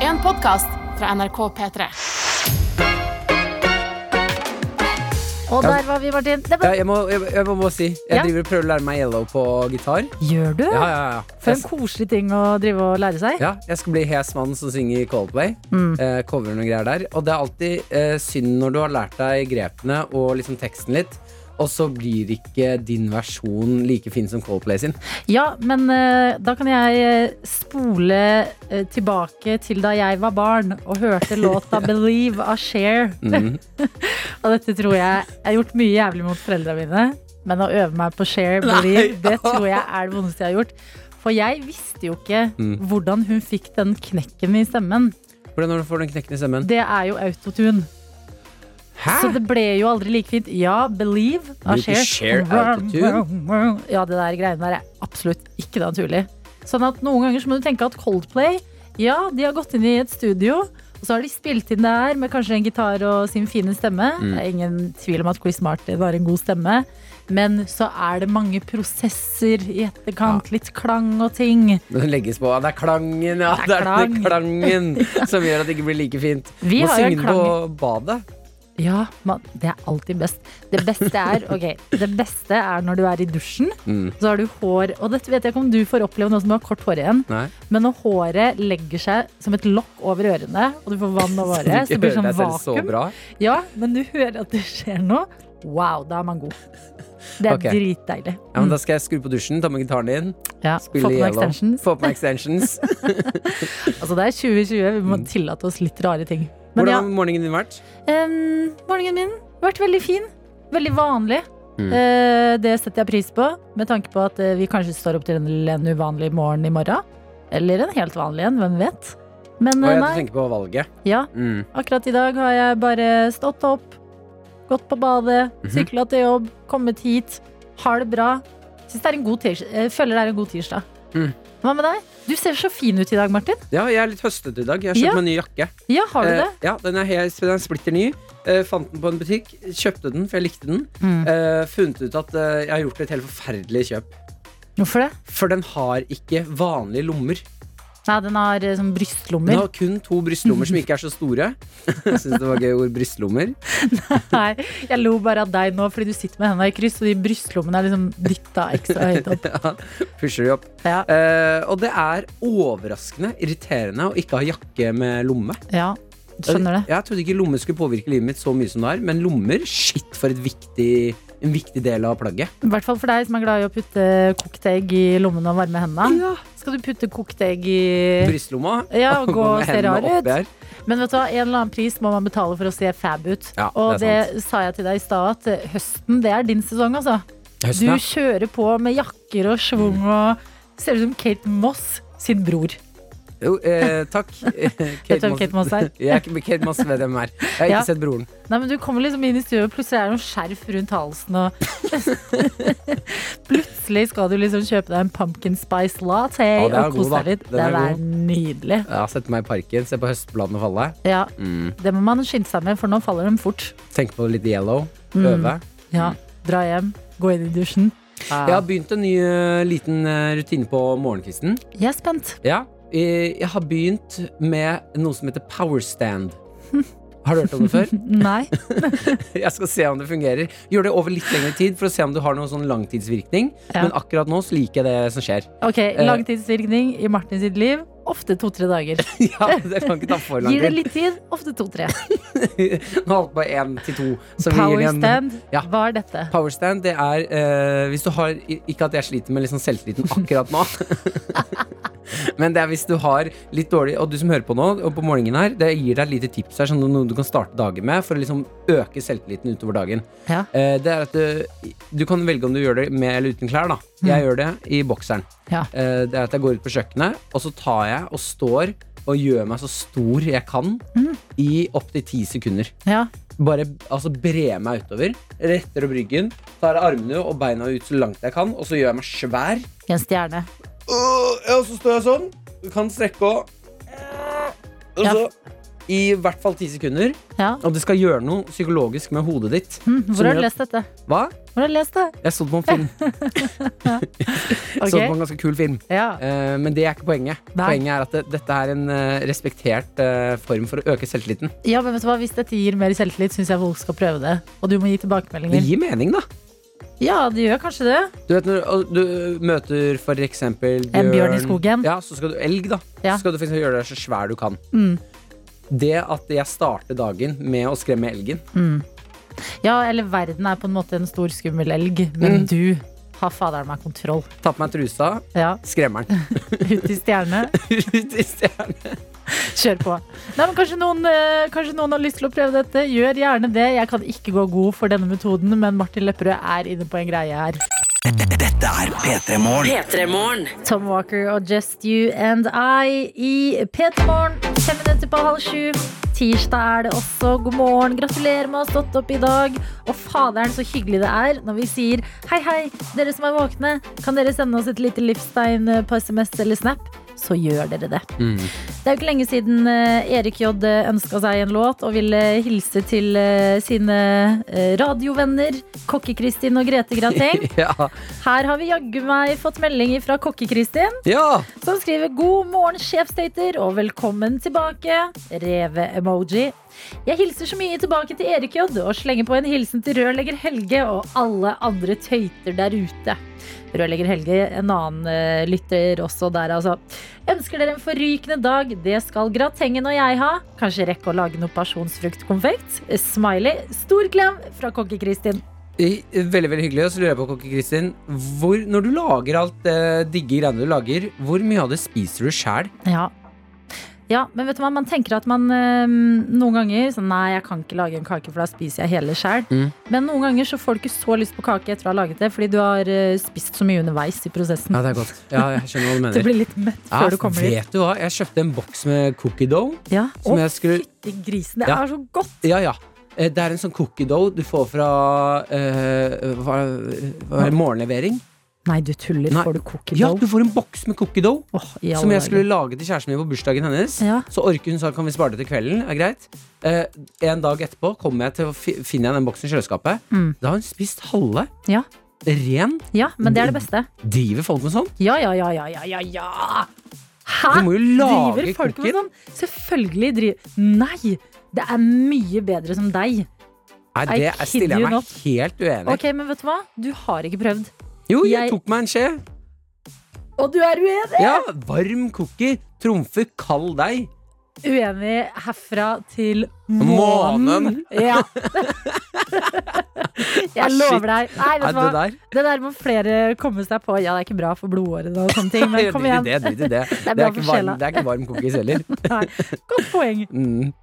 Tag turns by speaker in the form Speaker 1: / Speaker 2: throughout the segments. Speaker 1: en podkast fra NRK P3.
Speaker 2: Og der var vi, Martin. Det
Speaker 3: Ja,
Speaker 2: var...
Speaker 3: jeg, må, jeg, jeg må, må si Jeg
Speaker 2: Ja.
Speaker 3: driver og prøver å lære meg yellow på gitar.
Speaker 2: Gjør du?
Speaker 3: Ja, ja, ja.
Speaker 2: For en
Speaker 3: Jeg,
Speaker 2: koselig ting å drive og lære seg.
Speaker 3: ja, jeg skal bli hes mann som synger Coldplay.
Speaker 2: Mm.
Speaker 3: Eh, cover noen greier der. Og det er alltid eh, synd når du har lært deg grepene og liksom teksten litt, og så blir ikke din versjon like fin som Coldplay sin.
Speaker 2: Ja, men eh, da kan jeg eh, spole eh, tilbake til da jeg var barn og hørte låta 'Believe' av Cher.
Speaker 3: Mm.
Speaker 2: og dette tror jeg Jeg har gjort mye jævlig mot foreldrene mine, men å øve meg på Cher 'Believe', det tror jeg er det vondeste jeg har gjort. For jeg visste jo ikke
Speaker 3: Mm.
Speaker 2: hvordan hun fikk den knekken i stemmen.
Speaker 3: Hvordan når du får den knekken i stemmen?
Speaker 2: Det er jo autotune.
Speaker 3: Hæ?
Speaker 2: Så det ble jo aldri like fint. Ja, 'Believe' av
Speaker 3: Det blir
Speaker 2: Cher.
Speaker 3: ikke Cher autotune.
Speaker 2: Ja, det der greiene der er absolutt ikke naturlig. Sånn at noen ganger så må du tenke at Coldplay, ja, de har gått inn i et studio, og så har de spilt inn det her med kanskje en gitar og sin fine stemme.
Speaker 3: Mm.
Speaker 2: Det er ingen tvil om at Chris Martin har en god stemme. Men så er det mange prosesser i etterkant. Litt klang og ting.
Speaker 3: Den legges på. Ah, Det er klangen, ja! Det er, den klangen som gjør at det ikke blir like fint.
Speaker 2: Vi
Speaker 3: Må
Speaker 2: har jo en
Speaker 3: synge den på badet.
Speaker 2: Ja, man, det er alltid best. Det beste er ok, det beste er når du er i dusjen.
Speaker 3: Mm.
Speaker 2: Så har du hår Og dette vet jeg ikke om du får oppleve nå som du har kort hår igjen.
Speaker 3: Nei.
Speaker 2: Men når håret legger seg som et lokk over ørene, og du får vann over
Speaker 3: Du
Speaker 2: året, så
Speaker 3: ikke
Speaker 2: det blir
Speaker 3: hører
Speaker 2: sånn
Speaker 3: deg selv så
Speaker 2: vakuum.
Speaker 3: bra.
Speaker 2: Ja, men du hører at det skjer noe. Wow, da er man god. Det er
Speaker 3: Ok.
Speaker 2: dritdeilig.
Speaker 3: Ja, men da skal jeg skru på dusjen, ta med gitaren din.
Speaker 2: Ja, Mm. Få
Speaker 3: Spille
Speaker 2: på noen
Speaker 3: yellow.
Speaker 2: extensions.
Speaker 3: Få på meg extensions.
Speaker 2: Altså, det er 2020, vi må tillate oss litt rare ting. Men
Speaker 3: Mm. Hvordan
Speaker 2: ja,
Speaker 3: har morgenen din vært?
Speaker 2: em, morgenen min har vært veldig fin. Veldig vanlig.
Speaker 3: Mm.
Speaker 2: Eh, det setter jeg pris på, med tanke på at eh, vi kanskje står opp til en, en uvanlig morgen i morgen. Eller en helt vanlig en, hvem vet. Men
Speaker 3: Hva
Speaker 2: eh,
Speaker 3: er det du
Speaker 2: nei,
Speaker 3: tenker på valget?
Speaker 2: ja,
Speaker 3: Mm.
Speaker 2: Akkurat i dag har jeg bare stått opp, gått på badet,
Speaker 3: Mhm.
Speaker 2: sykla til jobb, kommet hit. Har det bra. Synes det er en god tirs- jeg føler det er en god tirsdag.
Speaker 3: Mm.
Speaker 2: Hva med deg? Du ser så fin ut i dag, Martin.
Speaker 3: Ja, jeg er litt høstete i dag. Jeg har kjøpt
Speaker 2: Ja.
Speaker 3: meg en ny jakke.
Speaker 2: Ja, har du
Speaker 3: Eh,
Speaker 2: det?
Speaker 3: ja, den er, helt, den er splitter ny. Eh, fant den på en butikk, kjøpte den, for jeg likte den.
Speaker 2: Mm.
Speaker 3: Eh, funnet ut at eh, jeg har gjort et helt forferdelig kjøp.
Speaker 2: Hvorfor det?
Speaker 3: For den har ikke vanlige lommer.
Speaker 2: Nei, den har eh, sånn brystlommer.
Speaker 3: Den har kun to brystlommer som ikke er så store. Jeg Syns det var gøy ord. Brystlommer.
Speaker 2: Nei, jeg lo bare av deg nå fordi du sitter med hendene i kryss, og de brystlommene er liksom dytta ekstra høyt opp.
Speaker 3: Ja, pusher de opp.
Speaker 2: Ja,
Speaker 3: Eh, og det er overraskende irriterende å ikke ha jakke med lomme.
Speaker 2: ja. Skjønner det.
Speaker 3: Jeg trodde ikke lommer skulle påvirke livet mitt så mye som det er, men lommer, shit for et viktig, en viktig del av plagget.
Speaker 2: I hvert fall for deg som er glad i å putte kokt egg i lommene og varme hendene. Skal du putte kokt egg i
Speaker 3: Brystlomma.
Speaker 2: Ja, og gå og se
Speaker 3: hendene
Speaker 2: rar
Speaker 3: oppi
Speaker 2: ut.
Speaker 3: her.
Speaker 2: Men vet du hva, en eller annen pris må man betale for å se fab ut.
Speaker 3: Ja,
Speaker 2: og
Speaker 3: det
Speaker 2: det,
Speaker 3: er
Speaker 2: sa jeg til deg i stad, at eh, høsten det er din sesong, altså. Du
Speaker 3: Høsten, ja.
Speaker 2: kjører på med jakker og schwung og ser ut som Kate Moss sin bror.
Speaker 3: Jo, eh, takk.
Speaker 2: Vet du hvem Kate Moss er?
Speaker 3: Jeg er ikke Kate Moss vet hvem er. Jeg har ikke
Speaker 2: Ja.
Speaker 3: sett broren.
Speaker 2: Nei, men Du kommer liksom inn i studio, og plutselig er det noe skjerf rundt halsen. Og plutselig skal du liksom kjøpe deg en pumpkin spice latte
Speaker 3: Å, den er
Speaker 2: og kose
Speaker 3: god, da.
Speaker 2: deg litt.
Speaker 3: Den
Speaker 2: Det
Speaker 3: er
Speaker 2: er
Speaker 3: god.
Speaker 2: nydelig.
Speaker 3: Jeg har sett meg i parken, se på høstbladene falle.
Speaker 2: Ja,
Speaker 3: Mm.
Speaker 2: Det må man skynde seg med, for nå faller de fort.
Speaker 3: Tenke på litt yellow.
Speaker 2: Mm.
Speaker 3: Øve.
Speaker 2: Ja,
Speaker 3: Mm.
Speaker 2: Dra hjem, gå inn i dusjen.
Speaker 3: Jeg har begynt en ny eh, liten eh, rutine på morgenkvisten.
Speaker 2: Jeg er spent.
Speaker 3: Ja, eh, jeg har begynt med noe som heter power stand. Har du hørt om det før?
Speaker 2: Nei.
Speaker 3: Jeg skal se om det fungerer. Gjør det over litt lengre tid for å se om du har noen sånn langtidsvirkning.
Speaker 2: Ja.
Speaker 3: Men akkurat nå så liker jeg det som skjer.
Speaker 2: Ok,
Speaker 3: Eh.
Speaker 2: langtidsvirkning i Martin sitt liv. Ofte to-tre dager.
Speaker 3: Ja, det kan ikke ta for lang
Speaker 2: Gir det
Speaker 3: tid.
Speaker 2: litt tid, ofte to-tre.
Speaker 3: Nå holdt på én til to. så vi gir
Speaker 2: Power
Speaker 3: det en-
Speaker 2: stand,
Speaker 3: Ja.
Speaker 2: hva er dette?
Speaker 3: Power stand, det er eh, Hvis du har Ikke at jeg sliter med liksom selvtilliten akkurat nå. Men det er hvis du har litt dårlig Og du som hører på nå, og på morgenen her, det gir deg et lite tips her, sånn noe du kan starte dagen med for å liksom øke selvtilliten utover dagen.
Speaker 2: Ja.
Speaker 3: Eh, det er at du, du kan velge om du gjør det med eller uten klær. da
Speaker 2: Mm.
Speaker 3: Jeg gjør det i bokseren.
Speaker 2: Ja.
Speaker 3: Eh, det er at jeg går ut på kjøkkenet, og så tar jeg og står og gjør meg så stor jeg kan i opptil ti sekunder.
Speaker 2: ja.
Speaker 3: Bare altså, bre meg utover. Retter opp ryggen, tar armene og beina ut så langt jeg kan, og så gjør jeg meg svær.
Speaker 2: En stjerne.
Speaker 3: Øh, ja, og så står jeg sånn. Du kan strekke og Og
Speaker 2: Ja.
Speaker 3: så i hvert fall ti sekunder.
Speaker 2: Ja.
Speaker 3: Og det skal gjøre noe psykologisk med hodet ditt.
Speaker 2: Hm,
Speaker 3: Som
Speaker 2: Hvor har
Speaker 3: gjør-
Speaker 2: du lest dette?
Speaker 3: Hva?
Speaker 2: Hvor har du lest det?
Speaker 3: Jeg så det på en film.
Speaker 2: Ok.
Speaker 3: Så det på en ganske kul film.
Speaker 2: Ja.
Speaker 3: Eh, men det er ikke poenget.
Speaker 2: Nei.
Speaker 3: Poenget er at det, dette er en eh, respektert eh, form for å øke selvtilliten.
Speaker 2: ja, men vet du hva? Hvis dette gir mer selvtillit, syns jeg folk skal prøve det. Og du må gi
Speaker 3: Det
Speaker 2: tilbakemeldinger.
Speaker 3: gir mening, da.
Speaker 2: Ja, det gjør kanskje det.
Speaker 3: Du vet når og du møter for eksempel
Speaker 2: En bjørn i skogen.
Speaker 3: Ja, så skal du elg, da.
Speaker 2: Ja.
Speaker 3: Så skal du for eksempel gjøre deg så svær du kan.
Speaker 2: Mm.
Speaker 3: Det at jeg starter dagen med å skremme elgen
Speaker 2: Ja, eller verden er på en måte en stor skummel elg, men
Speaker 3: Mm.
Speaker 2: du har faderen meg kontroll.
Speaker 3: Ta på meg trusa,
Speaker 2: Ja,
Speaker 3: skremmer den
Speaker 2: ut i stjerne.
Speaker 3: ut i stjernen.
Speaker 2: Kjør på. Nei, men kanskje, noen, eh, kanskje noen har lyst til å prøve dette. Gjør gjerne det. Jeg kan ikke gå god for denne metoden, men Martin Lepperød er inne på en greie her. Tom Walker og Just You and I i P3 Morgen. Fem minutter på halv sju. Tirsdag er det også. God morgen. Gratulerer med å ha stått opp i dag. Og faderen, så hyggelig det er når vi sier hei, hei, dere som er våkne, kan dere sende oss et lite livstegn på SMS eller Snap? Så gjør dere det. Det er jo ikke lenge siden eh, Erik J ønska seg en låt og ville hilse til eh, sine eh, radiovenner Kokke-Kristin og Grete Grateng.
Speaker 3: Ja.
Speaker 2: Her har vi jaggu meg fått melding fra Kokke-Kristin,
Speaker 3: ja!
Speaker 2: som skriver 'God morgen, sjefsdater, og velkommen tilbake'. Reve-emoji. Jeg hilser så mye tilbake til Erik J og slenger på en hilsen til rørlegger Helge og alle andre tøyter der ute. Rørlegger Helge, en annen eh, lytter også der, altså. Ønsker dere en forrykende dag, det skal Gratengen og jeg ha. Kanskje rekke å lage noe pasjonsfruktkonfekt? Smiley. Stor klem fra Kokke-Kristin.
Speaker 3: I- Veldig veldig hyggelig. Og så lurer jeg på, kokke Kristin, hvor, når du lager alt det digge greiene du lager, hvor mye av det spiser du sjæl?
Speaker 2: Ja. ja, men vet du hva, man tenker at man eh, noen ganger sånn, Nei, jeg kan ikke lage en kake, for da spiser jeg hele sjæl.
Speaker 3: Mm.
Speaker 2: Men noen ganger så får du ikke så lyst på kake etter å ha laget det, fordi du har eh, spist så mye underveis i prosessen.
Speaker 3: det er godt. Ja, jeg skjønner hva du
Speaker 2: Du
Speaker 3: mener.
Speaker 2: blir litt mett
Speaker 3: Ja,
Speaker 2: før du kommer dit.
Speaker 3: vet du hva? Jeg kjøpte en boks med cookie dough.
Speaker 2: Ja.
Speaker 3: Som
Speaker 2: Å,
Speaker 3: jeg skulle-
Speaker 2: fytti grisen, det
Speaker 3: Ja.
Speaker 2: er så godt!
Speaker 3: Ja, ja. Eh, Det er en sånn cookie dough du får fra eh, hva, hva er det, morgenlevering.
Speaker 2: Nei, du tuller.
Speaker 3: Nei.
Speaker 2: Får du cookie
Speaker 3: Ja,
Speaker 2: dough?
Speaker 3: du får en boks med cookie dough
Speaker 2: Åh, i alle
Speaker 3: som jeg
Speaker 2: dager.
Speaker 3: skulle lage til kjæresten min på bursdagen hennes.
Speaker 2: Ja.
Speaker 3: Så orker hun sa kan vi spare det til kvelden. Er greit. Eh, en dag etterpå kommer jeg til å fi finner jeg den boksen i kjøleskapet.
Speaker 2: Mm.
Speaker 3: Da har hun spist halve.
Speaker 2: Ja.
Speaker 3: Ren.
Speaker 2: ja, men det er det beste.
Speaker 3: Driver folk med sånn?
Speaker 2: Ja, ja, ja, ja, ja, ja, ja. Hæ?
Speaker 3: Du må jo lage
Speaker 2: driver folk med
Speaker 3: cookie.
Speaker 2: sånn? Selvfølgelig driver Nei! Det er mye bedre som deg.
Speaker 3: Nei,
Speaker 2: I
Speaker 3: det er-
Speaker 2: kid
Speaker 3: stiller
Speaker 2: you
Speaker 3: jeg meg
Speaker 2: not.
Speaker 3: helt uenig i.
Speaker 2: Ok, men vet du hva? Du har ikke prøvd.
Speaker 3: Jo, jeg,
Speaker 2: jeg-
Speaker 3: tok meg en skje.
Speaker 2: Og du er uenig!
Speaker 3: Ja, varm cookie trumfer kald deig.
Speaker 2: Uenig herfra til månen.
Speaker 3: Månen.
Speaker 2: Ja.
Speaker 3: Ah,
Speaker 2: Jeg
Speaker 3: shit.
Speaker 2: lover deg. Nei,
Speaker 3: Er
Speaker 2: vet du
Speaker 3: det
Speaker 2: hva?
Speaker 3: der?
Speaker 2: Det der må flere komme seg på. Ja, det er ikke bra for blodårene og sånne ting, men
Speaker 3: Ja,
Speaker 2: kom
Speaker 3: drit i
Speaker 2: igjen.
Speaker 3: Det, drit i det.
Speaker 2: er
Speaker 3: Det
Speaker 2: bra
Speaker 3: er, ikke
Speaker 2: for
Speaker 3: varm,
Speaker 2: sjela.
Speaker 3: det er ikke varm cookies heller.
Speaker 2: Nei. Godt poeng.
Speaker 3: Mm.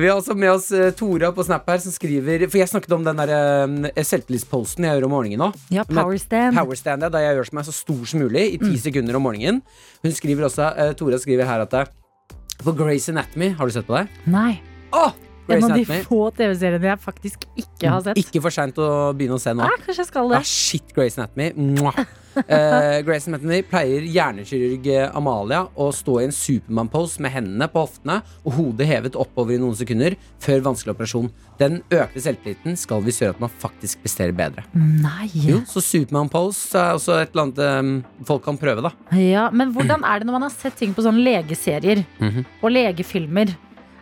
Speaker 3: Vi har også med oss eh, Tora på Snap her, som skriver For jeg snakket om den der eh, selvtillitsposten jeg gjør om morgenen nå.
Speaker 2: Ja, power stand.
Speaker 3: Powerstand, ja, da jeg gjør som er så stor som mulig i
Speaker 2: Mm.
Speaker 3: ti sekunder om morgenen. Hun skriver også eh, Tora skriver her at det er på Grace Anatomy Har du sett på det?
Speaker 2: Nei.
Speaker 3: Åh,
Speaker 2: En
Speaker 3: Grey's
Speaker 2: av de
Speaker 3: Anatomy.
Speaker 2: få TV-seriene jeg faktisk ikke har sett.
Speaker 3: Ikke for seint å begynne å se nå.
Speaker 2: Nei, kanskje jeg skal
Speaker 3: Ja,
Speaker 2: det.
Speaker 3: shit, Grace Anatomy. Mwah. Eh, Grace Anatomy pleier hjernekirurg eh, Amalia å stå i en Superman-pose med hendene på hoftene og hodet hevet oppover i noen sekunder før vanskelig operasjon. Den økte selvtilliten skal visst gjøre at man faktisk presterer bedre.
Speaker 2: Nei.
Speaker 3: Jo, så Superman-pose er også et eller annet eh, folk kan prøve, da.
Speaker 2: Ja, Men hvordan er det når man har sett ting på sånne legeserier
Speaker 3: Mhm.
Speaker 2: og legefilmer?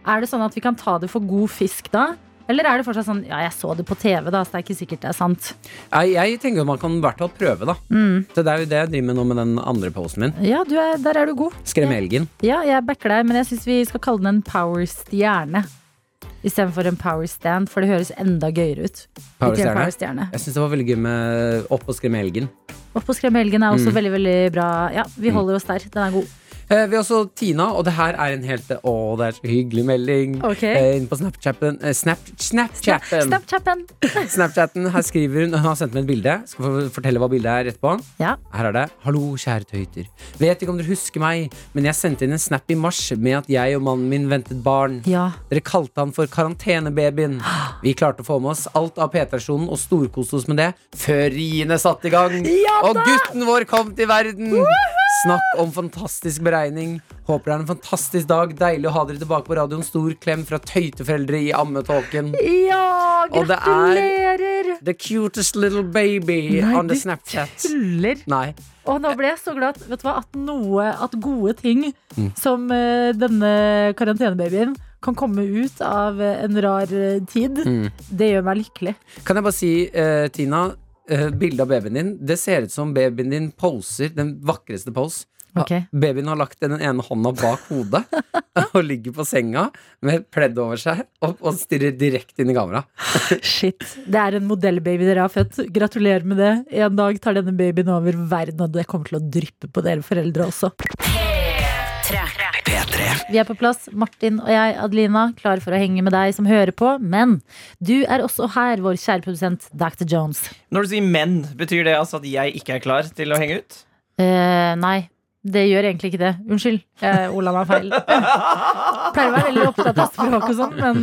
Speaker 2: Er det sånn at vi kan ta det for god fisk da? Eller er det fortsatt sånn ja, jeg så det på TV, da, så det er ikke sikkert det er sant?
Speaker 3: Jeg, jeg tenker man kan i hvert fall prøve, da.
Speaker 2: Mm.
Speaker 3: Så det er jo det jeg driver med nå med den andre posen min.
Speaker 2: Ja, du er, der er du god.
Speaker 3: Skremme elgen.
Speaker 2: Ja, jeg backer deg, men jeg syns vi skal kalle den en powerstjerne. Istedenfor en powerstand, for det høres enda gøyere ut. Litt igjen
Speaker 3: Powerstjerne.
Speaker 2: powerstjerne.
Speaker 3: Jeg syns det var veldig gøy med opp og skremme elgen.
Speaker 2: Og på Skremhelgen er
Speaker 3: Mm.
Speaker 2: også veldig, veldig bra. Ja, vi holder oss der. Den er god.
Speaker 3: Eh, vi har også Tina, og det her er en helt Å, det er så hyggelig melding.
Speaker 2: Ok.
Speaker 3: Eh, Inne på Snapchatten eh, snap, Snapchatten.
Speaker 2: Snapchappen!
Speaker 3: Snapchatten. Her skriver hun Hun har sendt meg et bilde. Skal få fortelle hva bildet er etterpå.
Speaker 2: Ja.
Speaker 3: Her er det. Hallo, kjære tøyter. Vet ikke om dere husker meg, men jeg sendte inn en snap i mars med at jeg og mannen min ventet barn.
Speaker 2: ja.
Speaker 3: Dere kalte han for karantenebabyen. Vi klarte å få med oss alt av P-trasjonen og storkoste oss med det før riene satte i gang.
Speaker 2: Ja
Speaker 3: og gutten vår kom til verden! Snakk om fantastisk regning. Håper det er en fantastisk dag. Deilig å ha dere tilbake på radioen. Stor klem fra tøyteforeldre i ammetåken.
Speaker 2: Ja,
Speaker 3: Og det er-
Speaker 2: gratulerer!
Speaker 3: The cutest little baby
Speaker 2: Nei,
Speaker 3: on the
Speaker 2: du
Speaker 3: Snapchat.
Speaker 2: Tuller.
Speaker 3: Nei.
Speaker 2: Og nå ble jeg så glad vet du hva, at, noe, at gode ting som eh, denne karantenebabyen kan komme ut av eh, en rar eh, tid.
Speaker 3: Mm.
Speaker 2: Det gjør meg lykkelig.
Speaker 3: Kan jeg bare si, eh, Tina, uh, bildet av babyen din Det ser ut som babyen din poser den vakreste pose.
Speaker 2: Ok.
Speaker 3: Ha- Babyen har lagt den ene hånda bak hodet og ligger på senga med et pledd over seg og, og stirrer direkte inn i kamera.
Speaker 2: Shit. Det er en modellbaby dere har født. Gratulerer med det. En dag tar denne babyen over verden, og det kommer til å dryppe på dere foreldre også. Vi er på plass, Martin og jeg, Adelina, klar for å henge med deg som hører på. Men du er også her, vår kjære produsent Dr. Jones.
Speaker 4: Når du sier menn, betyr det altså at jeg ikke er klar til å henge ut?
Speaker 2: Eh, nei, det gjør egentlig ikke det. Unnskyld, jeg ola meg feil. Pleier å være veldig opptatt av språk og sånn, men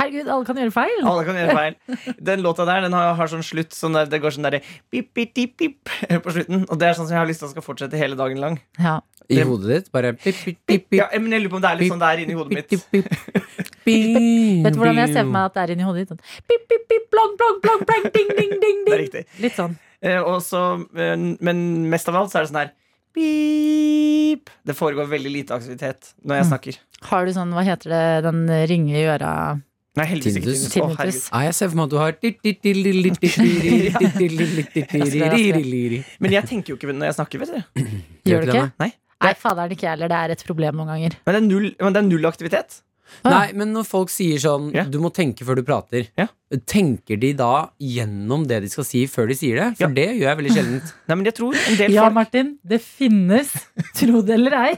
Speaker 2: herregud, alle kan gjøre feil.
Speaker 4: Alle kan gjøre feil. Den låta der den har, har sånn slutt sånn der, Det går sånn derre pip, pip, pip, pip eh, på slutten. Og det er sånn som jeg har lyst til at skal fortsette hele dagen lang.
Speaker 2: Ja.
Speaker 3: I
Speaker 4: Det-
Speaker 3: hodet ditt bare pip, pip, pip, pip,
Speaker 4: Ja, men jeg lurer på om det er litt sånn det er inni hodet
Speaker 3: pip, pip,
Speaker 4: mitt.
Speaker 3: pip. Bing,
Speaker 2: Vet du hvordan jeg ser for
Speaker 3: bing.
Speaker 2: meg at det er inni hodet ditt? Sånn, Pip, pip, pip, blong, blong, blong, blong, ding, ding, ding,
Speaker 4: Det er
Speaker 2: ding.
Speaker 4: riktig.
Speaker 2: Litt sånn.
Speaker 4: Eh, og så, eh, men mest av alt så er det sånn her pip. Det foregår veldig lite aktivitet når
Speaker 3: Mm.
Speaker 4: jeg snakker.
Speaker 2: Har du sånn, hva heter det, den ringe i øra?
Speaker 4: Nei, heldigvis ikke.
Speaker 3: Tinnitus.
Speaker 4: tinnitus. Å, herregud.
Speaker 2: Tinnitus.
Speaker 3: Nei, jeg ser for meg at du har Gjør
Speaker 4: Men jeg tenker jo ikke når jeg snakker, vet du.
Speaker 2: Gjør du
Speaker 3: det,
Speaker 2: ikke?
Speaker 3: nei?
Speaker 4: Nei.
Speaker 2: Nei, faderen ikke jeg heller. Det er et problem noen ganger.
Speaker 4: Men det er null, men det er null aktivitet.
Speaker 3: Nei, men når folk sier sånn
Speaker 4: Ja.
Speaker 3: Du må tenke før du prater
Speaker 4: Ja.
Speaker 3: Tenker de da gjennom det de skal si før de sier det? For
Speaker 4: Ja.
Speaker 3: det gjør jeg veldig sjeldent
Speaker 4: Nei, men jeg tror en del
Speaker 2: Ja,
Speaker 4: folk
Speaker 2: Martin, det finnes, tro det eller ei,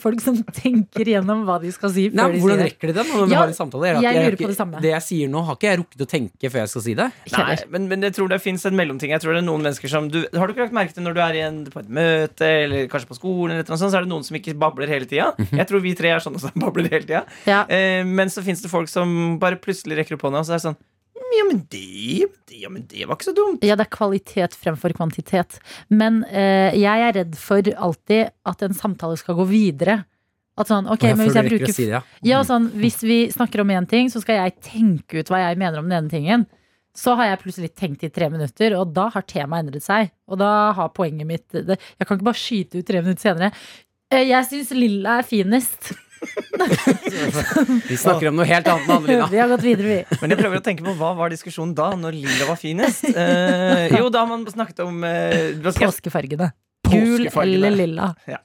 Speaker 2: folk som tenker gjennom hva de skal si
Speaker 3: Nei,
Speaker 2: før de
Speaker 3: Hvordan
Speaker 2: sier det.
Speaker 3: rekker de det nå når vi
Speaker 2: Ja,
Speaker 3: har en samtale? Er at
Speaker 2: jeg lurer
Speaker 3: har
Speaker 2: på det
Speaker 3: ikke-
Speaker 2: samme.
Speaker 3: Det jeg sier nå har ikke jeg rukket å tenke før jeg skal si det
Speaker 4: Nei, men, men jeg tror det fins en mellomting. Jeg tror det er noen mennesker som du, Har du ikke lagt merke til når du er i en, på et møte eller kanskje på skolen, eller et eller annet sånt, så er det noen som ikke babler hele tida? Jeg tror vi tre er sånne som babler hele tida.
Speaker 2: Ja.
Speaker 4: Eh, men så fins det folk som bare plutselig rekker opp hånda, og så er det sånn «Mm, Ja, men det, det, ja, men det var ikke så dumt.
Speaker 2: Ja, det er kvalitet fremfor kvantitet. Men eh, jeg er redd for alltid at en samtale skal gå videre. At sånn, ok,
Speaker 3: Og
Speaker 2: men hvis
Speaker 3: før
Speaker 2: jeg
Speaker 3: du rekker å
Speaker 2: bruker
Speaker 3: si det, Mm. ja.
Speaker 2: Ja, sånn, hvis vi snakker om én ting, så skal jeg tenke ut hva jeg mener om den ene tingen. Så har jeg plutselig tenkt i tre minutter, og da har temaet endret seg. Og da har poenget mitt det, Jeg kan ikke bare skyte ut tre minutter senere. «Eh, Jeg syns lilla er finest.
Speaker 3: Vi snakker om noe helt annet enn
Speaker 2: Vi
Speaker 3: Adelina
Speaker 2: har gått videre, vi.
Speaker 4: Men jeg prøver å tenke på hva var diskusjonen da, når lilla var finest? Eh, jo, da man snakket om eh, det var-
Speaker 2: Påskefargene. Gul
Speaker 4: Påskefargene.
Speaker 2: eller lilla,
Speaker 4: Ja.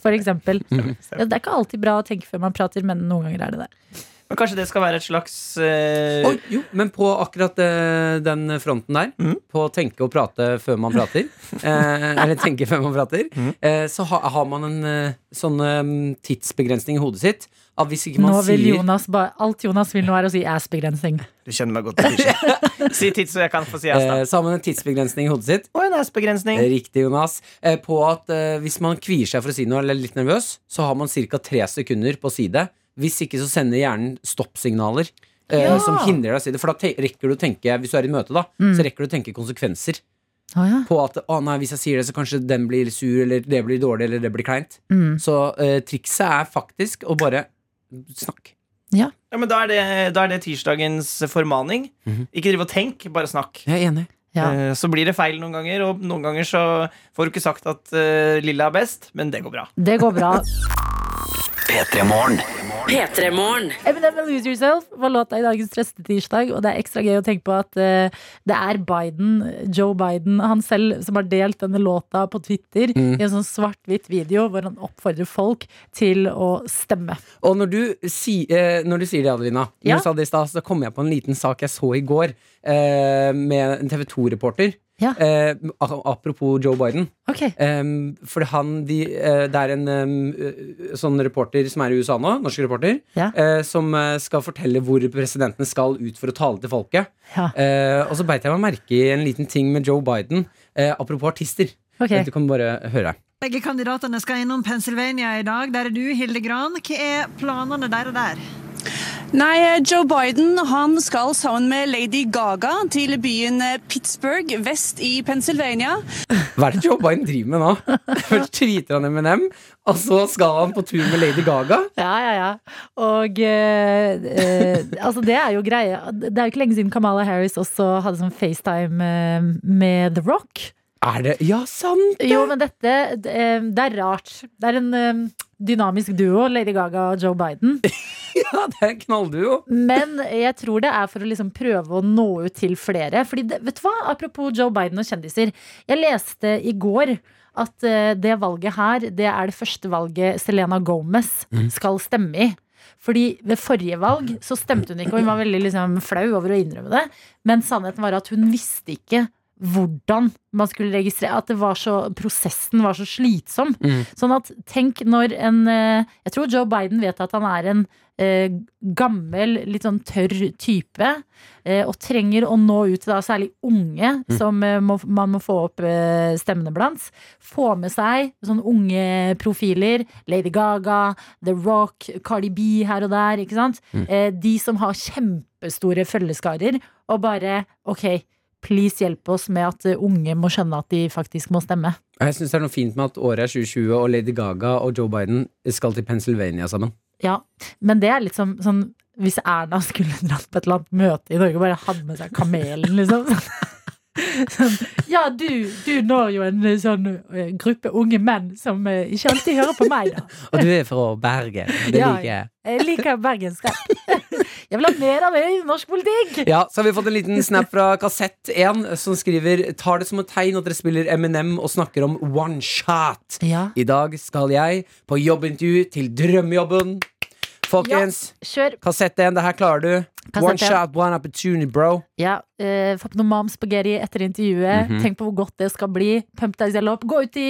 Speaker 2: for eksempel.
Speaker 3: Mm.
Speaker 4: stemmer.
Speaker 2: Ja, Det er ikke alltid bra å tenke før man prater, men noen ganger er det det.
Speaker 4: Men kanskje det skal være et slags eh,
Speaker 3: Oi, jo, men på akkurat eh, den fronten der,
Speaker 2: Mm.
Speaker 4: Mhm.
Speaker 3: på å tenke og prate før man prater, eh, eller tenke før man prater,
Speaker 2: Mm.
Speaker 4: Mhm.
Speaker 3: eh, så ha, har man en eh, sånn eh, tidsbegrensning i hodet sitt. At hvis ikke man
Speaker 2: Nå vil
Speaker 3: sier
Speaker 2: Jonas ba, alt Jonas vil nå er å si ass-begrensning.
Speaker 4: Du kjenner meg godt. Tisha. si titt, så jeg kan få si ass, da.
Speaker 3: eh, Så har man en tidsbegrensning i hodet sitt.
Speaker 4: Og en ass-begrensning.
Speaker 3: Eh, Riktig, Jonas. Eh, På at eh, hvis man kvier seg for å si noe eller er litt nervøs, så har man ca. tre sekunder på å si det. Hvis ikke så sender hjernen stoppsignaler. eh,
Speaker 2: Ja.
Speaker 3: Som hindrer deg å si det. For da te- rekker du å tenke Hvis du er i møte, da,
Speaker 2: Mm.
Speaker 3: så rekker du å tenke konsekvenser.
Speaker 2: Å ja.
Speaker 3: på at å nei, hvis jeg sier det, så kanskje den blir sur, eller det blir dårlig, eller det blir kleint.
Speaker 2: Mm.
Speaker 3: Så eh, trikset er faktisk å bare snakke.
Speaker 4: Ja, men da er, det, da er det tirsdagens formaning.
Speaker 3: Mhm.
Speaker 4: Ikke driv og tenk, bare snakk.
Speaker 3: Jeg er enig.
Speaker 2: Ja.
Speaker 4: Eh, Så blir det feil noen ganger, og noen ganger så får du ikke sagt at eh, lilla er best, men det går bra.
Speaker 2: Det går bra.
Speaker 5: P3-morgen.
Speaker 2: Eminem and Lose Yourself var låta i dagens trøste tirsdag, og det er ekstra gøy å tenke på at eh, det er Biden, Joe Biden, han selv, som har delt denne låta på Twitter
Speaker 3: Mm.
Speaker 2: i en sånn svart-hvitt video hvor han oppfordrer folk til å stemme.
Speaker 3: Og når du, si, eh, når du sier det, Adelina,
Speaker 2: Ja.
Speaker 3: når du sa det i stad, så kom jeg på en liten sak jeg så i går eh, med en TV 2-reporter.
Speaker 2: Ja.
Speaker 3: Eh, a- apropos Joe Biden.
Speaker 2: Ok.
Speaker 3: Um, for han, de, eh, det er en um, eh, sånn reporter som er i USA nå, norsk reporter,
Speaker 2: Ja.
Speaker 3: eh, som eh, skal fortelle hvor presidenten skal ut for å tale til folket.
Speaker 2: Ja.
Speaker 3: Eh, og så beit jeg meg merke i en liten ting med Joe Biden, eh, apropos artister.
Speaker 2: Ok.
Speaker 3: Du kan bare høre.
Speaker 6: Begge kandidatene skal innom Pennsylvania i dag. Der er du, Hilde Gran. Hva er planene deres der?
Speaker 5: Nei, Joe Biden han skal sammen med Lady Gaga til byen Pittsburgh vest i Pennsylvania.
Speaker 3: Hva er det Joe Biden driver med nå? Først tweeter han M&M, og så skal han på tur med Lady Gaga.
Speaker 2: Ja, ja, ja. Og eh, eh, altså det er jo greia. Det er jo ikke lenge siden Kamala Harris også hadde sånn FaceTime eh, med The Rock.
Speaker 3: Er det Ja, sant!
Speaker 2: Jo, men dette det, eh, Det er rart. Det er en eh, dynamisk duo, Lady Gaga og Joe Biden.
Speaker 3: Ja, det er en knallduo.
Speaker 2: Men jeg tror det er for å liksom prøve å nå ut til flere. Fordi det, vet du hva? Apropos Joe Biden og kjendiser. Jeg leste i går at eh, det valget her, det er det første valget Selena Gomez skal stemme i. Fordi ved forrige valg så stemte hun ikke, og hun var veldig liksom flau over å innrømme det. Men sannheten var at hun visste ikke hvordan man skulle registrere. At det var så, prosessen var så slitsom.
Speaker 3: Mm.
Speaker 2: Sånn at tenk når en eh, Jeg tror Joe Biden vet at han er en eh, gammel, litt sånn tørr type. eh, og trenger å nå ut til da særlig unge, som eh, må, man må få opp eh, stemmene blant. Få med seg sånne unge profiler. Lady Gaga, The Rock, Cardi B her og der. ikke sant? Eh, de som har kjempestore følgeskarer. Og bare OK, please hjelp oss med at eh, unge må skjønne at de faktisk må stemme.
Speaker 3: Jeg syns det er noe fint med at året er 2020, og Lady Gaga og Joe Biden skal til Pennsylvania sammen.
Speaker 2: Ja, men det er litt som sånn Hvis Erna skulle dratt på et eller annet møte i Norge og bare hadde med seg kamelen, liksom. Sånn, ja, du, du når jo en eh, sånn eh, gruppe unge menn som eh, ikke alltid hører på meg, da.
Speaker 3: Og du er fra Bergen.
Speaker 2: det Ja. liker jeg. Jeg liker bergenskap. Jeg vil ha mer av det i norsk politikk!
Speaker 3: Ja, så har vi fått en liten snap fra Kassett 1, som skriver Tar det som et tegn at dere spiller M&M og snakker om one shot.
Speaker 2: Ja.
Speaker 3: I dag skal jeg på jobbintervju til drømmejobben. Folkens,
Speaker 2: Kjør.
Speaker 3: Kassett 1, det her klarer du.
Speaker 2: Kassett
Speaker 3: One
Speaker 2: 1.
Speaker 3: shot, one opportunity, bro.
Speaker 2: Ja, eh, Få på noe mam spagetti etter intervjuet. Tenk på hvor godt det skal bli. Pump deg selv opp. Gå ut i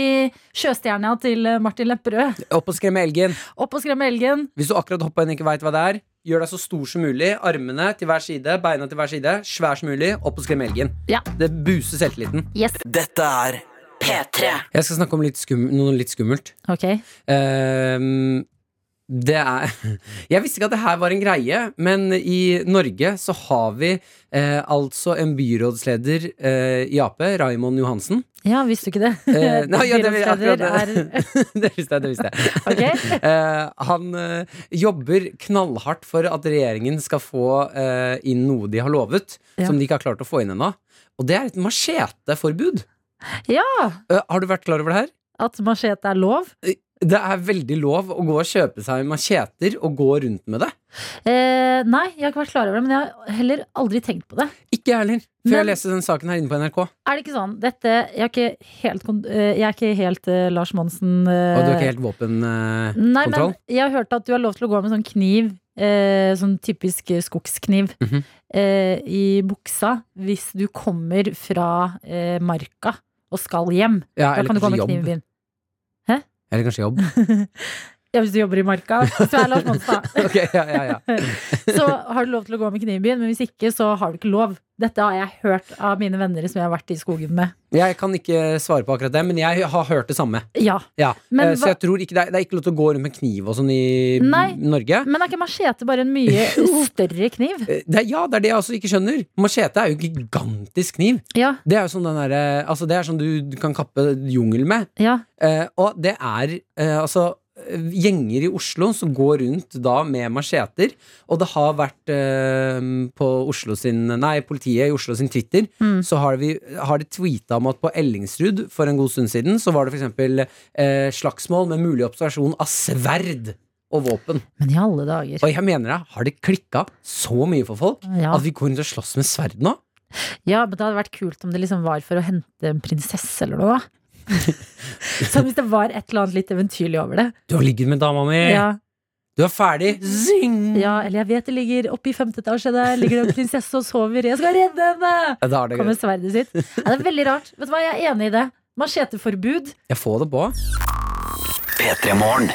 Speaker 2: sjøstjerna til eh, Martin Lepperød.
Speaker 3: Opp og skremme elgen.
Speaker 2: Opp og skremme elgen.
Speaker 3: Hvis du akkurat hoppa inn og ikke veit hva det er, gjør deg så stor som mulig. Armene til hver side, beina til hver side. Svær som mulig. Opp og skrem elgen.
Speaker 2: Ja.
Speaker 3: Det buser selvtilliten.
Speaker 2: Yes.
Speaker 6: Dette er P3.
Speaker 3: Jeg skal snakke om litt skum, noe litt skummelt.
Speaker 2: Ok.
Speaker 3: Ehm, det er Jeg visste ikke at det her var en greie, men i Norge så har vi eh, altså en byrådsleder eh, i Ap, Raimond Johansen.
Speaker 2: Ja, visste du ikke det?
Speaker 3: Eh, nei, ja, det vil jeg akkurat
Speaker 2: Byrådsleder
Speaker 3: det. det visste jeg. det visste jeg
Speaker 2: Ok.
Speaker 3: Eh, Han eh, jobber knallhardt for at regjeringen skal få eh, inn noe de har lovet,
Speaker 2: Ja.
Speaker 3: som de ikke har klart å få inn ennå. Og det er et macheteforbud.
Speaker 2: Ja!
Speaker 3: Eh, har du vært klar over det her?
Speaker 2: At machete er lov.
Speaker 3: Det er veldig lov å gå og kjøpe seg macheter og gå rundt med det.
Speaker 2: Eh, nei, jeg har ikke vært klar over det, men jeg har heller aldri tenkt på det.
Speaker 3: Ikke jeg heller, før jeg
Speaker 2: Men-
Speaker 3: leste den saken her inne på NRK.
Speaker 2: Er det ikke sånn dette, Jeg er ikke helt, kon- eh, jeg er ikke helt eh, Lars Monsen. eh,
Speaker 3: Og du har ikke helt eh, våpenkontroll?
Speaker 2: Nei, men jeg har hørt at du har lov til å gå med sånn kniv, eh, sånn typisk eh, skogskniv,
Speaker 3: Mhm.
Speaker 2: eh, i buksa hvis du kommer fra eh, marka og skal hjem.
Speaker 3: ja,
Speaker 2: Da
Speaker 3: eller
Speaker 2: kan du gå
Speaker 3: kanskje
Speaker 2: med
Speaker 3: jobb.
Speaker 2: kniv i byen.
Speaker 3: Eller kanskje jobb.
Speaker 2: Ja, hvis du jobber i marka. Så er Lars Monsen, da.
Speaker 3: Ok, ja, ja, ja.
Speaker 2: så har du lov til å gå med kniv i byen, men hvis ikke, så har du ikke lov. Dette har jeg hørt av mine venner som jeg har vært i skogen med.
Speaker 3: Jeg kan ikke svare på akkurat det, men jeg har hørt det samme.
Speaker 2: Ja.
Speaker 3: Ja.
Speaker 2: Men
Speaker 3: eh,
Speaker 2: hva-
Speaker 3: så jeg tror ikke det, er, det er ikke lov til å gå rundt med kniv og sånn i
Speaker 2: Nei.
Speaker 3: Norge.
Speaker 2: Men er ikke machete bare en mye større kniv?
Speaker 3: Eh, Det er, ja, det er det jeg også ikke skjønner. Machete er jo en gigantisk kniv.
Speaker 2: Ja,
Speaker 3: Det er jo sånn den derre- altså det er sånn du, du kan kappe jungel med.
Speaker 2: ja.
Speaker 3: Eh, og det er eh, altså eh, gjenger i Oslo som går rundt da med macheter. Og det har vært eh, på Oslo sin Nei, politiet i Oslo sin Twitter
Speaker 2: Mm.
Speaker 3: så har, vi, har de tweeta om at på Ellingsrud for en god stund siden så var det f.eks. Eh, slagsmål med mulig observasjon av sverd og våpen.
Speaker 2: Men i alle dager.
Speaker 3: Og jeg mener det, har det klikka så mye for folk
Speaker 2: Ja.
Speaker 3: at vi går rundt og slåss med sverd nå?
Speaker 2: ja, men det hadde vært kult om det liksom var for å hente en prinsesse eller noe. Sånn hvis det var et eller annet litt eventyrlig over det.
Speaker 3: Du har ligget med dama mi!
Speaker 2: Ja,
Speaker 3: Du er ferdig! Zing!
Speaker 2: ja, eller jeg vet det ligger oppe i femte etasje der, ligger det en prinsesse og sover. Jeg skal redde henne!
Speaker 3: Ja, da er det
Speaker 2: Kommer sverdet sitt. Ja, det er veldig rart. Vet du hva, jeg er enig i det. Macheteforbud.
Speaker 3: Jeg får det på.
Speaker 6: P3 Morgen.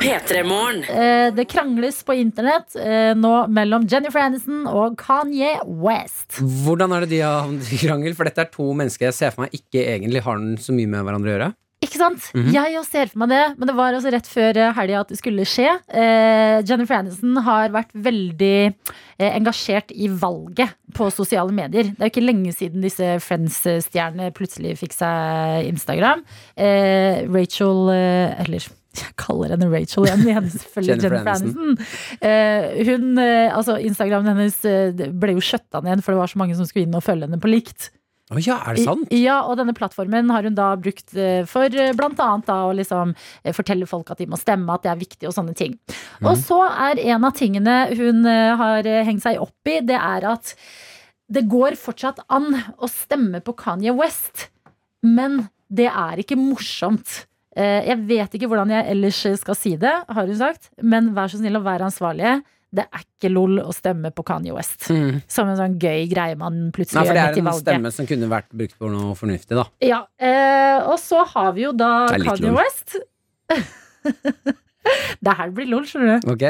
Speaker 7: P3-morgen.
Speaker 2: Eh, det krangles på internett eh, nå mellom Jennifer Aniston og Kanye West.
Speaker 3: Hvordan er det de har havnet i krangel? For dette er to mennesker jeg ser for meg ikke egentlig har så mye med hverandre å gjøre.
Speaker 2: Ikke sant? Jeg også ser for meg det, men det var også rett før eh, helga at det skulle skje. Eh, Jennifer Aniston har vært veldig eh, engasjert i valget på sosiale medier. Det er jo ikke lenge siden disse Friends-stjernene plutselig fikk seg Instagram. Eh, Rachel eh, Eller jeg kaller henne Rachel igjen, men selvfølgelig
Speaker 3: Jennifer
Speaker 2: Jennifer Aniston. Eh, hun, eh, altså Instagramen hennes eh, ble jo skjøtta ned, for det var så mange som skulle inn og følge henne på likt.
Speaker 3: Å ja, er det sant?
Speaker 2: I- Ja, og denne plattformen har hun da brukt eh, for eh, blant annet da å liksom eh, fortelle folk at de må stemme, at det er viktig og sånne ting.
Speaker 3: Mhm.
Speaker 2: Og så er en av tingene hun eh, har eh, hengt seg opp i, det er at det går fortsatt an å stemme på Kanye West, men det er ikke morsomt. Eh, Jeg vet ikke hvordan jeg ellers skal si det, har hun sagt, men vær så snill å være ansvarlige. Det er ikke lol å stemme på Kanye West.
Speaker 3: Mm.
Speaker 2: Som en sånn gøy greie man
Speaker 3: Nei,
Speaker 2: plutselig gjør
Speaker 3: for det
Speaker 2: midt
Speaker 3: er
Speaker 2: i
Speaker 3: en
Speaker 2: valget.
Speaker 3: stemme som kunne vært brukt på noe fornuftig, da.
Speaker 2: Ja, eh, og så har vi jo da
Speaker 3: Det er litt
Speaker 2: Kanye
Speaker 3: lol.
Speaker 2: West. det her blir lol, skjønner du.
Speaker 3: Ok?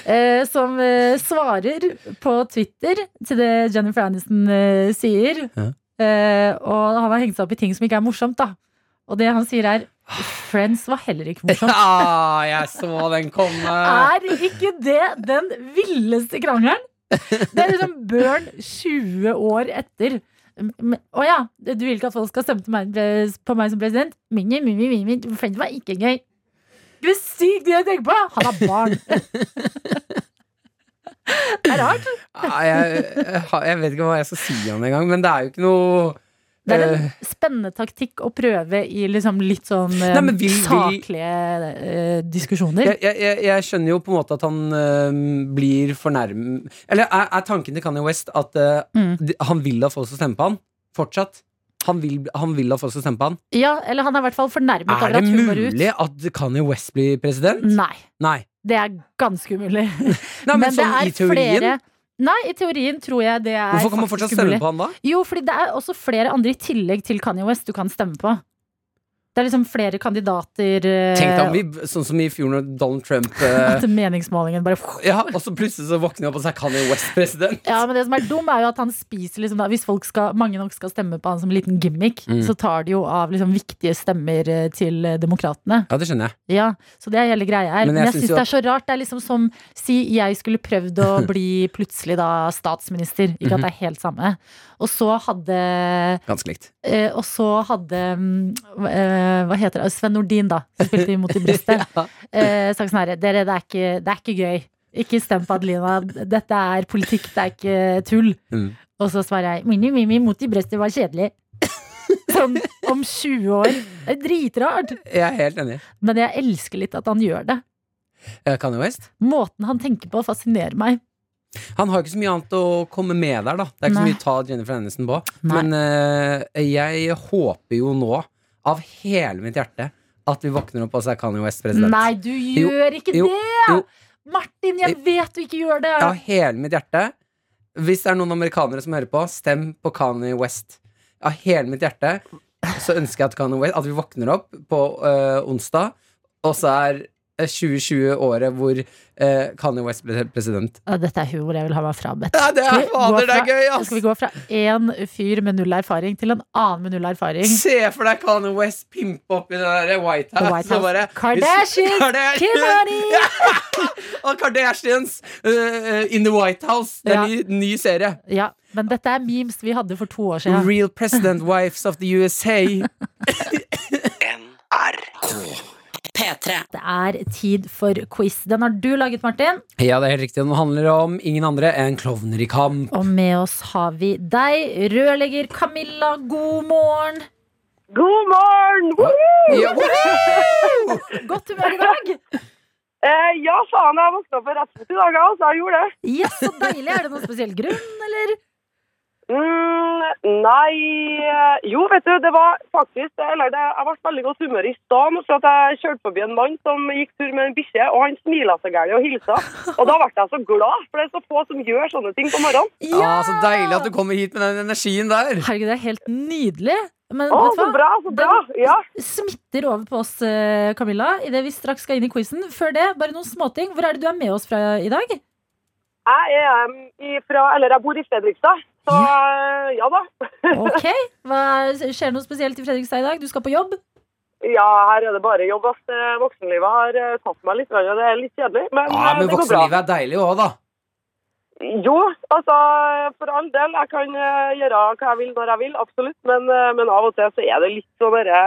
Speaker 2: Eh, som eh, svarer på Twitter til det Jennifer Aniston eh, sier. Eh, og han har hengt seg opp i ting som ikke er morsomt, da. Og det han sier er Friends var heller ikke morsomt.
Speaker 3: Ah, jeg så den komme!
Speaker 2: Er ikke det den villeste krangelen? Det er liksom Børn 20 år etter. M- Å ja, du vil ikke at folk skal stemme til meg, eh, på meg som president? Mini, mini, mini, mini. Friends var ikke gøy. Det er sykt det jeg tenker på! Han har barn. det er rart.
Speaker 3: Ah, jeg, jeg, har- jeg vet ikke hva jeg skal si om det engang, men det er jo ikke noe
Speaker 2: Det er en
Speaker 3: Eh.
Speaker 2: spennende taktikk å prøve i liksom litt sånn eh,
Speaker 3: Nei, men vil vi-
Speaker 2: saklige eh, diskusjoner.
Speaker 3: jeg, jeg, jeg- jeg skjønner jo på en måte at han øhm, blir fornærm... Eller er, er tanken til Kanye West at øh,
Speaker 2: Mm.
Speaker 3: de- han vil at folk skal stemme på han? Fortsatt? Han vil, han vil at folk skal stemme på han?
Speaker 2: Ja, eller han er i hvert fall fornærmet
Speaker 3: Er
Speaker 2: over
Speaker 3: det
Speaker 2: at hun går ut.
Speaker 3: mulig at Kanye West blir president?
Speaker 2: Nei.
Speaker 3: Nei.
Speaker 2: Det er ganske umulig.
Speaker 3: Nei, men, sånn i teorien
Speaker 2: Nei, i teorien tror jeg det er
Speaker 3: Hvorfor kan man
Speaker 2: faktisk
Speaker 3: fortsatt stemme
Speaker 2: umulig.
Speaker 3: på han da?
Speaker 2: Jo, fordi det er også flere andre i tillegg til Kanye West du kan stemme på. Det er liksom flere kandidater eh,
Speaker 3: Tenk deg om vi, sånn som i fjor når Donald Trump eh,
Speaker 2: At meningsmålingen bare
Speaker 3: Ja, og så plutselig så våkner han opp og så er Kanye West president.
Speaker 2: Ja, men det som er dum, er jo at han spiser liksom da Hvis folk skal, mange nok skal stemme på han som liten gimmick,
Speaker 3: Mm.
Speaker 2: så tar de jo av liksom viktige stemmer eh, til eh, demokratene.
Speaker 3: Ja, det skjønner jeg.
Speaker 2: Ja, så det er hele greia her.
Speaker 3: Men
Speaker 2: Men
Speaker 3: jeg
Speaker 2: jeg,
Speaker 3: synes
Speaker 2: synes syns
Speaker 3: jo
Speaker 2: det er så rart. Det er liksom som si jeg skulle prøvd å bli plutselig da statsminister. Ikke at det er helt samme. Og så hadde
Speaker 3: Ganske likt.
Speaker 2: eh, Og så hadde mm, eh, Hva heter det? Sven Nordin, da. Som spilte imot i brystet. eh, sagt sånn herre, dere, det er ikke, det er ikke gøy. Ikke stem på Adelina. Dette er politikk, det er ikke tull.
Speaker 3: Mm.
Speaker 2: Og så svarer jeg Mini Mimi mot i brystet var kjedelig. Sånn om 20 år. Det er dritrart.
Speaker 3: Jeg er helt enig.
Speaker 2: Men jeg elsker litt at han gjør det.
Speaker 3: Eh, Kanye West?
Speaker 2: Måten han tenker på fascinerer meg.
Speaker 3: Han har jo ikke så mye annet å komme med der, da. Det er ikke
Speaker 2: Nei.
Speaker 3: så mye å ta Jennifer Aniston på.
Speaker 2: Nei.
Speaker 3: Men eh, jeg håper jo nå, av hele mitt hjerte, at vi våkner opp og så er Kanye West president.
Speaker 2: Nei, du
Speaker 3: Jo,
Speaker 2: gjør ikke
Speaker 3: jo,
Speaker 2: det!
Speaker 3: jo.
Speaker 2: Martin, jeg vet du ikke gjør det!
Speaker 3: Av hele mitt hjerte. Hvis det er noen amerikanere som hører på, stem på Kanye West. Av hele mitt hjerte så ønsker jeg at, Kanye West, at vi våkner opp på eh, onsdag, og så er eh, 2020 året hvor eh, Kanye West ble president.
Speaker 2: Ja, Dette er humor jeg vil ha meg frabedt.
Speaker 3: Ja, det
Speaker 2: Skal
Speaker 3: er
Speaker 2: vi gå
Speaker 3: fader, det er
Speaker 2: fra-
Speaker 3: gøy, ass!
Speaker 2: Skal vi gå fra én fyr med null erfaring til en annen med null erfaring?
Speaker 3: Se for deg Kanye West pimpe opp i det der White
Speaker 2: På
Speaker 3: House.
Speaker 2: White
Speaker 3: og
Speaker 2: House.
Speaker 3: bare-
Speaker 2: Kardashians! Kim
Speaker 3: Kardashians!
Speaker 2: Honey!
Speaker 3: Og Kardashians uh, in the White House. Det er
Speaker 2: Ja.
Speaker 3: en ny, ny serie.
Speaker 2: Ja, men dette er memes vi hadde for to år siden.
Speaker 3: Real President Wives of the USA.
Speaker 6: NRK P3
Speaker 2: Det er tid for quiz. Den har du laget, Martin.
Speaker 3: ja, det er helt riktig. Den handler om ingen andre enn klovner i kamp.
Speaker 2: Og med oss har vi deg, rørlegger Camilla. God morgen!
Speaker 7: God morgen! Woohoo!
Speaker 3: Ja, woohoo!
Speaker 2: Godt humør i dag!
Speaker 7: Eh, ja, faen, jeg våkna opp rett ut i dag, jeg, altså. Jeg gjorde det.
Speaker 2: Yes, så deilig. Er det noen spesiell grunn, eller?
Speaker 7: Mm, nei eh, Jo, vet du, det var faktisk Eller det, jeg ble veldig godt humør i stad nå, for at jeg kjørte forbi en mann som gikk tur med en bikkje, og han smila seg gæli og hilsa. Og da ble jeg så glad, for det er så få som gjør sånne ting på morgenen.
Speaker 3: Ah, så deilig at du kommer hit med den energien der.
Speaker 2: Herregud, det er helt nydelig. Men
Speaker 7: Å,
Speaker 2: vet
Speaker 7: så
Speaker 2: du hva?
Speaker 7: bra, så bra! Ja.
Speaker 2: Smitter over på oss, eh, Camilla, idet vi straks skal inn i quizen. Før det, bare noen småting. Hvor er det du er med oss fra i dag?
Speaker 7: Jeg er eh, ifra Eller jeg bor i Fredrikstad, så eh, ja da.
Speaker 2: Ok, hva, Skjer det noe spesielt i Fredrikstad i dag? Du skal på jobb?
Speaker 7: Ja, her er det bare jobb. ass. Eh, Voksenlivet har eh, tatt meg litt, grann, og det er litt kjedelig. Men,
Speaker 3: Ja,
Speaker 7: eh,
Speaker 3: Ah, men
Speaker 7: det går bra.
Speaker 3: voksenlivet er deilig òg, da.
Speaker 7: Jo, altså for all del. Jeg kan eh, gjøre hva jeg vil når jeg vil, absolutt. Men, eh, men av og til så er det litt sånn derre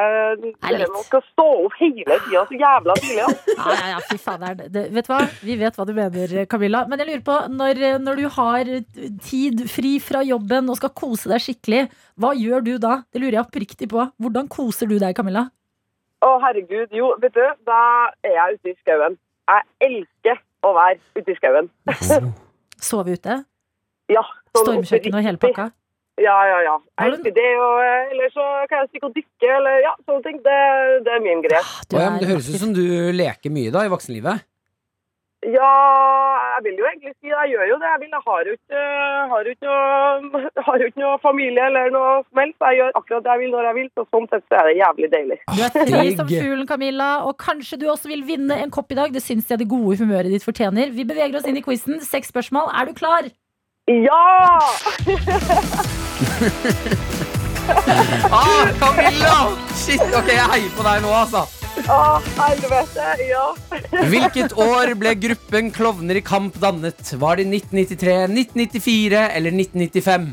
Speaker 2: litt.
Speaker 7: dere Man skal stå opp hele tida så jævla tidlig. ass.
Speaker 2: Ja, ja, ja, fy faen. Det, det, vet du hva? Vi vet hva du mener, Camilla. Men jeg lurer på, når, når du har tid fri fra jobben og skal kose deg skikkelig, hva gjør du da? Det lurer jeg oppriktig på. Hvordan koser du deg, Camilla?
Speaker 7: Å, herregud. Jo, vet du, da er jeg ute i skauen. Jeg elsker å være ute i skauen.
Speaker 2: Sove ute?
Speaker 7: Ja, sånn
Speaker 2: Stormkjøkken og hele
Speaker 7: oppriktig.
Speaker 2: pakka?
Speaker 7: Ja, ja, ja.
Speaker 2: Har
Speaker 7: Jeg
Speaker 2: du-
Speaker 7: elsker det, og eh, eller så kan jeg stikke og dykke, eller ja, sånne ting. Det, det er min greie.
Speaker 2: Ah, Du
Speaker 3: Å, ja, men det
Speaker 2: er
Speaker 3: høres ut som du leker mye da i voksenlivet.
Speaker 7: Ja, jeg vil jo egentlig si det. Jeg gjør jo det. Jeg, vil, jeg har jo ikke, har jo ikke, noe- har jo ikke noe familie eller noe som helst. Jeg gjør akkurat det jeg vil når jeg vil, så sånn sett så er det jævlig deilig.
Speaker 2: Ah. Du er liksom fri som
Speaker 3: Digg.
Speaker 2: fuglen, Camilla, og kanskje du også vil vinne en kopp i dag. Det syns jeg det gode humøret ditt fortjener. Vi beveger oss inn i quizen. Seks spørsmål. Er du klar?
Speaker 7: Ja!
Speaker 3: Ah, Camilla! Shit, ok, jeg heier på deg nå, altså.
Speaker 7: Å, helvete. Ja.
Speaker 3: Hvilket år ble gruppen Klovner i kamp dannet? Var det 1993, 1994 eller 1995?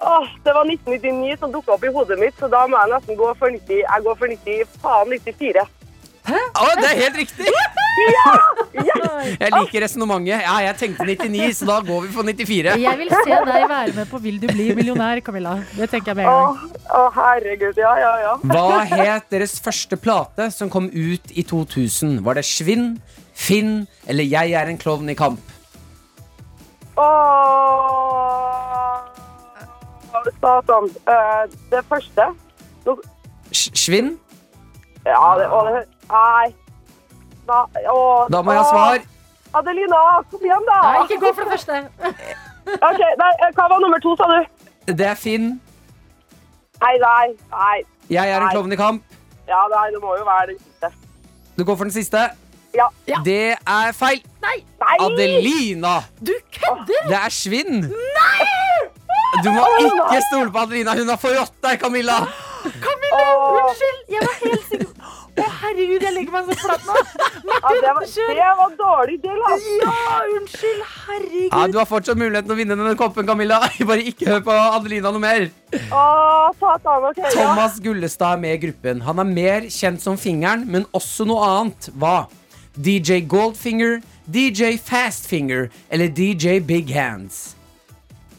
Speaker 7: Åh, det var 1999 som dukket opp i hodet mitt, så da må jeg nesten gå for 90. Jeg går for 90, faen 94.
Speaker 3: Å, det er helt riktig! Jeg liker resonnementet. Ja, jeg tenkte 99, så da går vi for 94.
Speaker 2: Jeg vil se deg være med på Vil du bli millionær, Camilla. Det tenker jeg med en
Speaker 7: Å,
Speaker 2: gang.
Speaker 7: å, herregud. Ja, ja, ja.
Speaker 3: Hva het deres første plate som kom ut i 2000? Var det Svinn, Finn eller Jeg er en klovn i kamp?
Speaker 7: Å, satan. Eh, Det første. Nå-
Speaker 3: Sj- Svinn?
Speaker 7: Ja, det var det. Nei. Da, å,
Speaker 3: Da må jeg ha
Speaker 7: å.
Speaker 3: svar.
Speaker 7: Adelina, kom igjen, da!
Speaker 2: Nei, ikke gå for det første.
Speaker 7: Ok, nei, eh, Hva var nummer to, sa du?
Speaker 3: Det er Finn.
Speaker 7: Nei, nei. nei.
Speaker 3: Jeg er en
Speaker 7: Nei.
Speaker 3: klovn i kamp.
Speaker 7: Ja, nei, det må jo være den siste.
Speaker 3: Du går for den siste.
Speaker 7: Ja.
Speaker 3: Det er feil.
Speaker 7: Nei!
Speaker 3: Adelina!
Speaker 2: Du kødder!
Speaker 3: Det er svinn! Nei! Du må ikke stole på Adelina. Hun har forrådt deg, Camilla.
Speaker 2: Camilla,
Speaker 7: Åh.
Speaker 2: unnskyld! Jeg var helt sikker Å, herregud, jeg legger meg så flat nå.
Speaker 7: Ja, det, var,
Speaker 2: Unnskyld.
Speaker 7: det var dårlig til, altså.
Speaker 2: Ja, unnskyld. Herregud.
Speaker 3: Ja, du har fortsatt muligheten til å vinne denne koppen, Camilla. Bare ikke hør på Adelina noe mer.
Speaker 7: Å, satan. Ok, ja.
Speaker 3: Thomas Gullestad er med i gruppen. Han er mer kjent som Fingeren, men også noe annet. Hva? DJ Goldfinger, DJ Fastfinger eller DJ Big Hands?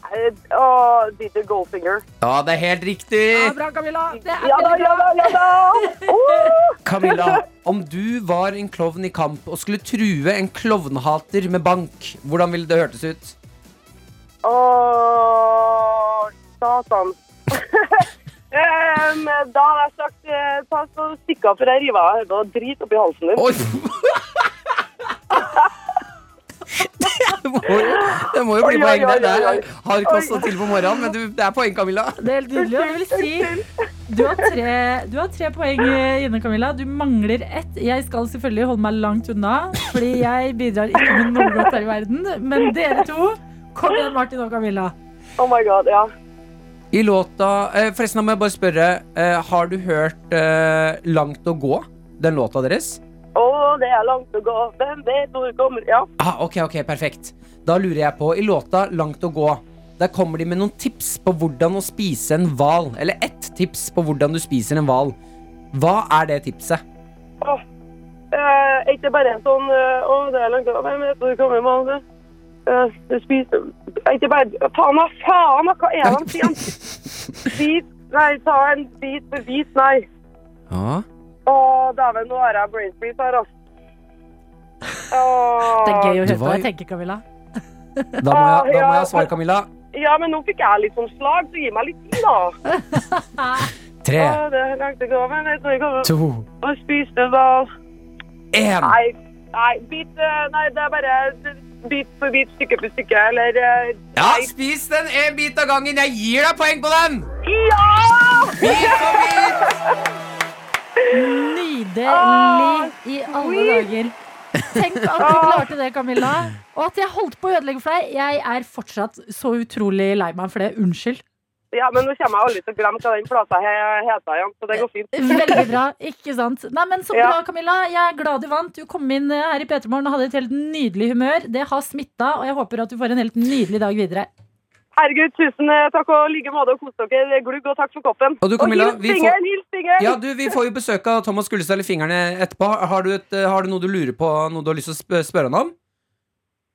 Speaker 7: Eh, Å, DJ Goldfinger.
Speaker 3: Ja, det er helt riktig.
Speaker 2: Ja, bra, Camilla. Det er
Speaker 7: Ja da,
Speaker 2: veldig
Speaker 7: ja da, ja da! Oh,
Speaker 3: Camilla, om du var en klovn i kamp og skulle true en klovnhater med bank, hvordan ville det hørtes ut?
Speaker 7: Åh, satan. Em, da hadde jeg sagt eh, ta så stikk av før jeg river av hodet og drit oppi halsen din.
Speaker 3: Oi! Det må, jo, det må jo bli
Speaker 7: Oi,
Speaker 3: poeng
Speaker 7: oi,
Speaker 3: der.
Speaker 7: oi,
Speaker 3: Det
Speaker 7: oi,
Speaker 3: er,
Speaker 7: oi.
Speaker 3: har kosta til på morgenen, men du, det er poeng, Camilla.
Speaker 2: Det er helt nydelig. Og jeg vil si du har, tre, du har tre poeng eh, inne, Camilla. Du mangler ett. Jeg skal selvfølgelig holde meg langt unna, fordi jeg bidrar ikke med noe godt her i verden. Men dere to, kom igjen, Martin og Camilla.
Speaker 7: Oh my god, ja.
Speaker 3: I låta eh, Forresten, da må jeg bare spørre. Eh, har du hørt eh, Langt å gå? Den låta deres?
Speaker 7: Å, det er langt å gå. Hvem vet hvor det kommer? Ja.
Speaker 3: Ah, ok, ok, perfekt. Da lurer jeg på, i låta Langt å gå, der kommer de med noen tips på hvordan å spise en hval. Eller ett tips på hvordan du spiser en hval. Hva er det tipset?
Speaker 7: Åh, eh, er ikke bare en sånn eh, Å, det er langt å gå. Hvem vet hvor det kommer? Man, eh, det spiser Er ikke bare Faen, da! Faen, da! Hva er det han sier? Bit Nei, ta en bit for bit. Nei.
Speaker 3: Ja.
Speaker 7: Å, dæven, nå har jeg brain freeze her, altså. Åh.
Speaker 2: Det er gøy å
Speaker 3: Du
Speaker 2: høre på
Speaker 3: var-
Speaker 2: deg tenke, Camilla.
Speaker 3: Da må jeg, da må jeg svare, Camilla.
Speaker 7: Ja, men nå fikk jeg litt sånn slag, så gi meg litt tid, da.
Speaker 3: Tre,
Speaker 7: Å, det er langt å gå, men jeg tror jeg kommer
Speaker 3: to,
Speaker 7: og spise det, da.
Speaker 3: én.
Speaker 7: Nei, nei, bit, eh, nei, det er bare bit for bit, stykke for stykke, eller... eh,
Speaker 3: Ja,
Speaker 7: nei.
Speaker 3: spis den en bit av gangen. Jeg gir deg poeng på den!
Speaker 7: Ja!
Speaker 3: Bit for bit.
Speaker 2: Nydelig i alle dager. Tenk at du klarte det, Camilla. Og at jeg holdt på å ødelegge for deg. Jeg er fortsatt så utrolig lei meg for det. Unnskyld.
Speaker 7: Ja, men nå kommer jeg aldri til å glemme hva den plata he- heter igjen, så det går fint.
Speaker 2: Veldig bra. Ikke sant. Nei, men Så
Speaker 7: Ja.
Speaker 2: bra, Camilla. Jeg er glad du vant. Du kom inn eh, her i P3 Morgen og hadde et helt nydelig humør. Det har smitta, og jeg håper at du får en helt nydelig dag videre.
Speaker 7: Herregud, tusen eh, takk og like måte og kos dere. Glugg og takk for koppen.
Speaker 3: Og du, Camilla,
Speaker 7: hils
Speaker 3: vi får-
Speaker 7: fingeren, hils fingeren!
Speaker 3: Ja, du, Vi får jo besøk av Thomas Gullestad i fingrene etterpå. Har du, et, eh, har du noe du lurer på, noe du har lyst til å sp spørre han om?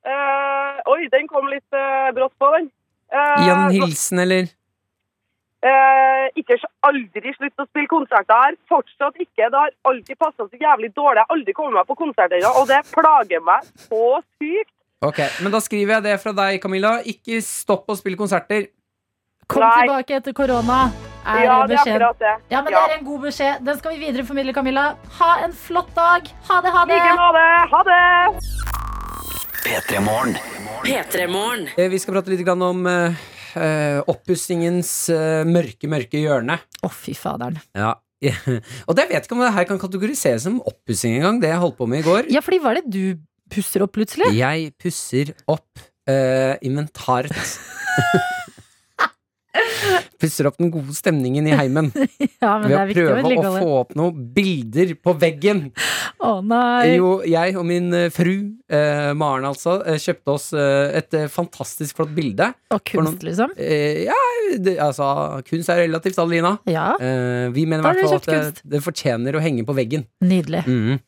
Speaker 7: Eh, oi, den kom litt eh, brått på, den. Eh,
Speaker 3: Gi han en hilsen, eller?
Speaker 7: Eh, ikke s- aldri slutt å spille konserter her. Fortsatt ikke. Det har alltid passa så jævlig dårlig. Jeg har aldri kommet meg på konsert ennå, og det plager meg så sykt.
Speaker 3: Ok, Men da skriver jeg det fra deg, Camilla. Ikke stopp å spille konserter.
Speaker 2: Kom
Speaker 7: Nei.
Speaker 2: tilbake etter korona, er
Speaker 7: Ja, det er
Speaker 2: beskjeden.
Speaker 7: akkurat det.
Speaker 2: Ja, men
Speaker 7: Ja.
Speaker 2: det er en god beskjed. Den skal vi videreformidle, Camilla. Ha en flott dag. Ha det, ha det.
Speaker 7: Like måte. Ha det!
Speaker 6: P3-morgen.
Speaker 3: Eh, Vi skal prate litt grann om uh, oppussingens eh, mørke, mørke hjørne.
Speaker 2: Å, fy faderen.
Speaker 3: Ja. Og det jeg vet ikke om det her kan kategoriseres som oppussing engang, det jeg holdt på med i går.
Speaker 2: Ja, fordi hva er det du pusser opp plutselig?
Speaker 3: Jeg pusser opp eh, inventaret. pusser opp den gode stemningen i heimen
Speaker 2: Ja, men
Speaker 3: ved
Speaker 2: det
Speaker 3: å
Speaker 2: er viktig å
Speaker 3: prøve å
Speaker 2: vedlikeholde.
Speaker 3: få opp noen bilder på veggen.
Speaker 2: Å nei.
Speaker 3: Jo, jeg og min eh, fru, eh, Maren altså, eh, kjøpte oss eh, et eh, fantastisk flott bilde.
Speaker 2: Og kunst, liksom.
Speaker 3: Eh, ja, det, altså, kunst er relativt, Adelina.
Speaker 2: Ja,
Speaker 3: Eh, vi mener i
Speaker 2: Da har
Speaker 3: hvert fall
Speaker 2: dere
Speaker 3: at
Speaker 2: kjøpt
Speaker 3: det, det fortjener å henge på veggen.
Speaker 2: nydelig.
Speaker 3: Mhm.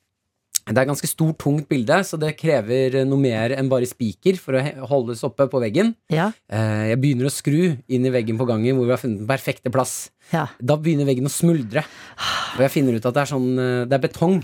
Speaker 3: Det er et ganske stort, tungt bilde, så det krever eh, noe mer enn bare spiker for å he- holdes oppe på veggen.
Speaker 2: Ja,
Speaker 3: Eh, jeg begynner å skru inn i veggen på gangen hvor vi har funnet den perfekte plass.
Speaker 2: ja.
Speaker 3: Da begynner veggen å smuldre, og jeg finner ut at det er sånn eh, Det er betong.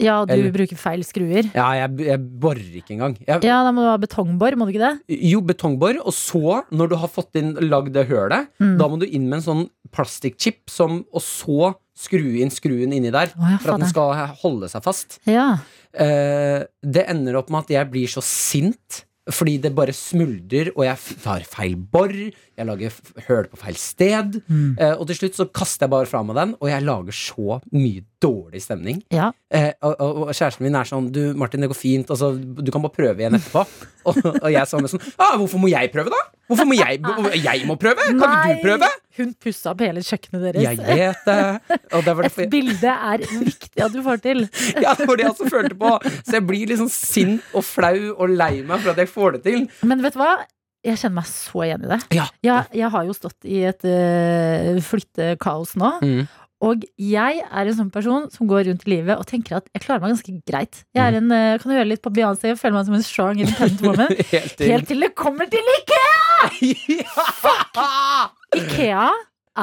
Speaker 2: ja og du
Speaker 3: Eller-
Speaker 2: bruker feil skruer.
Speaker 3: Ja, jeg, b- jeg borer ikke engang. Jeg,
Speaker 2: Ja, da må du ha betongbor, må du ikke det?
Speaker 3: Jo, betongbor, og så, når du har fått inn lagd det hølet,
Speaker 2: Mm.
Speaker 3: da må du inn med en sånn plastikkchip, som, og så skru inn skruen inni der.
Speaker 2: Å, ja,
Speaker 3: For at den
Speaker 2: fader.
Speaker 3: skal holde seg fast.
Speaker 2: Ja.
Speaker 3: Eh, det ender opp med at jeg blir så sint. Fordi det bare smuldrer, og jeg f- tar feil bor, jeg lager f- høl på feil sted.
Speaker 2: Mm.
Speaker 3: eh, og til slutt så kaster jeg bare fra meg den, og jeg lager så mye dårlig stemning.
Speaker 2: ja.
Speaker 3: Eh, og, og, og kjæresten min er sånn Du, Martin, det går fint. Altså, du kan bare prøve igjen etterpå. og, og jeg sa med sånn ah, Hvorfor må jeg prøve, da? Hvorfor må jeg, jeg må prøve? Kan ikke
Speaker 2: Nei,
Speaker 3: du prøve?
Speaker 2: Hun pussa opp hele kjøkkenet deres.
Speaker 3: Jeg vet det. Og det
Speaker 2: Et
Speaker 3: var derfor jeg,
Speaker 2: bilde er viktig at du får til.
Speaker 3: ja, det var det jeg også følte på. Så jeg blir liksom sint og flau og lei meg for at jeg får det til.
Speaker 2: Men vet du hva? Jeg kjenner meg så igjen i det.
Speaker 3: Ja.
Speaker 2: Ja, jeg har jo stått i et eh, flyttekaos nå.
Speaker 3: Mm.
Speaker 2: Og jeg er en sånn person som går rundt i livet og tenker at jeg klarer meg ganske greit. Jeg er
Speaker 3: Mm.
Speaker 2: en, eh, kan høre litt på Beyoncé og føler meg som en strong, independent woman.
Speaker 3: Helt til.
Speaker 2: Helt til det kommer til IKEA! IKEA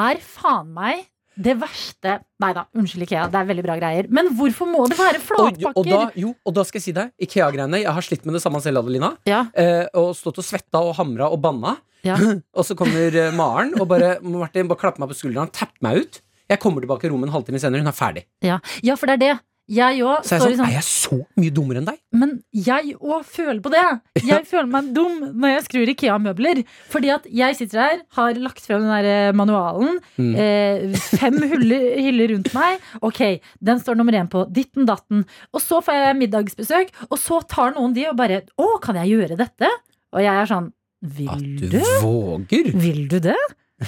Speaker 2: er faen meg det verste Nei da, unnskyld IKEA, det er veldig bra greier. Men hvorfor må det være
Speaker 3: Og,
Speaker 2: flatpakker?
Speaker 3: og, da, jo, og da skal jeg si deg, Ikea-greiene. Jeg har slitt med det samme selv, Adelina.
Speaker 2: ja,
Speaker 3: eh, og stått og svetta og hamra og banna.
Speaker 2: Ja.
Speaker 3: og så kommer eh, Maren og bare Martin bare klapper meg på skulderen og tapper meg ut. Jeg kommer tilbake i rommet en halvtime senere, hun er ferdig.
Speaker 2: ja. ja, for det er det. Jeg òg
Speaker 3: Så jeg
Speaker 2: står
Speaker 3: er
Speaker 2: i
Speaker 3: sånn,
Speaker 2: sånn
Speaker 3: er jeg så mye dummere enn deg?
Speaker 2: Men jeg òg føler på det. Jeg føler meg dum når jeg skrur Ikea-møbler. Fordi at jeg sitter her, har lagt frem den der eh, manualen.
Speaker 3: Mm.
Speaker 2: Eh, fem hyller, hyller rundt meg. Ok, den står nummer én på. Ditten datten. Og så får jeg middagsbesøk, og så tar noen de og bare Å, kan jeg gjøre dette? Og jeg er sånn
Speaker 3: At
Speaker 2: Vil
Speaker 3: du
Speaker 2: du?
Speaker 3: våger!
Speaker 2: Vil du det?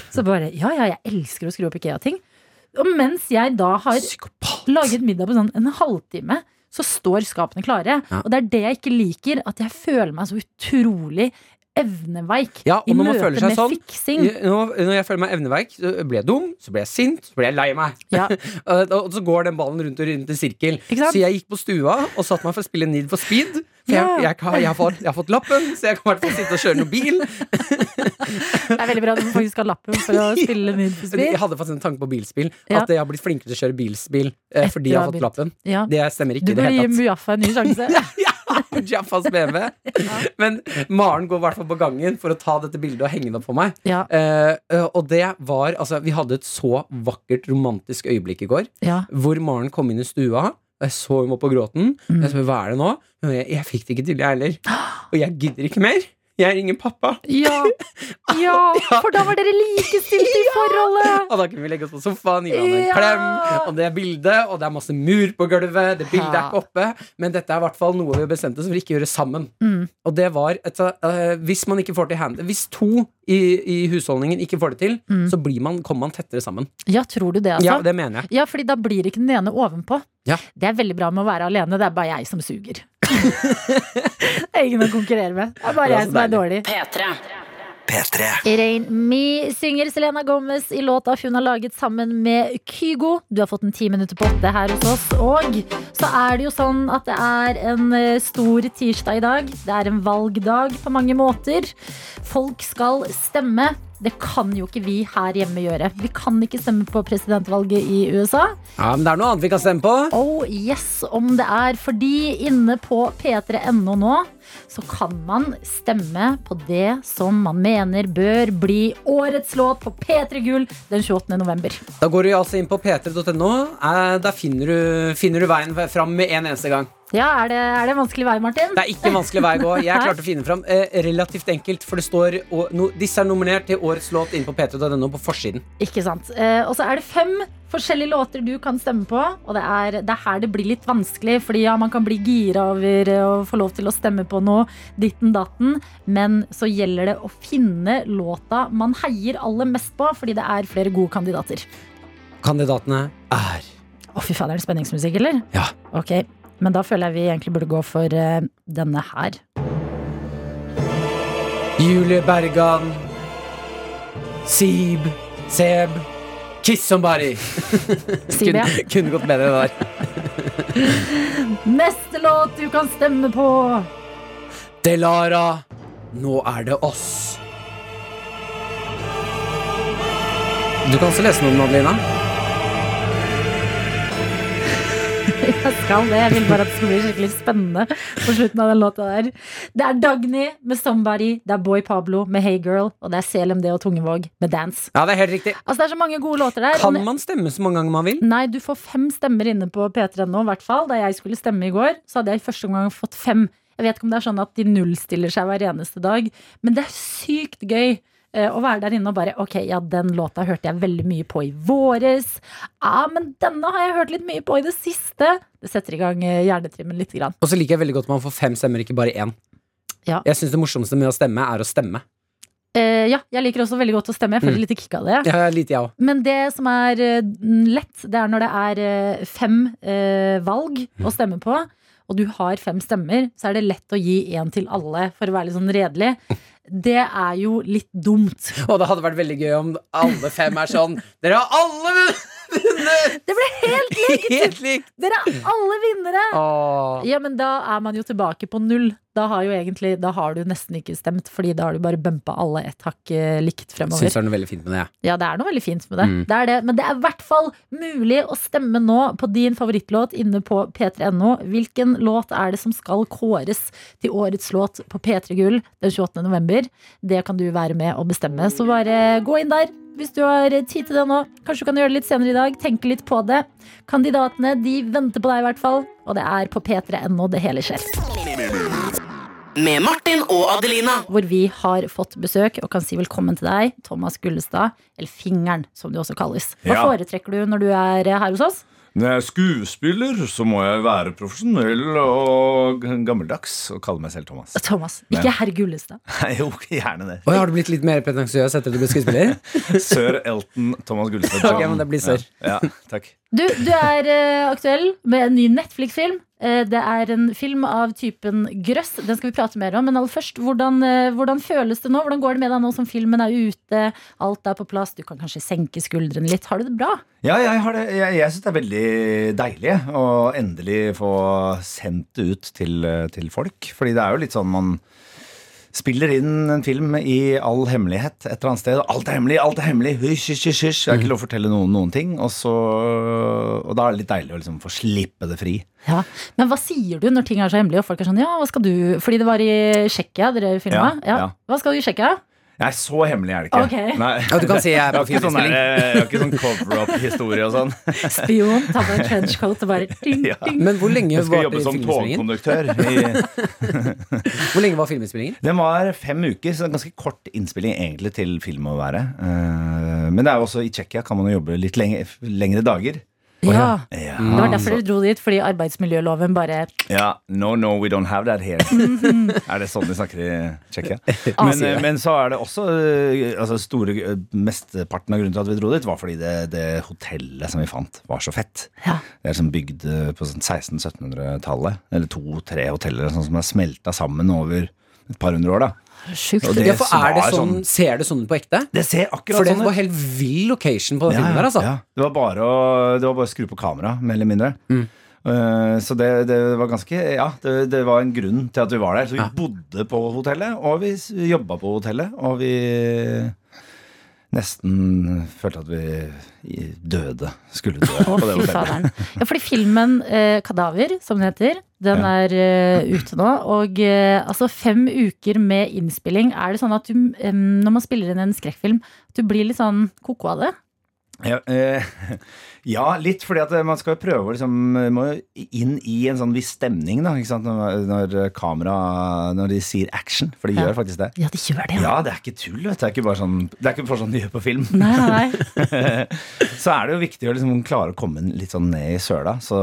Speaker 2: Så bare Ja, ja, jeg elsker å skru opp Ikea-ting. Og mens jeg da har
Speaker 3: Psykopat!
Speaker 2: laget middag på sånn en halvtime, så står skapene klare.
Speaker 3: Ja.
Speaker 2: Og det er det jeg ikke liker, at jeg føler meg så utrolig evneveik
Speaker 3: Ja, og
Speaker 2: i
Speaker 3: når man
Speaker 2: møte
Speaker 3: føler seg
Speaker 2: med
Speaker 3: sånn-
Speaker 2: fiksing.
Speaker 3: Nå, når jeg føler meg evneveik, så ble jeg dum, så ble jeg sint, så ble jeg lei meg.
Speaker 2: Ja.
Speaker 3: og og så går den ballen rundt og rundt i sirkel.
Speaker 2: Ikke sant?
Speaker 3: Så jeg gikk på stua og satte meg for å spille Need for speed. For jeg,
Speaker 2: Ja.
Speaker 3: jeg, kan- jeg, har fått, jeg har fått lappen, så jeg kan i hvert fall sitte og kjøre noen bil.
Speaker 2: Det er veldig bra at du faktisk har lappen for å spille Need for
Speaker 3: Jeg
Speaker 2: Speed.
Speaker 3: hadde faktisk en tanke på bilspill.
Speaker 2: Ja.
Speaker 3: At jeg har blitt flinkere til å kjøre bilspill eh, fordi jeg
Speaker 2: du
Speaker 3: har
Speaker 2: har
Speaker 3: fått
Speaker 2: begynt.
Speaker 3: lappen.
Speaker 2: Ja.
Speaker 3: Det stemmer
Speaker 2: Du
Speaker 3: ikke i det
Speaker 2: bør gi
Speaker 3: hele tatt.
Speaker 2: Mujaffa en ny sjanse.
Speaker 3: Jaffas BMW. Men Maren går i hvert fall på gangen for å ta dette bildet og henge det opp for meg.
Speaker 2: Ja,
Speaker 3: Eh, eh, og det var Altså, vi hadde et så vakkert romantisk øyeblikk i går,
Speaker 2: ja.
Speaker 3: hvor Maren kom inn i stua. og Jeg så
Speaker 2: Mm.
Speaker 3: hun opp på gråten. og Jeg spør, hva er det nå? Hun, Jeg, jeg fikk det ikke til, jeg heller. Og jeg gidder ikke mer. Jeg ringer pappa.
Speaker 2: Ja, ja, for da var dere likestilte i forholdet!
Speaker 3: Og da kunne vi legge oss på sofaen, gi hverandre en
Speaker 2: Ja.
Speaker 3: klem. Og det er bilde, og det er masse mur på gulvet. Det bildet er
Speaker 2: Ja.
Speaker 3: ikke oppe. Men dette er i hvert fall noe vi bestemte oss for ikke å gjøre sammen.
Speaker 2: Mm.
Speaker 3: Og det var et, eh, Hvis man ikke får til hand Hvis to i, i husholdningen ikke får det til,
Speaker 2: Mm.
Speaker 3: så blir man, kommer man tettere sammen.
Speaker 2: Ja, tror du det, altså?
Speaker 3: Ja, det mener jeg.
Speaker 2: Ja, fordi da blir ikke den ene ovenpå.
Speaker 3: Ja.
Speaker 2: Det er veldig bra med å være alene, det er bare jeg som suger. det er ingen å konkurrere med. Det er bare
Speaker 3: Det er
Speaker 2: jeg
Speaker 3: så
Speaker 2: som er dårlig.
Speaker 6: P3.
Speaker 8: P3.
Speaker 2: Rain Me synger Selena Gomez i låta hun har laget sammen med Kygo. Du har fått en ti minutter på åtte her hos oss. Og så er det jo sånn at det er en eh, stor tirsdag i dag. Det er en valgdag på mange måter. Folk skal stemme. Det kan jo ikke vi her hjemme gjøre. Vi kan ikke stemme på presidentvalget i USA.
Speaker 3: Ja, Men det er noe annet vi kan stemme på.
Speaker 2: Oh yes, om det er. Fordi inne på p3.no nå så kan man stemme på det som man mener bør bli årets låt på P3 Gull den 28. november.
Speaker 3: Da går du altså inn på p3.no. Eh, Der finner du, finner du veien fram med en eneste gang.
Speaker 2: Ja, er det, er det en vanskelig vei, Martin?
Speaker 3: Det er ikke en vanskelig vei å gå. Jeg klarte å finne fram eh, relativt enkelt, for det står og, no, Disse er nominert til årets låt inne på p3.no på forsiden.
Speaker 2: Ikke sant. Eh, og så er det fem forskjellige låter du kan stemme på. Og det er, det er her det blir litt vanskelig, fordi ja, man kan bli gira over eh, å få lov til å stemme på noe, ditten datten, men så gjelder det å finne låta man heier aller mest på, fordi det er flere gode kandidater.
Speaker 3: Kandidatene er
Speaker 2: Å, fy faen, er det spenningsmusikk, eller?
Speaker 3: Ja.
Speaker 2: Ok, men da føler jeg vi egentlig burde gå for eh, denne her.
Speaker 3: Julie Bergan, Sib, Seb, Kiss Somebody.
Speaker 2: Sier vi, ja.
Speaker 3: Kunne, kunne gått bedre det der.
Speaker 2: Neste låt du kan stemme på!
Speaker 3: Delara, nå er det oss. Du kan også lese noe om den, Adelina.
Speaker 2: Jeg skal det. Jeg vil bare at det skal bli skikkelig spennende på slutten av den låta der. Det er Dagny med 'Somebody', det er Boy Pablo med 'Hey Girl', og det er CLMD og Tungevåg med 'Dance'.
Speaker 3: Ja, det er helt riktig.
Speaker 2: Altså, det er så mange gode låter der.
Speaker 3: Kan man stemme så mange ganger man vil?
Speaker 2: Nei, du får fem stemmer inne på P3.no, i hvert fall. Da jeg skulle stemme i går, så hadde jeg i første omgang fått fem. Jeg vet ikke om det er sånn at de nullstiller seg hver eneste dag, men det er sykt gøy. eh, Å være der inne og bare Ok, ja, den låta hørte jeg veldig mye på i våres. Ja, men denne har jeg hørt litt mye på i det siste. Det setter i gang eh, hjernetrimmen lite grann.
Speaker 3: Og så liker jeg veldig godt at man får fem stemmer, ikke bare én.
Speaker 2: Ja.
Speaker 3: Jeg syns det morsomste med å stemme, er å stemme.
Speaker 2: Eh, ja, jeg liker også veldig godt å stemme. Jeg føler litt kick av det.
Speaker 3: Ja, litt jeg òg.
Speaker 2: Men det som er eh, lett, det er når det er eh, fem eh, valg å stemme på, og du har fem stemmer, så er det lett å gi én til alle, for å være litt sånn redelig. Det er jo litt dumt.
Speaker 3: Og det hadde vært veldig gøy om alle fem er sånn Dere har alle vunnet!
Speaker 2: Det ble helt
Speaker 3: Helt likt!
Speaker 2: Dere er alle vinnere!
Speaker 3: Åh.
Speaker 2: Ja, men da er man jo tilbake på null. Da har, jo egentlig, da har du nesten ikke stemt, fordi da har du bare bumpa alle ett hakk eh, likt fremover.
Speaker 3: Syns det er noe veldig fint med det. jeg.
Speaker 2: Ja, det er noe veldig fint med det. det, er det. Men det er i hvert fall mulig å stemme nå på din favorittlåt inne på p3.no. Hvilken låt er det som skal kåres til årets låt på P3 Gull den 28. november? Det kan du være med og bestemme, så bare gå inn der. Hvis du har tid til det nå, kanskje du kan gjøre det litt senere i dag. Tenke litt på det. Kandidatene de venter på deg, i hvert fall. Og det er på p3.no det hele skjer.
Speaker 6: Med Martin og Adelina.
Speaker 2: hvor vi har fått besøk og kan si velkommen til deg, Thomas Gullestad, eller Fingeren, som du også kalles. Hva
Speaker 9: Ja.
Speaker 2: foretrekker du når du er her hos oss?
Speaker 9: Når jeg er skuespiller, så må jeg være profesjonell og gammeldags og kalle meg selv Thomas.
Speaker 2: Thomas,
Speaker 9: Nei.
Speaker 2: ikke herr Gullestad.
Speaker 9: Nei, jo, gjerne det.
Speaker 3: Oi, har du blitt litt mer pretensiøs etter at du ble skuespiller?
Speaker 9: Sør Elton Thomas Gullestad
Speaker 3: Ok, men det blir sør.
Speaker 9: Ja, ja, takk.
Speaker 2: Du, du er eh, aktuell med en ny Netflix-film. Eh, det er en film av typen grøss. Den skal vi prate mer om. Men aller først, hvordan, eh, hvordan føles det nå? Hvordan går det med deg nå som filmen er ute? Alt er på plass. Du kan kanskje senke skuldrene litt. Har du det bra?
Speaker 9: Ja, jeg, har det. jeg, jeg syns det er veldig deilig å endelig få sendt det ut til, til folk. Fordi det er jo litt sånn man spiller inn en film i all hemmelighet et eller annet sted. og Alt er hemmelig, alt er hemmelig! Hysj, hysj, hysj! hysj. Det
Speaker 3: Mhm.
Speaker 9: er ikke lov å fortelle noen noen ting. Og, så, og da er det litt deilig å liksom få slippe det fri.
Speaker 2: Ja, Men hva sier du når ting er så hemmelige, og folk er sånn ja, hva skal du Fordi det var i Tsjekkia dere filma.
Speaker 9: Ja, ja.
Speaker 2: Hva skal du i Tsjekkia?
Speaker 9: Nei, så hemmelig er det ikke.
Speaker 2: Ok.
Speaker 9: Nei.
Speaker 3: Ja, du kan si jeg er på
Speaker 9: Jeg har ikke sånn,
Speaker 3: filminnspilling.
Speaker 9: der- jeg har ikke sånn cover-up-historie og sånn.
Speaker 2: Spion, ta på deg trenchcoat og bare ding,
Speaker 9: Ja.
Speaker 2: ding.
Speaker 3: Men hvor lenge
Speaker 9: Jeg skal
Speaker 3: var
Speaker 9: jobbe som
Speaker 3: filminnspillingen?
Speaker 9: togkonduktør. I,
Speaker 3: Hvor lenge var filminnspillingen?
Speaker 9: den var fem uker, så det er en ganske kort innspilling egentlig til film å være. Eh, Men det er jo også i Tsjekkia kan man jo jobbe litt lenge, lengre dager.
Speaker 2: Ja.
Speaker 9: Ja.
Speaker 3: Mm.
Speaker 2: Det var derfor dere dro dit, fordi arbeidsmiljøloven bare
Speaker 9: Ja, no, no, we don't have that here. er det sånn de snakker i Tsjekkia? Men,
Speaker 2: Asia.
Speaker 9: eh, men så er det også eh, altså store, eh, Mesteparten av grunnen til at vi dro dit, var fordi det, det hotellet som vi fant, var så fett.
Speaker 2: Ja.
Speaker 9: Det er som bygd eh, på sånn 1600-1700-tallet. Eller to-tre hoteller sånn som er smelta sammen over et par hundre år. da
Speaker 2: sjukt.
Speaker 9: Og
Speaker 3: Ja, for er det
Speaker 9: var
Speaker 3: sånn, Ser det sånn ut på ekte?
Speaker 9: Det ser akkurat
Speaker 3: For det
Speaker 9: sånn
Speaker 3: var helt vill location på den filmen der, altså.
Speaker 9: ja. Det var bare å, det var bare å skru på kamera, mer eller mindre. Eh, så det, det var ganske Ja, det, det var en grunn til at vi var der. Så vi bodde på hotellet, og vi s- jobba på hotellet, og vi nesten følte at vi i- døde. Skulle dø
Speaker 2: Å,
Speaker 9: på det
Speaker 2: fy
Speaker 9: hotellet.
Speaker 2: faderen. Ja, fordi filmen eh, 'Kadaver', som den heter, den er eh, ute nå. Og eh, altså fem uker med innspilling. Er det sånn at du, eh, når man spiller inn en skrekkfilm, at du blir litt sånn ko-ko av det?
Speaker 9: Ja, eh, ja, litt fordi at eh, man skal jo prøve å liksom Må jo inn i en sånn viss stemning, da. Ikke sant? Når, når eh, kamera Når de sier action, for de
Speaker 2: Ja.
Speaker 9: gjør faktisk det.
Speaker 2: Ja, det gjør det.
Speaker 9: Ja, det er ikke tull, vet du. Det er ikke bare sånn, det er ikke bare sånn de gjør på film.
Speaker 2: Nei, nei, nei.
Speaker 9: så er det jo viktig å liksom klare å komme litt sånn ned i søla. Så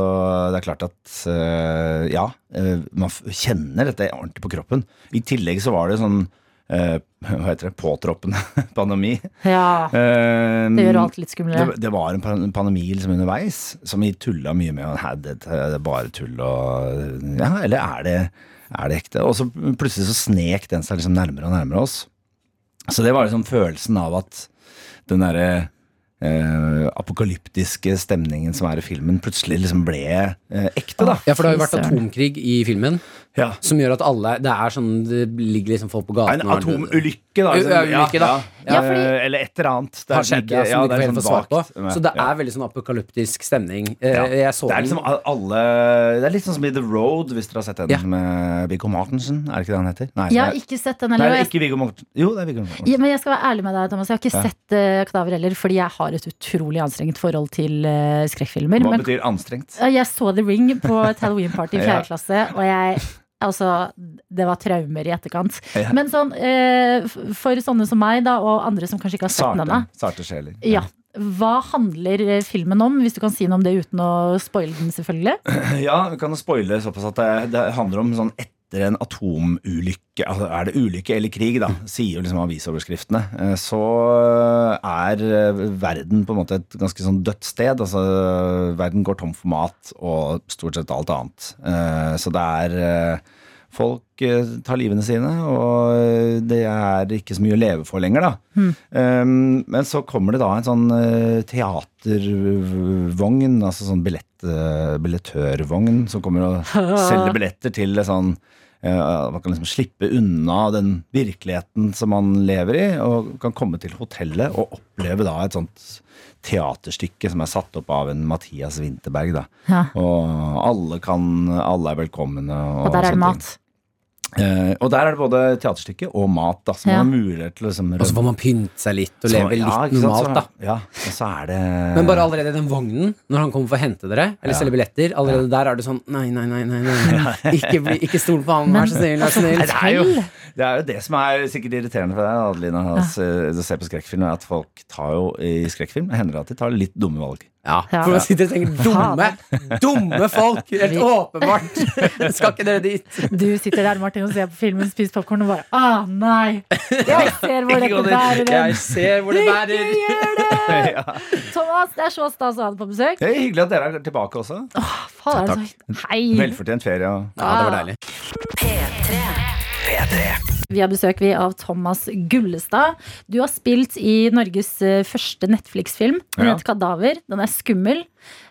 Speaker 9: det er klart at eh, ja, eh, man f- kjenner dette ordentlig på kroppen. I tillegg så var det jo sånn eh, hva heter det, påtroppende pandemi.
Speaker 2: Ja,
Speaker 9: Eh,
Speaker 2: det gjør alt litt skumlere.
Speaker 9: det, det var en pan- pandemi liksom underveis som vi tulla mye med. Og, «Hæ, det, det er bare tull og Ja, eller er det, er det ekte? Og så plutselig så snek den seg liksom nærmere og nærmere oss. Så det var liksom følelsen av at den derre eh, apokalyptiske stemningen som er i filmen, plutselig liksom ble eh, ekte, da.
Speaker 3: Ja, for det har jo vært
Speaker 2: Fy søren.
Speaker 3: atomkrig i filmen,
Speaker 9: Ja.
Speaker 3: som gjør at alle Det er sånn Det ligger liksom folk på gaten
Speaker 9: En
Speaker 3: og-
Speaker 9: atomulykke, da. Liksom,
Speaker 3: Ja, ulykke, da.
Speaker 2: Ja, fordi-
Speaker 9: Eh, Eller et eller annet. Det er
Speaker 3: Har
Speaker 9: liksom
Speaker 3: skjedd, ja,
Speaker 9: ja,
Speaker 3: som de
Speaker 9: det er
Speaker 3: ikke helt
Speaker 9: sånn
Speaker 3: får svar på.
Speaker 9: vagt. Ja,
Speaker 3: Så det
Speaker 9: ja.
Speaker 3: er veldig sånn apokalyptisk stemning. Eh,
Speaker 9: Ja.
Speaker 3: Jeg så
Speaker 9: det er
Speaker 3: den
Speaker 9: liksom al- alle Det er litt sånn som i The Road, hvis dere har sett den
Speaker 3: Ja.
Speaker 9: med Viggo Mortensen. Er det ikke det han heter? Nei,
Speaker 2: Jeg har
Speaker 9: det er-
Speaker 2: ikke sett den
Speaker 9: Nei,
Speaker 2: heller.
Speaker 9: det er
Speaker 2: og jeg-
Speaker 9: ikke Viggo Mortensen. Jo, det er Viggo Mortensen.
Speaker 2: Ja, men jeg skal være ærlig med deg, Thomas. Jeg har ikke
Speaker 9: Ja.
Speaker 2: sett eh, 'Kadaver' heller, fordi jeg har et utrolig anstrengt forhold til eh, skrekkfilmer.
Speaker 9: Hva
Speaker 2: Men
Speaker 9: betyr anstrengt?
Speaker 2: Ja, Eh, Jeg så The Ring på et Halloween-party i
Speaker 9: Ja.
Speaker 2: fjerde klasse, og jeg Altså, det var traumer i etterkant.
Speaker 9: Ja.
Speaker 2: Men sånn, eh, f- for sånne som meg, da, og andre som kanskje ikke har sett den
Speaker 9: Sarte,
Speaker 2: ennå
Speaker 9: sarte sjeler.
Speaker 2: ja. Hva handler eh, filmen om, hvis du kan si noe om det uten å spoile den, selvfølgelig?
Speaker 9: Ja, vi kan jo spoile såpass at det, det handler om sånn etter en atomulykke altså Er det ulykke eller krig, da? Sier jo liksom avisoverskriftene. Eh, Så er eh, verden på en måte et ganske sånn dødt sted. Altså, verden går tom for mat og stort sett alt annet. Eh, Så det er eh, Folk eh, tar livene sine, og det er ikke så mye å leve for lenger, da.
Speaker 2: Hmm.
Speaker 9: Um, men så kommer det da en sånn eh, teatervogn, altså sånn billett, eh, billettørvogn, som kommer og selger billetter til det sånn eh, Man kan liksom slippe unna den virkeligheten som man lever i, og kan komme til hotellet og oppleve da et sånt teaterstykke som er satt opp av en Mathias Winterberg, da.
Speaker 2: Ja.
Speaker 9: Og alle kan Alle er velkomne. Og,
Speaker 2: Og der er det
Speaker 9: sånne ting.
Speaker 2: mat.
Speaker 9: Eh, og der er det både teaterstykke og mat, da, så
Speaker 2: Ja.
Speaker 9: man har mulighet til å liksom
Speaker 3: Og så får man pynte seg litt og
Speaker 9: så-
Speaker 3: leve
Speaker 9: ja,
Speaker 3: litt
Speaker 9: ikke sant, sånn,
Speaker 3: normalt, da.
Speaker 9: så- Ja, og så er det
Speaker 3: Men bare allerede i den vognen, når han kommer for å hente dere, eller
Speaker 9: Ja.
Speaker 3: selge billetter, allerede der er du sånn Nei, nei, nei, nei, nei, nei. Ikke, bli, ikke stol på han, vær så snill, vær så
Speaker 9: Nei,
Speaker 3: snill.
Speaker 9: det, er jo, det er jo det som er sikkert irriterende for deg, Adelina, altså, å se på skrekkfilm, er at folk tar jo i skrekkfilm hender det at de tar litt dumme valg.
Speaker 3: Ja,
Speaker 2: Ja.
Speaker 3: for man sitter og tenker Dumme, dumme folk! Helt åpenbart! Skal ikke dere dit?
Speaker 2: Du sitter der, Martin, og ser på filmen, spiser popkorn og bare ah, nei! Jeg ser hvor dette bærer
Speaker 3: Jeg
Speaker 2: hen!
Speaker 3: ser hvor det
Speaker 2: Ikke
Speaker 3: bærer.
Speaker 2: gjør det! Thomas, det er så stas å ha deg på besøk.
Speaker 9: Det er hyggelig at dere er tilbake også.
Speaker 2: Faen, er det
Speaker 9: Takk.
Speaker 2: så Hei!
Speaker 9: Velfortjent ferie. og-
Speaker 3: Ja, det var deilig.
Speaker 2: Vi har besøk vi av Thomas Gullestad. Du har spilt i Norges eh, første Netflix-film. Den
Speaker 9: Ja.
Speaker 2: heter 'Kadaver'. Den er skummel.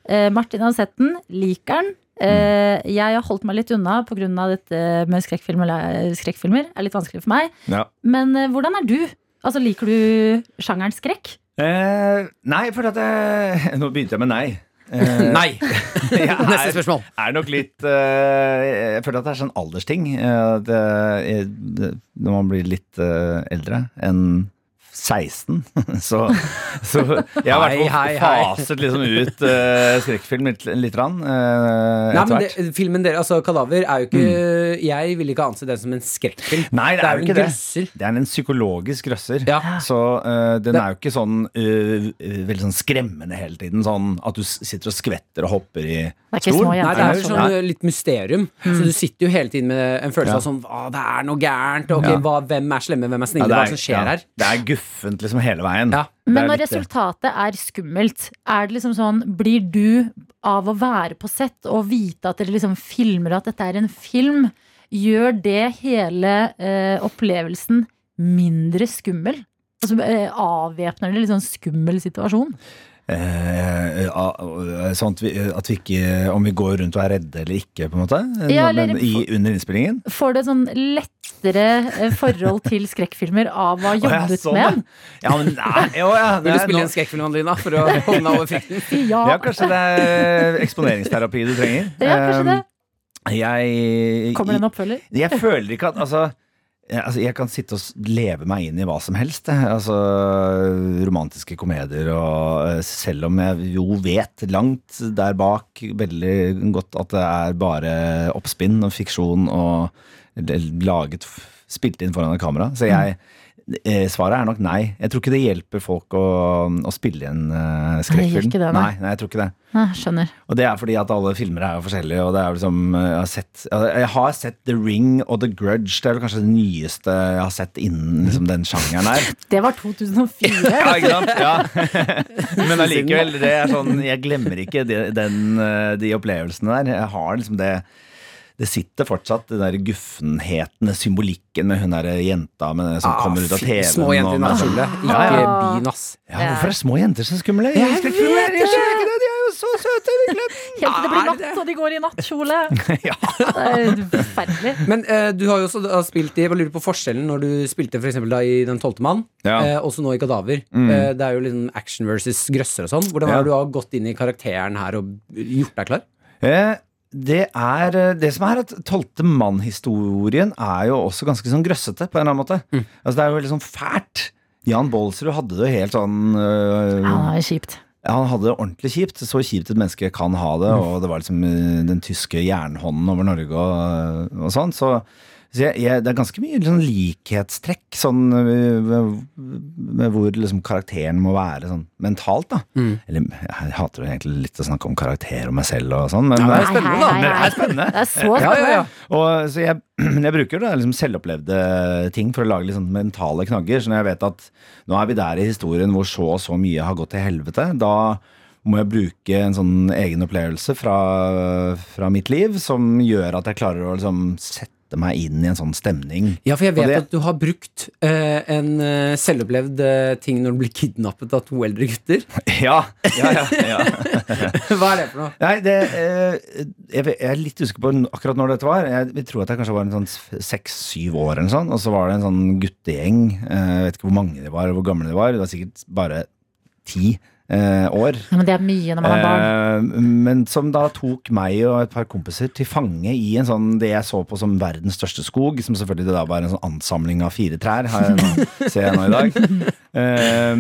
Speaker 2: Eh, Martin har sett den, liker den. Eh, jeg har holdt meg litt unna pga. dette med skrekkfilmer. skrekkfilmer. er litt vanskelig for meg.
Speaker 9: Ja.
Speaker 2: Men eh, hvordan er du? Altså, Liker du sjangeren skrekk?
Speaker 9: Eh, nei, for at jeg, Nå begynte jeg med nei. Eh, Eh,
Speaker 3: Nei! Neste spørsmål.
Speaker 9: er nok litt eh, Jeg føler at det er sånn aldersting. eh, at jeg- det, når man blir litt eh, eldre enn 16, så, så Jeg har
Speaker 3: Hei,
Speaker 9: vært
Speaker 3: hei, hei.
Speaker 9: faset liksom ut eh, skrekkfilm litt, litt rann, eh,
Speaker 3: Nei,
Speaker 9: etter
Speaker 3: men
Speaker 9: hvert.
Speaker 3: det, filmen dere, altså Kadaver er jo ikke
Speaker 9: Mm.
Speaker 3: Jeg vil ikke anse den som en skrekkfilm.
Speaker 9: Nei, det er jo
Speaker 3: en
Speaker 9: ikke det.
Speaker 3: grøsser.
Speaker 9: Det er en psykologisk røsser.
Speaker 3: Ja.
Speaker 9: Så eh, den
Speaker 3: Det-
Speaker 9: er jo ikke sånn eh, veldig sånn skremmende hele tiden. Sånn at du s- sitter og skvetter og hopper i
Speaker 2: Det er ikke små
Speaker 3: Nei,
Speaker 2: jenter.
Speaker 3: det er jo
Speaker 2: som-
Speaker 3: sånn eh, litt mysterium.
Speaker 9: Mm.
Speaker 3: Så du sitter jo hele tiden med en følelse
Speaker 9: Ja.
Speaker 3: av sånn Å, det er noe gærent. Ok,
Speaker 9: Ja.
Speaker 3: hva, hvem er slemme, hvem er snille?
Speaker 9: det,
Speaker 3: hva
Speaker 9: er,
Speaker 3: er det som skjer
Speaker 9: ja,
Speaker 3: her?
Speaker 9: det er guffent liksom hele veien.
Speaker 3: Ja.
Speaker 9: Det
Speaker 2: Men
Speaker 9: er
Speaker 2: når
Speaker 9: litt det.
Speaker 2: resultatet er skummelt, er det liksom sånn Blir du av å være på sett og vite at dere liksom filmer at dette er en film, gjør det hele eh, opplevelsen mindre skummel? Altså eh, avvæpner det litt sånn skummel situasjon?
Speaker 9: Eh, eh, sånn at vi, at vi ikke Om vi går rundt og er redde eller ikke, på en måte.
Speaker 2: Ja,
Speaker 9: Når-
Speaker 2: eller-
Speaker 9: men i, under innspillingen.
Speaker 2: Får du et sånn lettere eh, forhold til skrekkfilmer av å ha
Speaker 9: Å, ja,
Speaker 2: jobbet
Speaker 9: sånn,
Speaker 2: med?
Speaker 9: Ja, Ja, men nei, jo, ja, det
Speaker 3: Vil du
Speaker 9: er-
Speaker 3: spille
Speaker 9: nå-
Speaker 3: en skrekkfilm, Adelina, for å komme deg over frykten?
Speaker 2: Si ja.
Speaker 9: ja, kanskje det er eksponeringsterapi du trenger.
Speaker 2: Ja, kanskje det.
Speaker 9: Eh, Jeg
Speaker 2: Kommer det en oppfølger?
Speaker 9: Jeg føler ikke at altså, jeg, altså, jeg kan sitte og s- leve meg inn i hva som helst. jeg. Altså, romantiske komedier og eh, Selv om jeg jo vet langt der bak veldig godt at det er bare oppspinn og fiksjon og l- laget f- Spilt inn foran et kamera. Så jeg eh, Svaret er nok nei. Jeg tror ikke det hjelper folk å, å spille inn eh,
Speaker 2: Nei, det gjør
Speaker 9: skrekkfilm.
Speaker 2: ikke det, nei.
Speaker 9: nei, nei, jeg tror ikke det.
Speaker 2: Nei, skjønner.
Speaker 9: Og det er fordi at alle filmer er jo forskjellige. Og det er jo liksom, eh, jeg, har sett, altså, jeg har sett The Ring og The Grudge. Det er vel kanskje det nyeste jeg har sett innen liksom, den sjangeren her.
Speaker 2: Det var 2004.
Speaker 9: Ja, ikke sant? Men allikevel, det er sånn, jeg glemmer ikke de, den, eh, de opplevelsene der. Jeg har liksom det det sitter fortsatt den der guffenheten, den symbolikken med hun der jenta med, som
Speaker 3: Ah,
Speaker 9: kommer ut av
Speaker 3: fy,
Speaker 9: TV-en.
Speaker 3: Små jenter
Speaker 9: og- sånn.
Speaker 3: i nattkjole. Ikke
Speaker 9: Ja, ja.
Speaker 3: bin, ass.
Speaker 9: Ja, hvorfor er små jenter så skumle? Jeg,
Speaker 3: Jeg
Speaker 9: skrekker meg. jeg skjønner ikke det! De er jo så søte! i virkeligheten.
Speaker 2: Helt til det blir
Speaker 3: Er
Speaker 2: natt, og de går i nattkjole. Det er forferdelig.
Speaker 3: Men eh, du har jo også da spilt i Jeg bare lurer på forskjellen når du spilte for eksempel da i Den tolvte mann,
Speaker 9: Ja.
Speaker 3: eh, også nå i Kadaver. Eh, det er jo liksom action versus grøsser og sånn. Hvordan
Speaker 9: Ja.
Speaker 3: har du har gått inn i karakteren her og gjort deg klar?
Speaker 9: Eh, Det er eh, det som er at tolvte mann-historien er jo også ganske sånn grøssete på en eller annen måte. Altså Det er jo veldig sånn fælt. Jan Baalsrud hadde det helt sånn øh,
Speaker 2: Ja, det er kjipt.
Speaker 9: Han hadde det ordentlig kjipt. Så kjipt et menneske kan ha det. Og det var liksom eh, den tyske jernhånden over Norge og, og sånn. Så, så jeg, jeg, det er ganske mye sånn likhetstrekk sånn eh, med, med hvor liksom karakteren må være sånn mentalt, da. Eller jeg hater jo egentlig litt å snakke om karakter og meg selv og sånn, men
Speaker 3: Ja, men
Speaker 9: det
Speaker 3: er spennende, da.
Speaker 2: Hei, hei, hei.
Speaker 9: er spennende.
Speaker 2: Det er så spennende.
Speaker 3: Ja, ja, ja.
Speaker 9: Og, så jeg, jeg bruker da liksom selvopplevde ting for å lage litt sånn mentale knagger. Så når jeg vet at nå er vi der i historien hvor så og så mye har gått til helvete, da må jeg bruke en sånn egen opplevelse fra, fra mitt liv som gjør at jeg klarer å liksom sette meg inn i en sånn stemning.
Speaker 3: Ja, for jeg
Speaker 9: Og
Speaker 3: vet
Speaker 9: det-
Speaker 3: at du har brukt eh, en eh, selvopplevd eh, ting når du blir kidnappet av to eldre gutter.
Speaker 9: Ja, ja, ja, ja.
Speaker 3: Hva er det for noe?
Speaker 9: Nei, det, eh, jeg, vet- jeg er litt usikker på n- akkurat når dette var. Jeg, jeg tror at jeg kanskje var en sånn seks-syv år, eller sånn, og så var det en sånn guttegjeng. Eh, Jeg vet ikke hvor mange de var, og hvor gamle de var. Det var sikkert bare ti eh, år.
Speaker 2: Ja, men det er mye når man er barn.
Speaker 9: Eh, men som da tok meg og et par kompiser til fange i en sånn det jeg så på som verdens største skog, som selvfølgelig det da var en sånn ansamling av fire trær, har jeg nå, ser jeg nå i dag. Eh,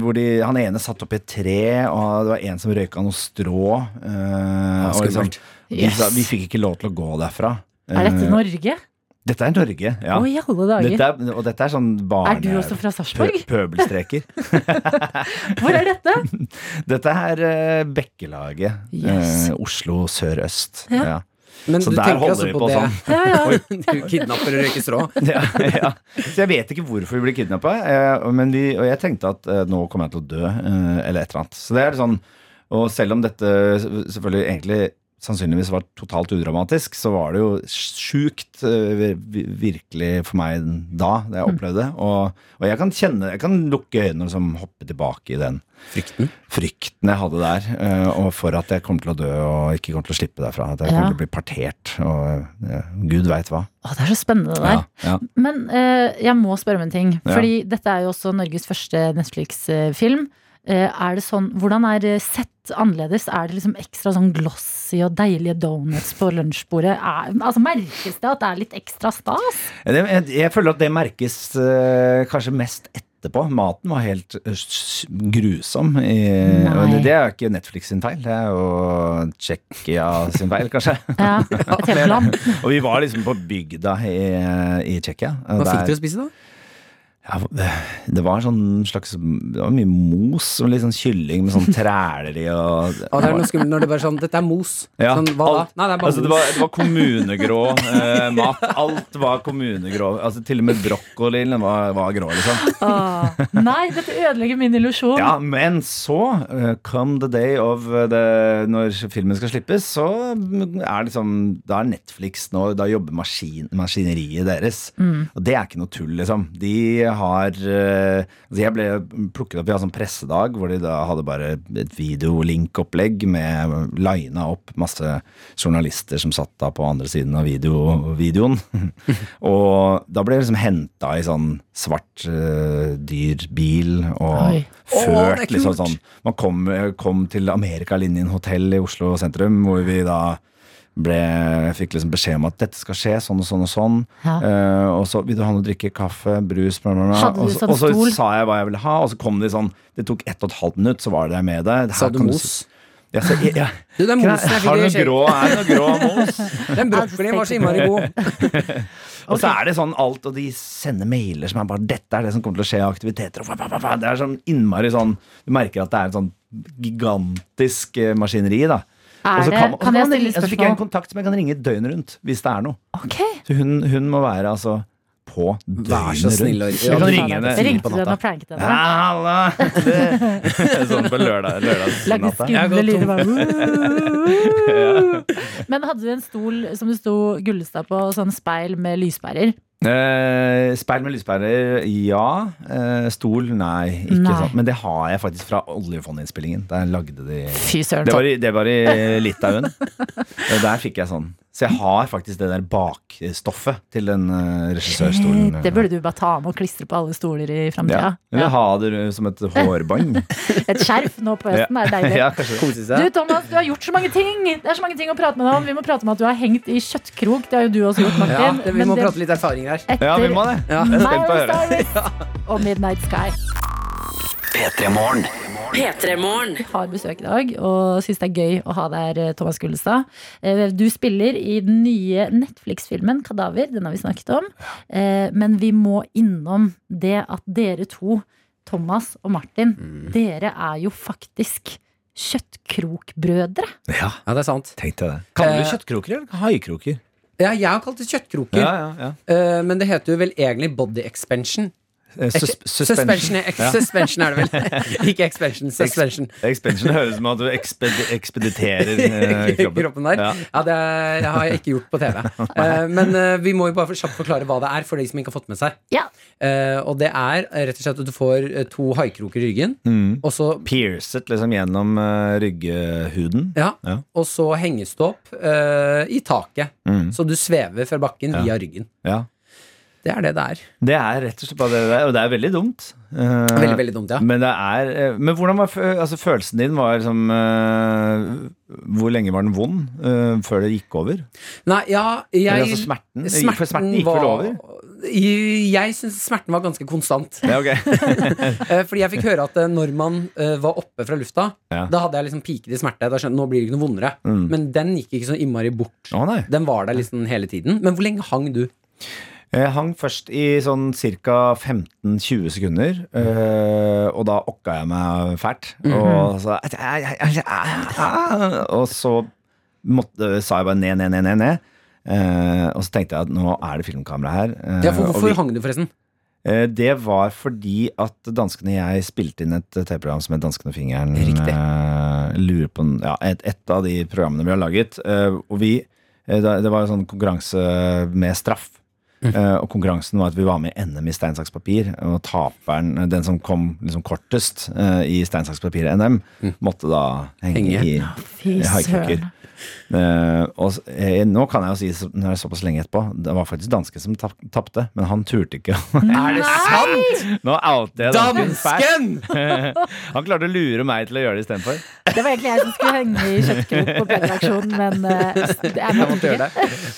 Speaker 9: hvor de, han ene satt oppi et tre, og det var en som røyka noe strå. eh, og liksom,
Speaker 3: skummelt.
Speaker 9: vi, sa,
Speaker 2: Ah, Yes.
Speaker 9: vi fikk ikke lov til å gå derfra.
Speaker 2: Er dette
Speaker 9: Eh,
Speaker 2: Norge?
Speaker 9: dette er Norge, ja.
Speaker 2: Å, i alle
Speaker 9: Dette
Speaker 2: dager.
Speaker 9: er, og dette er sånn barne...
Speaker 2: Er du også fra Sarpsborg?
Speaker 9: pø- Pøbelstreker.
Speaker 2: Hvor er dette?
Speaker 9: Dette er eh, Bekkelaget.
Speaker 2: Yes.
Speaker 9: eh, Oslo sør-øst.
Speaker 2: Ja.
Speaker 9: Ja.
Speaker 3: Men
Speaker 9: Så
Speaker 3: du
Speaker 9: der
Speaker 3: tenker
Speaker 9: holder
Speaker 3: altså
Speaker 9: vi
Speaker 3: på,
Speaker 9: på
Speaker 3: det.
Speaker 9: sånn.
Speaker 2: Ja, ja.
Speaker 3: du kidnapper og røyker strå.
Speaker 9: ja, ja. Så jeg vet ikke hvorfor vi ble kidnappa, men vi, og jeg tenkte at eh, nå kommer jeg til å dø, eh, eller et eller annet. Så det er sånn, og selv om dette selvfølgelig egentlig sannsynligvis var totalt udramatisk, så var det jo sjukt eh, vir- virkelig for meg da, det
Speaker 2: Mm.
Speaker 9: jeg opplevde. Og, og jeg kan kjenne, jeg kan lukke øynene og liksom hoppe tilbake i den
Speaker 3: Frykten.
Speaker 9: frykten jeg hadde der, eh, og for at jeg kommer til å dø og ikke kommer til å slippe derfra. At jeg
Speaker 2: Ja.
Speaker 9: kommer til å bli partert, og eh, gud veit hva.
Speaker 2: Å, det er så spennende det der.
Speaker 9: ja.
Speaker 2: Men eh, jeg må spørre om en ting.
Speaker 9: Ja.
Speaker 2: Fordi dette er jo også Norges første Netflix-film. eh, er det sånn, hvordan er eh, sett annerledes? Er det liksom ekstra sånn glossy og deilige donuts på lunsjbordet? Er, altså Merkes det at det er litt ekstra stas?
Speaker 9: Det, jeg, jeg føler at det merkes eh, kanskje mest etterpå. Maten var helt eh, s- grusom. I, og
Speaker 2: Nei.
Speaker 9: det, det er jo ikke Netflix sin feil, det er jo Tsjekkia sin feil, kanskje.
Speaker 2: Ja, et helt land.
Speaker 9: og vi var liksom på bygda i, i Tsjekkia. og
Speaker 3: Hva fikk
Speaker 9: der-
Speaker 3: dere å spise, da?
Speaker 9: Ja, det, det var sånn slags Det var mye mos og litt sånn kylling med sånn træler i
Speaker 3: Å,
Speaker 9: og
Speaker 3: det er noe skummelt når det bare sånn Dette er mos.
Speaker 9: Ja,
Speaker 3: Sånn, hva da?
Speaker 9: alt.
Speaker 3: Nei, det er bare
Speaker 9: Altså, det, var, det var kommunegrå eh, mat. Alt var kommunegrå. Altså, til og med brokkolien var, var grå. Liksom.
Speaker 2: Åh, nei, dette ødelegger min illusjon.
Speaker 9: Ja, men så eh, come the day of eh, the, Når filmen skal slippes, så er liksom Da er Netflix nå Da jobber maskin, maskineriet deres. Og det er ikke noe tull, liksom. De har eh, altså Jeg ble plukket opp Vi hadde sånn pressedag hvor de da hadde bare et videolinkopplegg med lina opp masse journalister som satt da på andre siden av video, videoen. og da ble jeg liksom henta i sånn svart, eh, dyr bil og
Speaker 2: Oi.
Speaker 9: ført
Speaker 3: det er
Speaker 9: liksom
Speaker 3: kult.
Speaker 9: sånn. Man kom, kom til Amerikalinjen hotell i Oslo sentrum, hvor vi da ble, fikk liksom beskjed om at dette skal skje, sånn og sånn og sånn.
Speaker 2: Ja.
Speaker 9: Eh, og så vil du ha noe å drikke, kaffe, brus, bla, bla, bla.
Speaker 2: Hadde du
Speaker 9: Og så-
Speaker 2: sånn
Speaker 9: og så
Speaker 2: stol?
Speaker 9: sa jeg hva jeg ville ha, og så kom de sånn Det tok ett og et halvt minutt, så var det jeg med deg.
Speaker 3: Sa du mos?
Speaker 9: Ja, så, jeg, jeg,
Speaker 3: Du, det er
Speaker 9: Kan
Speaker 3: mosen
Speaker 9: jeg-
Speaker 3: jeg fikk i
Speaker 9: har du noe
Speaker 3: skje.
Speaker 9: grå, er det noe grå mos?
Speaker 3: Den brokkolien var så innmari god.
Speaker 9: Og så er det sånn alt, og de sender mailer som er bare 'dette er det som kommer til å skje av aktiviteter'. Og fa, fa, fa, fa. Det er sånn innmari sånn Du merker at det er et sånn gigantisk eh, maskineri, da.
Speaker 2: Er
Speaker 9: Og så
Speaker 2: det-
Speaker 9: og så
Speaker 2: kan jeg
Speaker 9: man
Speaker 2: stille
Speaker 9: ringe- Så fikk jeg en
Speaker 2: spørsmål?
Speaker 9: kontakt som jeg kan ringe døgnet rundt hvis det er noe.
Speaker 2: Ok,
Speaker 9: Så hun, hun må være altså på
Speaker 3: Vær
Speaker 9: døgnet
Speaker 3: så snill og
Speaker 9: rundt. Jeg kan
Speaker 3: Ja,
Speaker 9: ringe henne tidlig
Speaker 2: Ringte
Speaker 9: på
Speaker 2: du henne
Speaker 9: natta.
Speaker 2: og pranket henne?
Speaker 9: Halla! Det- Sånn på
Speaker 2: Lagde
Speaker 9: lørdag, lørdagsnatta.
Speaker 3: Jeg har
Speaker 2: skumle lyder.
Speaker 3: gått tom.
Speaker 2: bare. Men hadde du en stol som det sto Gullestad på, og sånn speil med lyspærer?
Speaker 9: Eh, speil med lyspærer, ja. Eh, stol, nei. Ikke
Speaker 2: Nei.
Speaker 9: sant. Men det har jeg faktisk fra oljefondinnspillingen. Der lagde de
Speaker 2: Fy søren.
Speaker 9: Det var
Speaker 2: sånn.
Speaker 9: i, det var i Litauen. Og Der fikk jeg sånn. Så jeg har faktisk det der bakstoffet til den eh, regissørstolen.
Speaker 2: Det burde du bare ta med og klistre på alle stoler i
Speaker 9: ja.
Speaker 2: framtida.
Speaker 9: Eller ha det som et hårbånd.
Speaker 2: Et skjerf nå på høsten er deilig.
Speaker 9: ja, kanskje det.
Speaker 2: Du
Speaker 3: Kose seg.
Speaker 2: Thomas, du har gjort så mange ting! Det er så mange ting å prate med deg om. Vi må prate om at du har hengt i kjøttkrok. Det har jo du også gjort,
Speaker 3: Ja,
Speaker 2: Martin.
Speaker 3: det, vi
Speaker 2: Men
Speaker 3: må
Speaker 2: det-
Speaker 3: prate litt erfaring her.
Speaker 2: etter
Speaker 9: Ja, vi må det. Jeg er spent på å
Speaker 2: Miley
Speaker 9: høre.
Speaker 2: Cyrus og Midnight Sky.
Speaker 6: P3-morgen.
Speaker 2: har besøk i dag og syns det er gøy å ha deg her, Thomas Gullestad. Eh, Du spiller i den nye Netflix-filmen 'Kadaver', den har vi snakket om. Eh, Men vi må innom det at dere to, Thomas og Martin,
Speaker 9: Mm.
Speaker 2: dere er jo faktisk kjøttkrokbrødre.
Speaker 9: Ja,
Speaker 3: Ja, det er sant.
Speaker 9: tenkte jeg det. Kaller du
Speaker 3: Eh,
Speaker 9: kjøttkroker eller haikroker?
Speaker 3: Ja, jeg har kalt det kjøttkroker,
Speaker 9: Ja, ja, ja.
Speaker 3: eh, men det heter jo vel egentlig body expansion.
Speaker 9: Eh,
Speaker 3: Ek-
Speaker 9: sus- Suspension.
Speaker 3: Suspension, ek- suspension er det vel. Ikke expansion, suspension.
Speaker 9: Expansion høres ut som at du eksped ekspediterer eh, kroppen.
Speaker 3: Kroppen der.
Speaker 9: Ja.
Speaker 3: Ja, det er- det har jeg ikke gjort på TV. Eh, Men eh, vi må jo bare for- kjapt forklare hva det er for de som ikke har fått med seg.
Speaker 2: Ja,
Speaker 3: Eh, Og det er eh, rett og slett at du får eh, to haikroker i ryggen,
Speaker 9: Mm.
Speaker 3: og så
Speaker 9: Piercet liksom gjennom eh, rygghuden.
Speaker 3: ja,
Speaker 9: Ja.
Speaker 3: og så henges du opp eh, i taket. Så du svever fra bakken via ryggen.
Speaker 9: Mm. Ja.
Speaker 3: Det er det det er.
Speaker 9: Det er rett og slett bare det der, og det er veldig dumt. Eh,
Speaker 3: Veldig, veldig dumt, ja.
Speaker 9: Men, det er, eh, men hvordan var fø- altså, følelsen din? Var som, eh, hvor lenge var den vond eh, før det gikk over?
Speaker 3: Nei, ja, jeg
Speaker 9: Eller, altså, smerten? Det gikk- for smerten gikk vel over?
Speaker 3: I- Jeg syns smerten var ganske konstant.
Speaker 9: Ja, ok.
Speaker 3: Eh, Fordi jeg fikk høre at eh, når man eh, var oppe fra lufta,
Speaker 9: Ja. Mm.
Speaker 3: da hadde jeg liksom piket i smerte. Da skjønte jeg, nå blir det ikke noe vondere. Men den gikk ikke så innmari bort.
Speaker 9: Å, nei.
Speaker 3: Den var der liksom hele tiden. Men hvor lenge hang du?
Speaker 9: Jeg hang først i sånn ca. 15-20 sekunder, eh, og da okka jeg meg fælt.
Speaker 3: Mhm.
Speaker 9: Og så ai, ai, ai, ai, Og så måtte, sa jeg bare ned, ned, ned, ned. ned. Eh, og så tenkte jeg at nå er det filmkamera her. eh,
Speaker 3: Ja, for
Speaker 9: og
Speaker 3: hvorfor
Speaker 9: vi-
Speaker 3: hang du, forresten?
Speaker 9: Eh, Det var fordi at danskene jeg spilte inn et TV-program som het Danskene og fingeren.
Speaker 3: Riktig.
Speaker 9: eh, Lurer på en- ja, et, et av de programmene vi har laget. eh, Og vi, eh, da- det var en sånn konkurranse med straff. Eh, og konkurransen var at vi var med i NM i stein, saks, papir. Og taperen, eh, den som kom liksom kortest eh, i stein, saks, papir-NM, måtte da henge,
Speaker 3: Henge.
Speaker 9: i
Speaker 2: Fy
Speaker 9: i haikuker.
Speaker 2: søren.
Speaker 9: Eh, og s- eh, nå kan jeg jo si, så- når det er såpass lenge etterpå, det var faktisk danske som tap- tapte, men han turte ikke.
Speaker 3: Er det sant?!
Speaker 9: nå outer jeg dansken fælt.
Speaker 3: Dansken!
Speaker 9: Han klarte å lure meg til å gjøre det istedenfor.
Speaker 2: Det var egentlig jeg som skulle henge i kjøttkrok på P-redaksjonen, men eh, det er
Speaker 3: Jeg måtte
Speaker 2: ikke.
Speaker 3: gjøre det.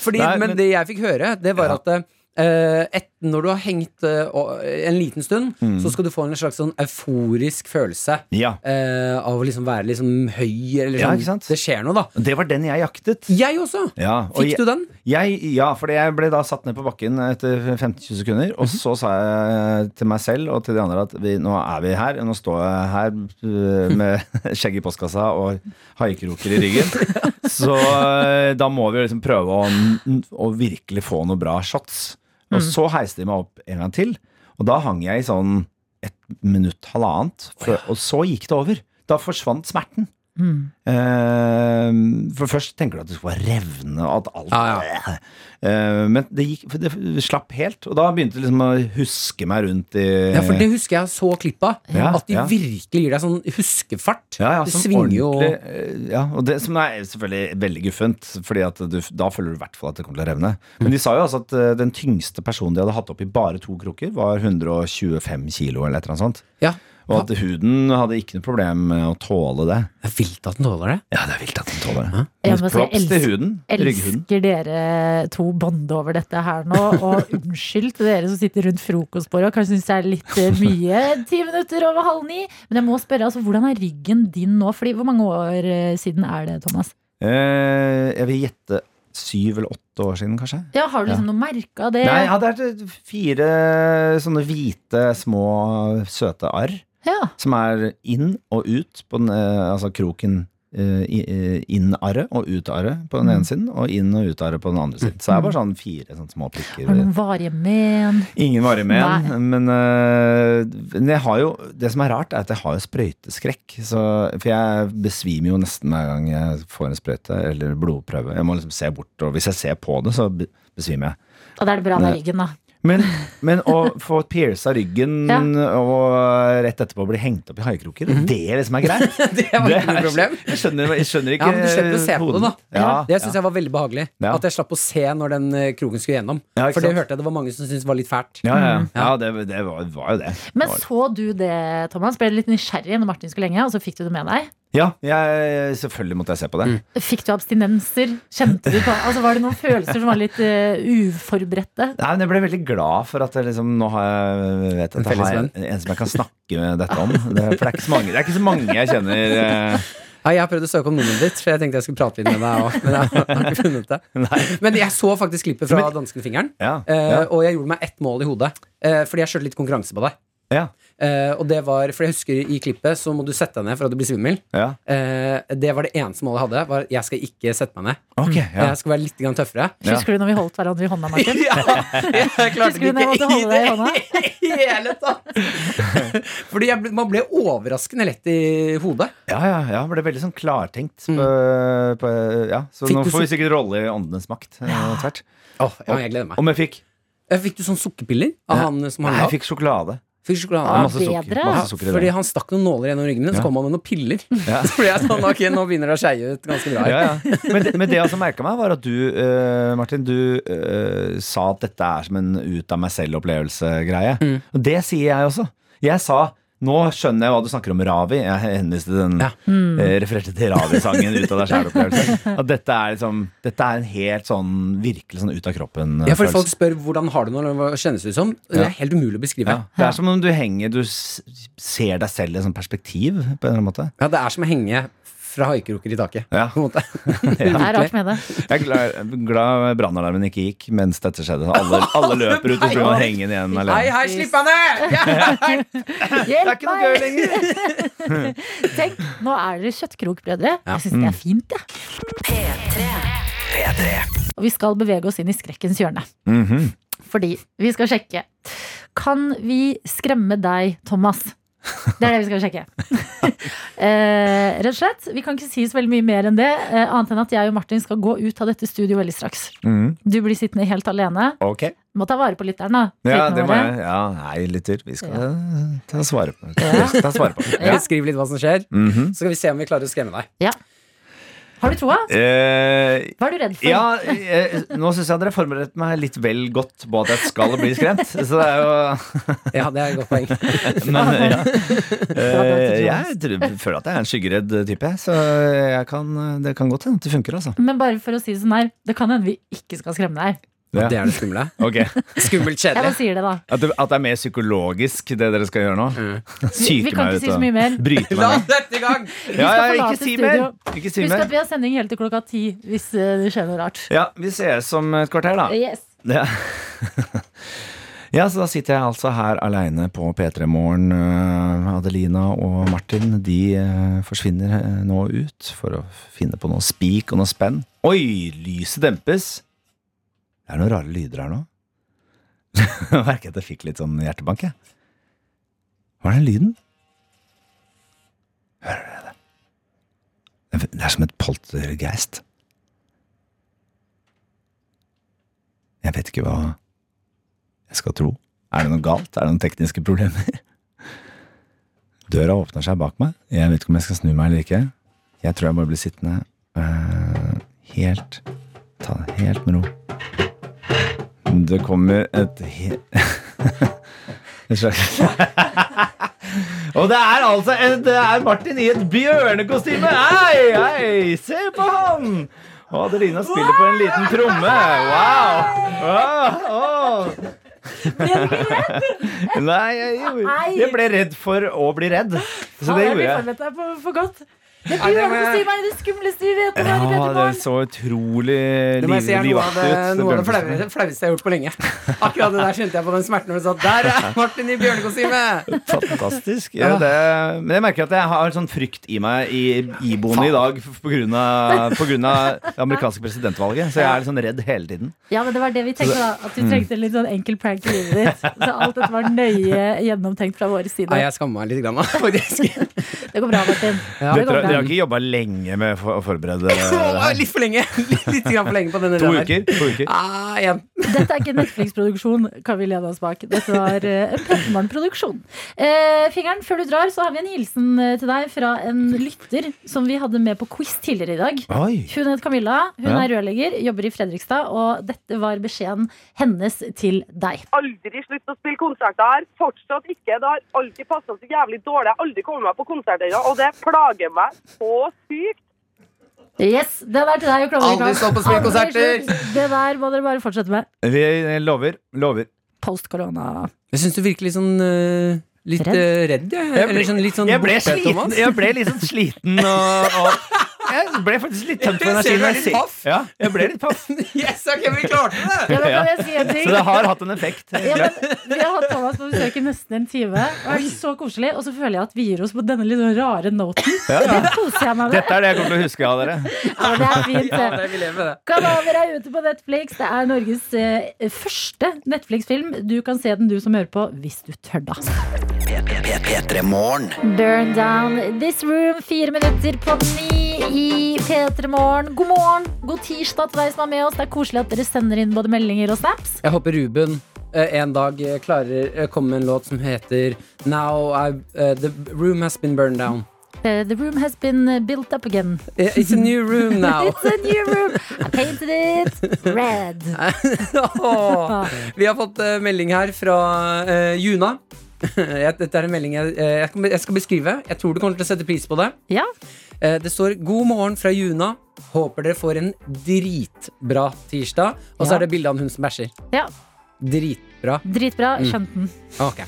Speaker 3: Fordi,
Speaker 9: Nei,
Speaker 3: men
Speaker 9: men-
Speaker 3: det jeg fikk høre, det var
Speaker 9: Ja.
Speaker 3: at eh, et, når du har hengt eh, og- en liten stund,
Speaker 9: Mm.
Speaker 3: så skal du få en slags sånn euforisk følelse.
Speaker 9: Ja.
Speaker 3: eh, av å liksom være liksom høy, eller
Speaker 9: Ja,
Speaker 3: sånn.
Speaker 9: ikke sant?
Speaker 3: det skjer noe, da.
Speaker 9: Det var den jeg jaktet.
Speaker 3: Jeg også!
Speaker 9: Ja, og
Speaker 3: Fikk
Speaker 9: jeg-
Speaker 3: du den?
Speaker 9: Jeg, ja, for jeg ble da satt ned på bakken etter 15-20 sekunder, og
Speaker 3: Mhm.
Speaker 9: så sa jeg til meg selv og til de andre at vi, nå er vi her, nå står jeg her øh, med skjegg i postkassa og haikroker i ryggen. Så øh, da må vi jo liksom prøve å, å virkelig få noen bra shots. Og
Speaker 3: Mm.
Speaker 9: så heiste de meg opp en gang til, og da hang jeg i sånn et minutt, halvannet, før, og så gikk det over. Da forsvant smerten.
Speaker 3: Mm.
Speaker 9: Eh, for først tenker du at du skal være revne og at alt
Speaker 3: Ja,
Speaker 9: Eh, Men det, gikk, for det slapp helt, og da begynte det liksom å huske meg rundt i
Speaker 3: Ja, for det husker jeg så klipp av.
Speaker 9: Eh. Ja,
Speaker 3: at de
Speaker 9: ja.
Speaker 3: virkelig gir deg sånn huskefart.
Speaker 9: Ja, ja,
Speaker 3: det
Speaker 9: som
Speaker 3: svinger jo
Speaker 9: ordentlig, eh, ja, og det som er selvfølgelig veldig guffent, Fordi at du, da føler du i hvert fall at det kommer til å revne. Men de sa jo altså at eh, den tyngste personen de hadde hatt opp i bare to krukker, var 125 kilo eller et eller annet sånt.
Speaker 3: ja.
Speaker 9: Og at huden hadde ikke noe problem med å tåle det.
Speaker 3: Det er vilt at den tåler det.
Speaker 9: Ja, det er vilt at den tåler det.
Speaker 2: Jeg må
Speaker 3: altså,
Speaker 9: Men
Speaker 2: si, jeg
Speaker 9: props til
Speaker 2: elsker-
Speaker 9: huden. Rygghuden.
Speaker 2: Elsker dere to bonde over dette her nå, og unnskyld til dere som sitter rundt frokostbordet og kanskje syns det er litt eh, mye, ti minutter over halv ni. Men jeg må spørre, altså, hvordan er ryggen din nå? Fordi, hvor mange år eh, siden er det, Thomas?
Speaker 9: Eh, jeg vil gjette syv eller åtte år siden, kanskje.
Speaker 2: Ja, har du liksom noe merke av det?
Speaker 9: Nei, jeg hadde vært fire sånne hvite, små, søte arr.
Speaker 2: Ja.
Speaker 9: Som er inn og ut på den, eh, altså kroken eh, i- eh, inn-arret og ut-arret på
Speaker 2: Mm.
Speaker 9: den ene siden, og inn- og ut-arret på den andre siden. Så det er bare sånn fire sånne små
Speaker 2: Har du
Speaker 9: prikker.
Speaker 2: noen varige men?
Speaker 9: Ingen varer med
Speaker 2: Nei.
Speaker 9: en, men eh, men jeg har jo, det som er rart, er at jeg har jo sprøyteskrekk. Så, for jeg besvimer jo nesten hver gang jeg får en sprøyte eller blodprøve. Jeg må liksom se bort, og hvis jeg ser på det, så be- besvimer jeg.
Speaker 2: Og da er det bra med
Speaker 9: Nei.
Speaker 2: ryggen, da.
Speaker 9: Men, men å få pierca ryggen
Speaker 2: Ja. Mhm.
Speaker 9: og rett etterpå bli hengt opp i haikroker, det liksom er greit.
Speaker 3: Det var ikke noe
Speaker 9: er-
Speaker 3: problem.
Speaker 9: Jeg skjønner, jeg
Speaker 3: Ja,
Speaker 9: skjønner ikke
Speaker 3: men du slipper å se på
Speaker 9: hoden.
Speaker 3: det, da.
Speaker 9: Ja,
Speaker 3: Det syns
Speaker 9: ja.
Speaker 3: jeg var veldig behagelig.
Speaker 9: Ja.
Speaker 3: At jeg slapp å se når den eh, kroken skulle gjennom.
Speaker 9: Ja, ikke
Speaker 3: For det
Speaker 9: sant?
Speaker 3: hørte jeg det var mange som syntes var litt fælt.
Speaker 9: Ja, ja, ja. ja det, det var, var jo det.
Speaker 2: Men
Speaker 9: Det var-
Speaker 2: så du det, Thomas? Ble du litt nysgjerrig når Martin skulle lenge, og så fikk du det med deg?
Speaker 9: Ja, jeg, selvfølgelig måtte jeg se på det.
Speaker 2: Fikk du abstinenser? Kjente du på Altså, var det noen følelser som var litt eh, uforberedte?
Speaker 9: Nei, men jeg ble veldig glad for at jeg liksom, nå har jeg,
Speaker 3: En
Speaker 9: vet, at jeg har en,
Speaker 3: fellesvenn.
Speaker 9: en som jeg kan snakke med dette om. Det, for det er, ikke så mange, det er ikke så mange jeg kjenner eh,
Speaker 3: Ja, jeg har prøvd å søke om nummeret ditt, for jeg tenkte jeg skulle prate litt med deg også, Men jeg har ikke funnet det. Men jeg så faktisk klippet fra danskefingeren,
Speaker 9: ja,
Speaker 3: eh,
Speaker 9: ja,
Speaker 3: og jeg gjorde meg ett mål i hodet. eh, Fordi jeg skjønte litt konkurranse på deg.
Speaker 9: ja,
Speaker 3: Eh, Og det var, for jeg husker i klippet så må du sette deg ned for at du blir svimmel.
Speaker 9: ja.
Speaker 3: Eh, Det var det eneste målet jeg hadde. Var, jeg skal ikke sette meg ned.
Speaker 9: Ok, ja.
Speaker 3: mm, Jeg skal være litt grann tøffere.
Speaker 9: Ja.
Speaker 2: Husker du når vi holdt hverandre i hånda, Martin?
Speaker 3: Ja, jeg
Speaker 2: Husker
Speaker 3: klarte
Speaker 2: du
Speaker 3: det
Speaker 2: når jeg måtte
Speaker 3: ikke i
Speaker 2: holde
Speaker 3: det
Speaker 2: deg i hånda?
Speaker 3: hele tatt. Fordi jeg, ble- man ble overraskende lett i hodet.
Speaker 9: Ja, ja, ja, ble veldig sånn klartenkt. på- på- ja. Så
Speaker 3: Mm. Fikk
Speaker 9: nå
Speaker 3: du
Speaker 9: får vi
Speaker 3: så-
Speaker 9: sikkert rolle i Åndenes makt. Ja. Tvert.
Speaker 3: Åh, ja, jeg gleder meg.
Speaker 9: Om jeg fikk?
Speaker 3: Eh, Fikk du sånn sukkerpiller av
Speaker 9: Nei.
Speaker 3: han som hang
Speaker 9: Nei, jeg
Speaker 3: av?
Speaker 9: fikk sjokolade.
Speaker 3: Fikk sjokolade?
Speaker 2: Ah,
Speaker 9: masse sukker,
Speaker 2: bedre.
Speaker 9: masse sukker i
Speaker 3: Fordi
Speaker 9: det.
Speaker 3: han stakk noen nåler gjennom ryggen min, så
Speaker 9: Ja.
Speaker 3: kom han med noen piller.
Speaker 9: Ja.
Speaker 3: Så ble jeg sånn, ok, nå begynner det å skeie ut ganske bra. her.
Speaker 9: Ja, ja. Men, det- men det jeg også merka meg, var at du, eh, Martin, du eh, sa at dette er som en ut av meg selv-opplevelse-greie.
Speaker 3: Mm.
Speaker 9: Og det sier jeg også. Jeg sa nå skjønner jeg hva du snakker om Ravi. Jeg henviste til den
Speaker 3: Ja.
Speaker 9: eh, refererte til Ravi-sangen Ut av deg sjæl-opplevelse. At dette er liksom Dette er en helt sånn virkelig sånn ut av kroppen-følelse.
Speaker 3: Ja, fordi folk spør hvordan har du noe, eller hva kjennes det ut som? Det
Speaker 9: Ja.
Speaker 3: er helt umulig å beskrive.
Speaker 9: Ja, det er som om du henger Du s- ser deg selv i et sånt perspektiv På en eller annen måte
Speaker 3: Ja, det er som å henge fra haikroker i taket.
Speaker 9: Ja.
Speaker 3: På en måte.
Speaker 2: Det er rart med det.
Speaker 9: Jeg er glad, glad brannalarmen ikke gikk Mens dette skjedde Alle, alle løper ut og så blir man hengende igjen
Speaker 3: Hei,
Speaker 9: alene
Speaker 3: hei, slipp meg ned!
Speaker 9: Det er
Speaker 2: Hjelp
Speaker 9: ikke noe gøy
Speaker 2: meg!
Speaker 9: lenger
Speaker 2: Tenk, nå er dere kjøttkrokbrødre. Jeg syns
Speaker 9: Mm.
Speaker 2: det er fint, jeg. Og vi skal bevege oss inn i skrekkens hjørne.
Speaker 9: Mhm.
Speaker 2: Fordi vi skal sjekke. Kan vi skremme deg, Thomas? Det er det vi skal sjekke. eh, rett og slett. Vi kan ikke si så veldig mye mer enn det. Eh, annet enn at jeg og Martin skal gå ut av dette studioet veldig straks.
Speaker 9: Mhm.
Speaker 2: Du blir sittende helt alene.
Speaker 9: Ok
Speaker 2: Må ta vare på lytteren, da.
Speaker 9: Ja,
Speaker 2: Lytterne
Speaker 9: det må
Speaker 2: våre.
Speaker 9: jeg. Ja, nei, lytter. Vi skal
Speaker 2: Ja.
Speaker 9: ta svare på
Speaker 2: Ja.
Speaker 9: ta svare på det. Ja.
Speaker 3: Skriv litt hva som skjer,
Speaker 9: Mhm.
Speaker 3: så skal vi se om vi klarer å skremme deg.
Speaker 2: Har du troa?
Speaker 9: Eh,
Speaker 2: Hva er du redd for?
Speaker 9: ja, eh, nå syns jeg dere forberedte meg litt vel godt på at jeg skal bli skremt. Så det er jo
Speaker 3: Ja, det er et godt poeng.
Speaker 9: Men ja. Eh,
Speaker 2: Ja,
Speaker 9: jeg tror- føler at jeg er en skyggeredd type, jeg, så jeg kan, det kan godt hende at det funker, altså.
Speaker 2: Men bare for å si det sånn her, det kan hende vi ikke skal skremme deg.
Speaker 9: Ja.
Speaker 3: Det er det skumle.
Speaker 9: Ok.
Speaker 3: Skummelt
Speaker 2: Jeg bare
Speaker 3: kjedelig.
Speaker 2: sier det, da.
Speaker 9: At det, at det er mer psykologisk, det dere skal gjøre nå?
Speaker 3: Mm.
Speaker 2: Vi, vi
Speaker 9: Syke
Speaker 2: kan
Speaker 9: meg
Speaker 2: ikke
Speaker 9: ut
Speaker 2: si så
Speaker 9: og
Speaker 2: mye mer.
Speaker 9: bryte meg
Speaker 3: La
Speaker 9: ned.
Speaker 3: oss sette i gang!
Speaker 9: Ja, ja,
Speaker 2: forlate
Speaker 9: ikke si mer!
Speaker 2: studio.
Speaker 9: Ikke si
Speaker 2: Husk at
Speaker 9: mer.
Speaker 2: vi har sending helt til klokka ti, hvis eh, det skjer noe rart.
Speaker 9: Ja, vi ses om et kvarter, da.
Speaker 2: Yes.
Speaker 9: Ja. ja, så da sitter jeg altså her aleine på P3 Morgen. Eh, Adelina og Martin de eh, forsvinner eh, nå ut for å finne på noe spik og noe spenn. Oi, lyset dempes! Det er noen rare lyder her nå. Jeg Merker at jeg fikk litt sånn hjertebank, jeg. Hva er den lyden? Hører dere det? Det er som et poltergeist. Jeg vet ikke hva jeg skal tro. Er det noe galt? Er det noen tekniske problemer? Døra åpner seg bak meg. Jeg vet ikke om jeg skal snu meg eller ikke. Jeg tror jeg bare blir sittende eh, helt Ta det helt med ro. Det kommer et he... En slags Og det er altså en, det er Martin i et bjørnekostyme! Hei, hei, se på han! Og Adelina spiller på en liten tromme. Wow! Åh, åh. Nei, jeg, gjorde- jeg ble redd for å bli redd. Så det gjorde jeg.
Speaker 2: forberedt deg på for godt. Det
Speaker 3: Ja, det må jeg-
Speaker 2: bjørnekostyme er det skumleste vi vet om her i
Speaker 9: Ja, det
Speaker 2: Petermorgen.
Speaker 9: så utrolig
Speaker 3: Det må jeg si er
Speaker 9: livaktig
Speaker 3: noe av
Speaker 9: ut.
Speaker 3: det,
Speaker 9: det
Speaker 3: noe av det
Speaker 9: bjørnekostymet.
Speaker 3: flaueste flaueste jeg har gjort på lenge. Akkurat det der kjente jeg på den smerten når du sa 'Der er Martin i bjørnekostyme'!
Speaker 9: Fantastisk. Ja, det, men jeg merker at jeg har en sånn frykt i meg i iboende i dag pga. det amerikanske presidentvalget. Så jeg er litt sånn redd hele tiden.
Speaker 2: Ja, men det var det vi tenkte, da. At
Speaker 3: Mm.
Speaker 2: du trengte en litt sånn enkel prank i livet ditt. Så alt dette var nøye gjennomtenkt fra vår
Speaker 3: Nei,
Speaker 2: side.
Speaker 3: jeg skammer meg litt, grann, da, faktisk.
Speaker 2: Det går bra, Martin. Det
Speaker 3: Ja.
Speaker 9: Dere
Speaker 2: går
Speaker 9: dere
Speaker 2: bra.
Speaker 9: har ikke jobba lenge med å for- å forberede det
Speaker 3: Åh,
Speaker 9: her?
Speaker 3: Litt for lenge. Litt, litt grann for lenge på denne
Speaker 9: To
Speaker 3: der.
Speaker 9: uker? To uker.
Speaker 3: Ah, igjen.
Speaker 2: Dette er ikke en Netflix-produksjon, kan vi lene oss bak. Dette var eh, en Petermorgen-produksjon. Eh, fingeren, før du drar, så har vi en hilsen eh, til deg fra en lytter som vi hadde med på quiz tidligere i dag.
Speaker 9: Oi!
Speaker 2: Hun heter Camilla, hun
Speaker 9: Ja.
Speaker 2: er rørlegger, jobber i Fredrikstad, og dette var beskjeden hennes til deg.
Speaker 7: aldri slutt å spille konserter. Jeg har fortsatt ikke. Det har alltid passa så jævlig dårlig. Jeg har aldri kommet meg på konsert ennå, og det plager meg så sykt.
Speaker 2: Yes, den er til deg. og Klovner i
Speaker 3: Aldri
Speaker 2: Klovn.
Speaker 3: stå på spillkonserter!
Speaker 2: Aldri slutt. Det der må dere bare fortsette med.
Speaker 9: Vi lover. Lover.
Speaker 2: Post korona.
Speaker 3: Jeg syns du virker litt sånn øh, Litt
Speaker 2: Redd?
Speaker 3: øh, redd, jeg.
Speaker 9: Jeg ble,
Speaker 3: Eller sånn litt sånn
Speaker 9: jeg ble
Speaker 3: borte,
Speaker 9: sliten.
Speaker 3: Thomas.
Speaker 9: Jeg ble litt sånn sliten og, og Jeg ble faktisk litt tømt for
Speaker 3: Jeg ser du er
Speaker 9: energi. når
Speaker 3: litt
Speaker 9: jeg ser-
Speaker 3: paff.
Speaker 9: Ja, jeg ble litt paff.
Speaker 3: Yes, ok, vi klarte det!
Speaker 2: Ja, men
Speaker 9: Ja.
Speaker 2: kan jeg si en ting?
Speaker 9: Så det har hatt en effekt. helt
Speaker 2: Ja,
Speaker 9: klart.
Speaker 2: men, vi har hatt Thomas på besøk i nesten en time. Og er så koselig Og så føler jeg at vi gir oss på denne litt sånn rare noten.
Speaker 9: Ja, ja.
Speaker 2: Det koser jeg meg med.
Speaker 9: Dette er det jeg kommer til å huske av dere.
Speaker 2: Ja, det er fint.
Speaker 3: Ja,
Speaker 2: det.
Speaker 3: det, vi lever med det.
Speaker 2: Kanaler er ute på Netflix. Det er Norges eh, første Netflix-film. Du kan se den, du som hører på, hvis du tør, da.
Speaker 6: P3-morgen.
Speaker 2: Burn down this room. Fire minutter på ni i P3 Morgen. God morgen, god tirsdag til deg som er med oss. Det er koselig at dere sender inn både meldinger og snaps.
Speaker 3: Jeg håper Ruben eh, en dag eh, klarer å komme med en låt som heter Now I, eh, The room has been burned down.
Speaker 2: Eh, The room has been built up again.
Speaker 3: Eh, It's a new room now.
Speaker 2: It's a new room. I painted it red.
Speaker 3: Åh. Vi har fått eh, melding her fra eh, Juna. Jeg- Dette er en melding jeg, eh, jeg skal- jeg skal beskrive. Jeg tror du kommer til å sette pris på det.
Speaker 2: Ja.
Speaker 3: Eh, Det står 'God morgen fra Juna'. Håper dere får en dritbra tirsdag. Og så
Speaker 2: Ja.
Speaker 3: er det bilde av hun som bæsjer.
Speaker 2: ja.
Speaker 3: Dritbra.
Speaker 2: Dritbra. Skjønte den.
Speaker 3: Ah, Ok.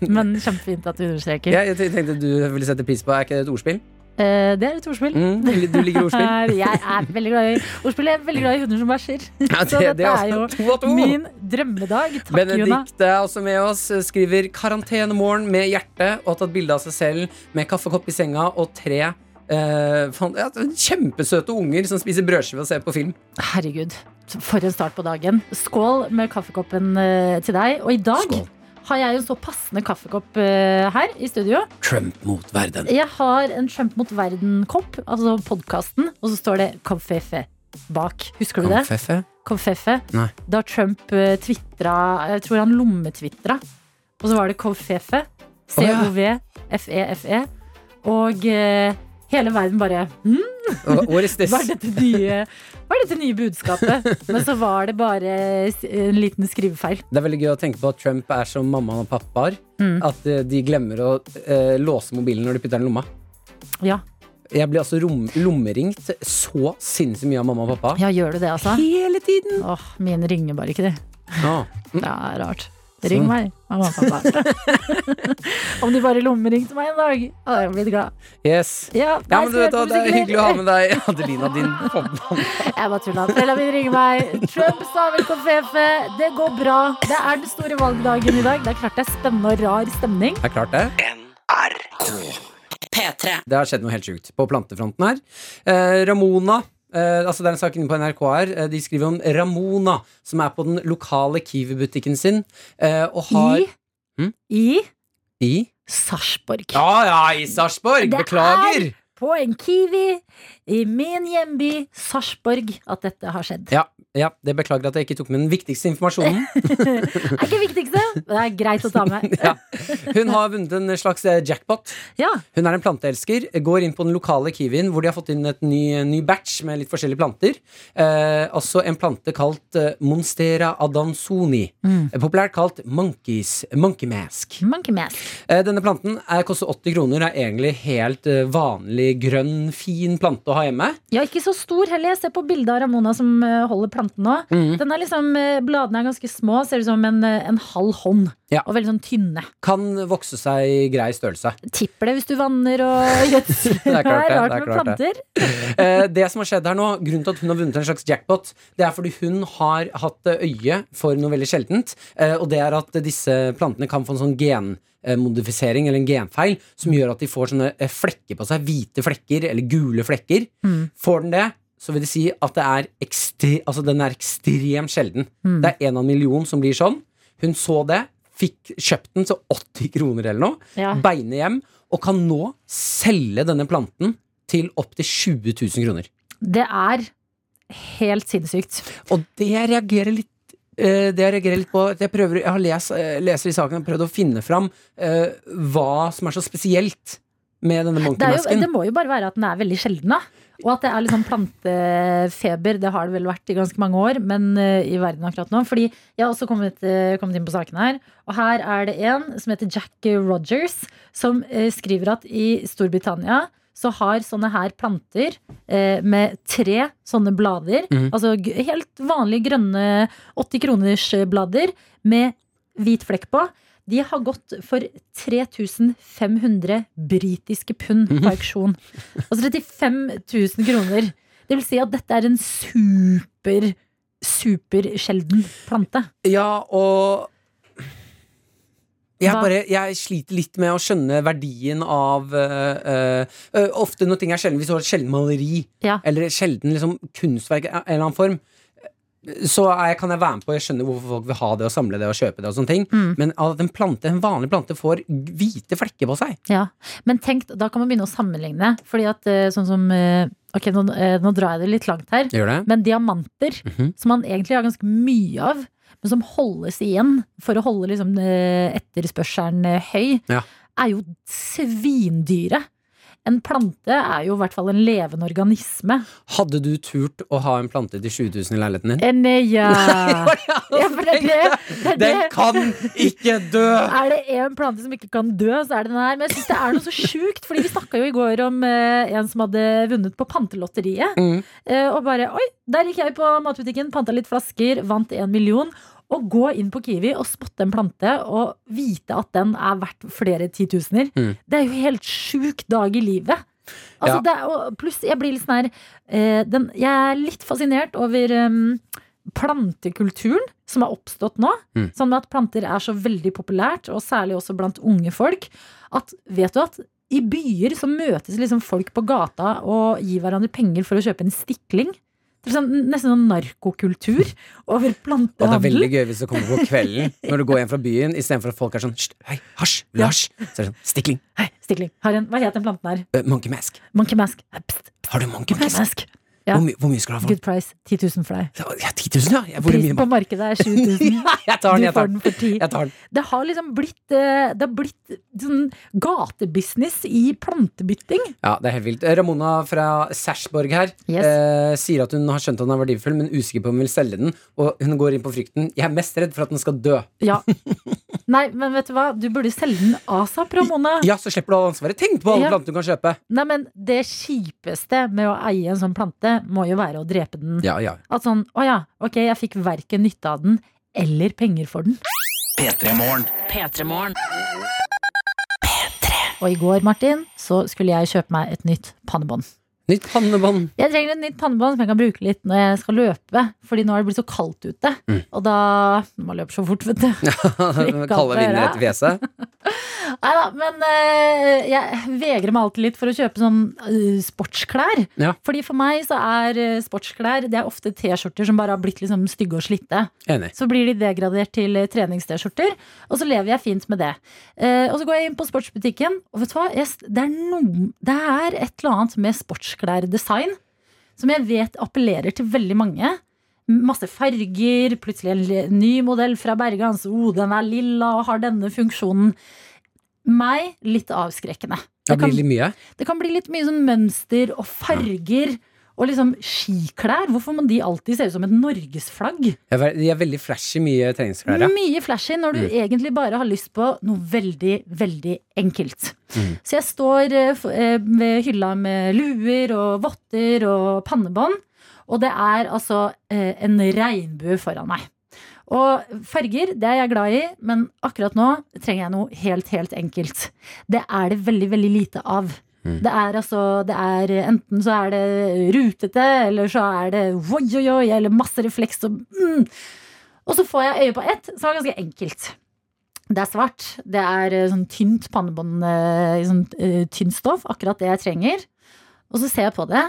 Speaker 2: Men kjempefint at du understreker.
Speaker 3: Jeg, jeg tenkte du ville sette pris på Er ikke det et ordspill?
Speaker 2: Eh, Det er et ordspill. Eh,
Speaker 3: Mm, du liker ordspill?
Speaker 2: Jeg er veldig glad i ordspill. Jeg er veldig glad i hunder som bæsjer.
Speaker 3: Ja,
Speaker 2: Så
Speaker 3: det- det
Speaker 2: dette
Speaker 3: er
Speaker 2: er
Speaker 3: også to av to.
Speaker 2: jo min drømmedag. Takk, Juna.
Speaker 3: Benedikte er også med oss. Skriver 'karantenemorgen med hjerte' og har tatt bilde av seg selv med kaffekopp i senga og tre eh, fan, ja, kjempesøte unger som spiser brødskive og ser på film.
Speaker 2: Herregud, for en start på dagen. Skål med kaffekoppen eh, til deg. Og i dag
Speaker 3: Skål.
Speaker 2: har jeg jo en så passende kaffekopp eh, her i studio.
Speaker 3: Trump mot verden.
Speaker 2: Jeg har en Trump mot verden-kopp, altså podkasten, og så står det Kaffe bak. Husker du det?
Speaker 3: Konfeffe?
Speaker 2: Konfeffe.
Speaker 3: Nei.
Speaker 2: Da Trump eh, twitra Jeg tror han lommetvitra. Og så var det Konfeffe.
Speaker 3: ja.
Speaker 2: C-O-V-F-E-F-E. E Og eh, hele verden bare hm?
Speaker 3: Hva- What is this?
Speaker 2: Hva er dette nye, hva er dette nye budskapet? Men så var det bare s- en liten skrivefeil.
Speaker 3: Det er veldig gøy å tenke på at Trump er som mamma og pappaer. At eh, de glemmer å eh, låse mobilen når de putter den i lomma.
Speaker 2: Ja,
Speaker 3: Jeg blir altså rom, lommeringt så sinnssykt mye av mamma og pappa.
Speaker 2: ja gjør du det, altså?
Speaker 3: Hele tiden!
Speaker 2: Åh, min ringer bare ikke, det.
Speaker 3: Ah,
Speaker 2: Det er rart. Ring
Speaker 3: Sånn.
Speaker 2: meg, mamma og pappa. Om de bare lommeringte meg en dag, hadde jeg blitt glad.
Speaker 3: yes.
Speaker 2: Ja,
Speaker 3: Ja,
Speaker 2: nei,
Speaker 3: men du
Speaker 2: så hørte
Speaker 3: vet hva, Det er
Speaker 2: sikkert-
Speaker 3: hyggelig å ha med deg, Adelina, din forbann.
Speaker 2: Jeg bare tulla. Foreldra mine ringer meg. Trump sa vel på FF. Det går bra. Det er den store valgdagen i dag. Det er klart det er spennende og rar stemning.
Speaker 3: Det er klart, det.
Speaker 6: P3.
Speaker 3: Det har skjedd noe helt sjukt på plantefronten her. Eh, Ramona eh, altså Det er en sak inne på NRK her. Eh, de skriver om Ramona, som er på den lokale Kiwi-butikken sin. Eh, og har
Speaker 2: I
Speaker 3: Mm.
Speaker 2: I
Speaker 3: I?
Speaker 2: Sarpsborg.
Speaker 3: Ja, ja, i Sarpsborg!
Speaker 2: Det er-
Speaker 3: Beklager!
Speaker 2: På en Kiwi i min hjemby Sarpsborg at dette har skjedd.
Speaker 3: Ja, ja, det beklager at jeg ikke tok med den viktigste informasjonen.
Speaker 2: Det er ikke det viktigste, men det er greit å ta med.
Speaker 3: ja. Hun har vunnet en slags eh, jackpot.
Speaker 2: Ja,
Speaker 3: Hun er en planteelsker, går inn på den lokale kiwien hvor de har fått inn et ny, ny batch med litt forskjellige planter. Eh, altså en plante kalt eh, Monstera adansoni, Eh, populært kalt monkeys, monkey mask.
Speaker 2: Monkey mask.
Speaker 3: Eh, denne planten er, koster 80 kroner, er egentlig helt eh, vanlig grønn, fin plante å ha hjemme.
Speaker 2: Ja, ikke så stor heller. Jeg ser på bildet av Ramona som eh, holder planten nå.
Speaker 3: Mhm.
Speaker 2: Den er liksom, eh, Bladene er ganske små, ser ut som en, eh, en halv hånd.
Speaker 3: Ja.
Speaker 2: Og veldig sånn tynne.
Speaker 3: Kan vokse seg i grei størrelse.
Speaker 2: tipper det hvis du vanner og gjødsler.
Speaker 3: Det er klart det,
Speaker 2: rart
Speaker 3: det er
Speaker 2: med
Speaker 3: klart det.
Speaker 2: planter.
Speaker 3: Eh, det som har skjedd her nå, Grunnen til at hun har vunnet en slags jackpot, Det er fordi hun har hatt eh, øye for noe veldig sjeldent. eh, Og det er at eh, disse plantene kan få en sånn genmodifisering eller en genfeil som gjør at de får sånne eh, flekker på seg. Hvite flekker eller gule flekker. Får den det, så vil det si at det er ekstre, altså den er ekstremt sjelden. Det er en av en million som blir sånn. Hun så det, fikk kjøpt den til 80 kroner eller noe
Speaker 2: Ja.
Speaker 3: beine hjem og kan nå selge denne planten til opptil 20 000 kroner.
Speaker 2: Det er helt sinnssykt.
Speaker 3: Og det jeg reagerer litt eh, det jeg reagerer litt på at Jeg prøver, jeg har lest, eh, leser i saken og prøvd å finne fram eh, hva som er så spesielt med denne
Speaker 2: Det, er jo,
Speaker 3: monkeymasken.
Speaker 2: det må jo bare være at den er veldig sjelden, da. Og at det er liksom plantefeber. Det har det vel vært i ganske mange år, men eh, i verden akkurat nå. Fordi jeg har også kommet, eh, kommet inn på saken her. Og her er det en som heter Jack Rogers, som eh, skriver at i Storbritannia så har sånne her planter eh, med tre sånne blader,
Speaker 3: Mhm.
Speaker 2: altså g- helt vanlige grønne 80 kroners eh, blader med hvit flekk på, de har gått for 3500 britiske pund på auksjon. Altså 35 000 kroner. Det vil si at dette er en super, supersjelden plante.
Speaker 3: Ja, og jeg,
Speaker 2: Hva?
Speaker 3: bare, jeg sliter litt med å skjønne verdien av eh, eh, eh, Ofte når ting er sjelden, hvis du har et sjelden maleri
Speaker 2: Ja.
Speaker 3: eller et sjelden liksom, kunstverk av en eller annen form, så er, jeg- kan jeg være med på Jeg skjønner hvorfor folk vil ha det og samle det og kjøpe det. og sånne ting
Speaker 2: Mm.
Speaker 3: Men at en, plante, en vanlig plante får hvite flekker på seg.
Speaker 2: Ja, men tenk, da kan man begynne å sammenligne. Fordi at eh, sånn som eh, Ok, nå, eh, nå drar jeg det litt langt her.
Speaker 3: Gjør det?
Speaker 2: Men diamanter,
Speaker 3: Mhm.
Speaker 2: som man egentlig har ganske mye av, men som holdes igjen for å holde liksom, eh, etterspørselen eh, høy,
Speaker 3: Ja.
Speaker 2: er jo svindyre. En plante er jo i hvert fall en levende organisme.
Speaker 3: Hadde du turt å ha en plante til 20 000 i leiligheten din?
Speaker 2: En, eh, ja. ja, for det er det, det, er
Speaker 3: Den
Speaker 2: det.
Speaker 3: kan ikke dø!
Speaker 2: Er det én plante som ikke kan dø, så er det den her. Men jeg synes det er noe så sjukt, Fordi vi snakka jo i går om eh, en som hadde vunnet på Pantelotteriet.
Speaker 3: Mm.
Speaker 2: Eh, og bare Oi, der gikk jeg på matbutikken, panta litt flasker, vant en million. Å gå inn på Kiwi og spotte en plante og vite at den er verdt flere titusener,
Speaker 3: Mm.
Speaker 2: det er jo helt sjuk dag i livet. Altså,
Speaker 3: Ja.
Speaker 2: det er, og pluss, jeg blir litt sånn her eh, den, Jeg er litt fascinert over em, plantekulturen som har oppstått nå.
Speaker 3: Mm.
Speaker 2: Sånn med at planter er så veldig populært, og særlig også blant unge folk. At, vet du at i byer så møtes liksom folk på gata og gir hverandre penger for å kjøpe en stikling. Det er sånn, nesten sånn narkokultur over
Speaker 3: Og det er veldig
Speaker 2: plantehandel.
Speaker 3: gøy hvis det kommer på kvelden når du går hjem fra byen, istedenfor at folk er sånn «Hysj, Hei, hasj, vil du
Speaker 2: Ja.
Speaker 3: hasj? Så er det sånn Stikling.
Speaker 2: Hei, stikling. Har en, hva het den planten her?
Speaker 3: eh, monkey mask.
Speaker 2: Monkey mask. Hei, pst,
Speaker 3: Har du monkey
Speaker 2: monkey
Speaker 3: mask?
Speaker 2: mask. Ja.
Speaker 3: Hvor, mye- hvor mye skal du ha for den?
Speaker 2: Good price. 10 000 for deg.
Speaker 3: Ja, 10 000, ja. Jeg, hvor
Speaker 2: Prisen
Speaker 3: mye?
Speaker 2: på markedet er 7000.
Speaker 3: Ja, jeg tar den,
Speaker 2: Du
Speaker 3: jeg
Speaker 2: får
Speaker 3: tar
Speaker 2: den
Speaker 3: den.
Speaker 2: for 10
Speaker 3: Jeg tar den.
Speaker 2: Det har liksom blitt eh, Det har blitt sånn gatebusiness i plantebytting.
Speaker 3: Ja, det er helt vilt. Ramona fra Sarpsborg her
Speaker 2: Yes.
Speaker 3: eh, sier at hun har skjønt at den er verdifull, men usikker på om hun vil selge den. Og hun går inn på frykten. Jeg er mest redd for at den skal dø.
Speaker 2: Ja. Nei, men vet du hva? Du burde selge den asap, Ramona.
Speaker 3: Ja, så slipper du all ansvaret. Tenk på alle
Speaker 2: Ja.
Speaker 3: plantene du kan kjøpe!
Speaker 2: Nei, men det kjipeste med å eie en sånn plante, må jo være å drepe den.
Speaker 3: Ja, ja.
Speaker 2: At sånn, å ja, ok, jeg fikk verken nytte av den eller penger for den.
Speaker 6: P3-morgen.
Speaker 2: Og i går, Martin, så skulle jeg kjøpe meg et nytt pannebånd.
Speaker 3: Nytt pannebånd.
Speaker 2: Jeg trenger et nytt pannebånd som jeg kan bruke litt når jeg skal løpe. Fordi nå har det blitt så kaldt ute.
Speaker 3: Mm.
Speaker 2: Og da Man løper så fort, vet du.
Speaker 3: Kalde vinder
Speaker 2: døra.
Speaker 3: etter fjeset.
Speaker 2: Nei da, men eh, jeg vegrer meg alltid litt for å kjøpe sånn eh, sportsklær.
Speaker 3: Ja.
Speaker 2: Fordi for meg så er eh, sportsklær Det er ofte T-skjorter som bare har blitt liksom stygge og slitte.
Speaker 3: Enig.
Speaker 2: Så blir de degradert til eh, treningst-T-skjorter, og så lever jeg fint med det. Eh, og så går jeg inn på sportsbutikken, og vet du hva? Jeg, s- det, er noen- det er et eller annet med sportsklærdesign som jeg vet appellerer til veldig mange. Masse farger, plutselig en le- ny modell fra Bergans. Oh, den er lilla og har denne funksjonen. Meg litt avskrekkende.
Speaker 3: Det
Speaker 2: Det
Speaker 3: blir
Speaker 2: kan,
Speaker 3: litt mye.
Speaker 2: det kan bli litt mye sånn mønster og farger. Og liksom skiklær. Hvorfor må de alltid se ut som et norgesflagg?
Speaker 3: Jeg er- Jeg er veldig flashy mye treningsklær. Ja.
Speaker 2: Mye flashy når du egentlig bare har lyst på noe veldig, veldig enkelt. Så jeg står eh, f- eh, ved hylla med luer og votter og pannebånd, og det er altså eh, en regnbue foran meg. Og farger, det er jeg glad i, men akkurat nå trenger jeg noe helt, helt enkelt. Det er det veldig, veldig lite av. Det er altså, det er enten så er det rutete, eller så er det oi, oi, oi, eller masse refleks og mm. Og så får jeg øye på ett som er ganske enkelt. Det er svart. Det er eh, sånn tynt pannebånd eh, i sånn eh, tynt stoff. Akkurat det jeg trenger. Og så ser jeg på det,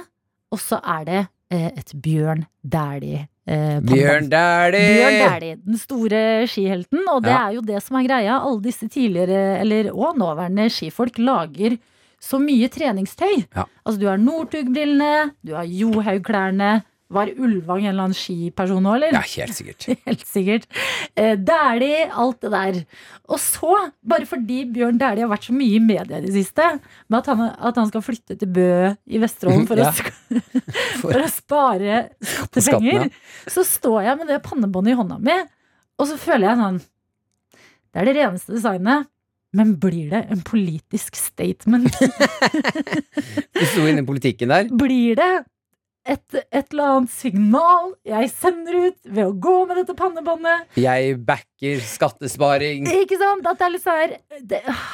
Speaker 2: og så er det eh, et Bjørn eh, Dæhlie-pannebånd. Bjørn
Speaker 3: Bjørn Dæhlie!
Speaker 2: Dæhlie, den store skihelten. Og det
Speaker 3: Ja.
Speaker 2: er jo det som er greia. Alle disse tidligere, eller og nåværende, skifolk lager så mye treningstøy.
Speaker 3: Ja.
Speaker 2: Altså, du har Northug-brillene, du har Johaug-klærne. Var Ulvang en eller annen skiperson nå, eller?
Speaker 3: Ja, helt sikkert.
Speaker 2: Helt sikkert. Eh, Dæhlie, alt det der. Og så, bare fordi Bjørn Dæhlie har vært så mye i media i det siste, med at han, at han skal flytte til Bø i Vesterålen for,
Speaker 3: Ja.
Speaker 2: å, sk- for å spare skattepenger,
Speaker 3: Skatten,
Speaker 2: så står jeg med det pannebåndet i hånda mi, og så føler jeg sånn Det er det reneste designet. Men blir det en politisk statement?
Speaker 3: Du sto inne i politikken der.
Speaker 2: blir det et, et eller annet signal jeg sender ut ved å gå med dette pannebåndet?
Speaker 3: Jeg backer skattesparing.
Speaker 2: Ikke sant? At det er litt sånn her det, ah.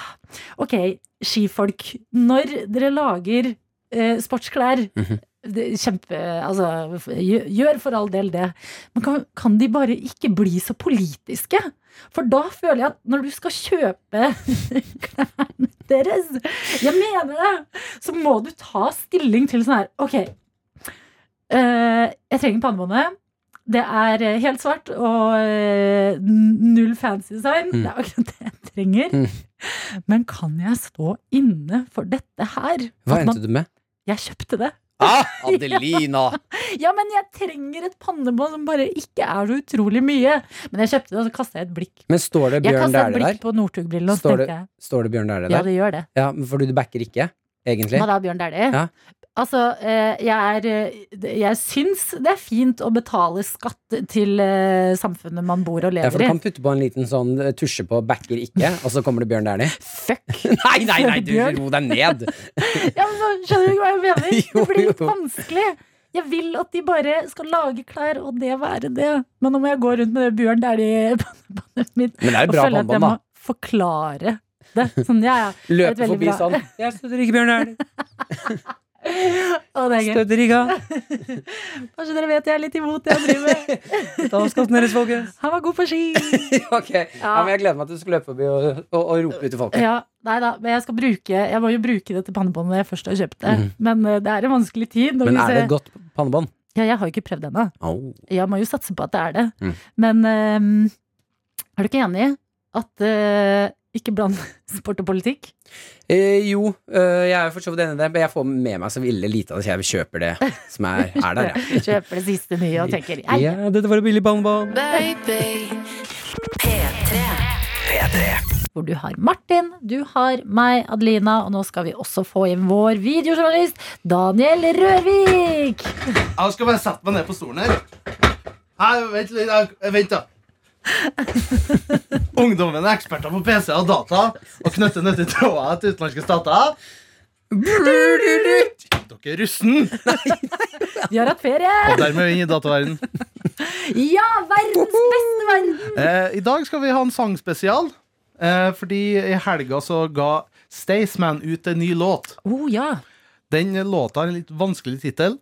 Speaker 2: Ok, skifolk. Når dere lager eh, sportsklær det, Kjempe Altså, f- gjø- gjør for all del det. Men kan, kan de bare ikke bli så politiske? For da føler jeg at når du skal kjøpe klærne deres Jeg mener det! Så må du ta stilling til sånn her Ok, eh, jeg trenger pannebåndet. Det er eh, helt svart og eh, n- null fancy design.
Speaker 3: Mm.
Speaker 2: Det er akkurat det jeg trenger. Men kan jeg stå inne for dette her?
Speaker 3: Hva
Speaker 2: At man-
Speaker 3: endte du med?
Speaker 2: Jeg kjøpte det.
Speaker 3: Ah, Adelina!
Speaker 2: Ja, men jeg trenger et pannebånd som bare ikke er så utrolig mye. Men jeg kjøpte det, og så kasta jeg et blikk.
Speaker 3: Men står det
Speaker 2: Jeg
Speaker 3: Bjørn
Speaker 2: kasta et
Speaker 3: Dæhlie
Speaker 2: blikk
Speaker 3: der?
Speaker 2: på Northug-brillene, og så
Speaker 3: Står
Speaker 2: tenkte jeg
Speaker 3: Står det Bjørn Dæhlie
Speaker 2: ja,
Speaker 3: der?
Speaker 2: det gjør det.
Speaker 3: Ja, men fordi du backer ikke, egentlig?
Speaker 2: Hva da, Bjørn Dæhlie?
Speaker 3: Ja.
Speaker 2: Altså, eh, jeg er eh, Jeg syns det er fint å betale skatt til eh, samfunnet man bor og
Speaker 3: Ja,
Speaker 2: lever
Speaker 3: for du
Speaker 2: i.
Speaker 3: kan putte på en liten sånn eh, tusje på 'backer ikke', og så kommer det Bjørn Dæhlie.
Speaker 2: Fuck!
Speaker 3: Nei, nei, nei, du
Speaker 2: Bjørn.
Speaker 3: ro deg ned!
Speaker 2: Ja, men så Skjønner du ikke hva jeg mener?
Speaker 3: Jo,
Speaker 2: Det blir litt
Speaker 3: jo.
Speaker 2: vanskelig. Jeg vil at de bare skal lage klær, og det være det. Men nå må jeg gå rundt med det Bjørn Dæhlie-båndet mitt
Speaker 3: Men det er
Speaker 2: og
Speaker 3: et bra
Speaker 2: føler at jeg
Speaker 3: pannebånd,
Speaker 2: må
Speaker 3: da.
Speaker 2: forklare det. Sånn, ja, ja. det er et
Speaker 3: Løpe
Speaker 2: veldig
Speaker 3: forbi
Speaker 2: bra-
Speaker 3: sånn. Jeg støtter ikke Bjørn Dæhlie.
Speaker 2: Å, det er gøy.
Speaker 3: Støtter ikke han.
Speaker 2: Kanskje dere vet jeg er litt imot det jeg driver med.
Speaker 3: Ta av skatten deres, folkens.
Speaker 2: Han var god på ski.
Speaker 3: Ok, ja, men Jeg gleder meg til du skal løpe forbi og, og, og rope ut til folk.
Speaker 2: Ja, nei da, men jeg skal bruke Jeg må jo bruke dette pannebåndet når jeg først har kjøpt det. Men eh, det er en vanskelig tid. når
Speaker 3: Mhm. Men
Speaker 2: disse-
Speaker 3: er det et godt pannebånd?
Speaker 2: Ja, jeg har jo ikke prøvd ennå.
Speaker 3: Au.
Speaker 2: Jeg må jo satse på at det er det.
Speaker 3: Mm.
Speaker 2: Men eh, er du ikke enig i at eh, Ikke bland sport og politikk.
Speaker 3: Eh, jo, eh, jeg er for så vidt enig i det, men jeg får med meg så ille lite av det, så jeg kjøper det som er, er der. jeg.
Speaker 2: Kjøper det siste nye og tenker
Speaker 3: Ja,
Speaker 2: «Ei,
Speaker 3: dette var et billig barnebarn.
Speaker 10: Baby. P3.
Speaker 2: hvor du har Martin, du har meg, Adelina, og nå skal vi også få inn vår videojournalist Daniel Rørvik.
Speaker 9: Jeg skal bare sette meg ned på stolen her. Hei, vent litt. jeg- Vent, da. Ungdommen er eksperter på PC og data og knytter nyttige tråder til utenlandske stater. Dere er russen!
Speaker 2: De har hatt ferie!
Speaker 9: Og dermed inn i dataverdenen.
Speaker 2: Ja, verdens beste verden!
Speaker 9: Eh, I dag skal vi ha en sangspesial, eh, fordi i helga så ga Staysman ut en ny låt.
Speaker 2: Oh, ja.
Speaker 9: Den låta har en litt vanskelig tittel.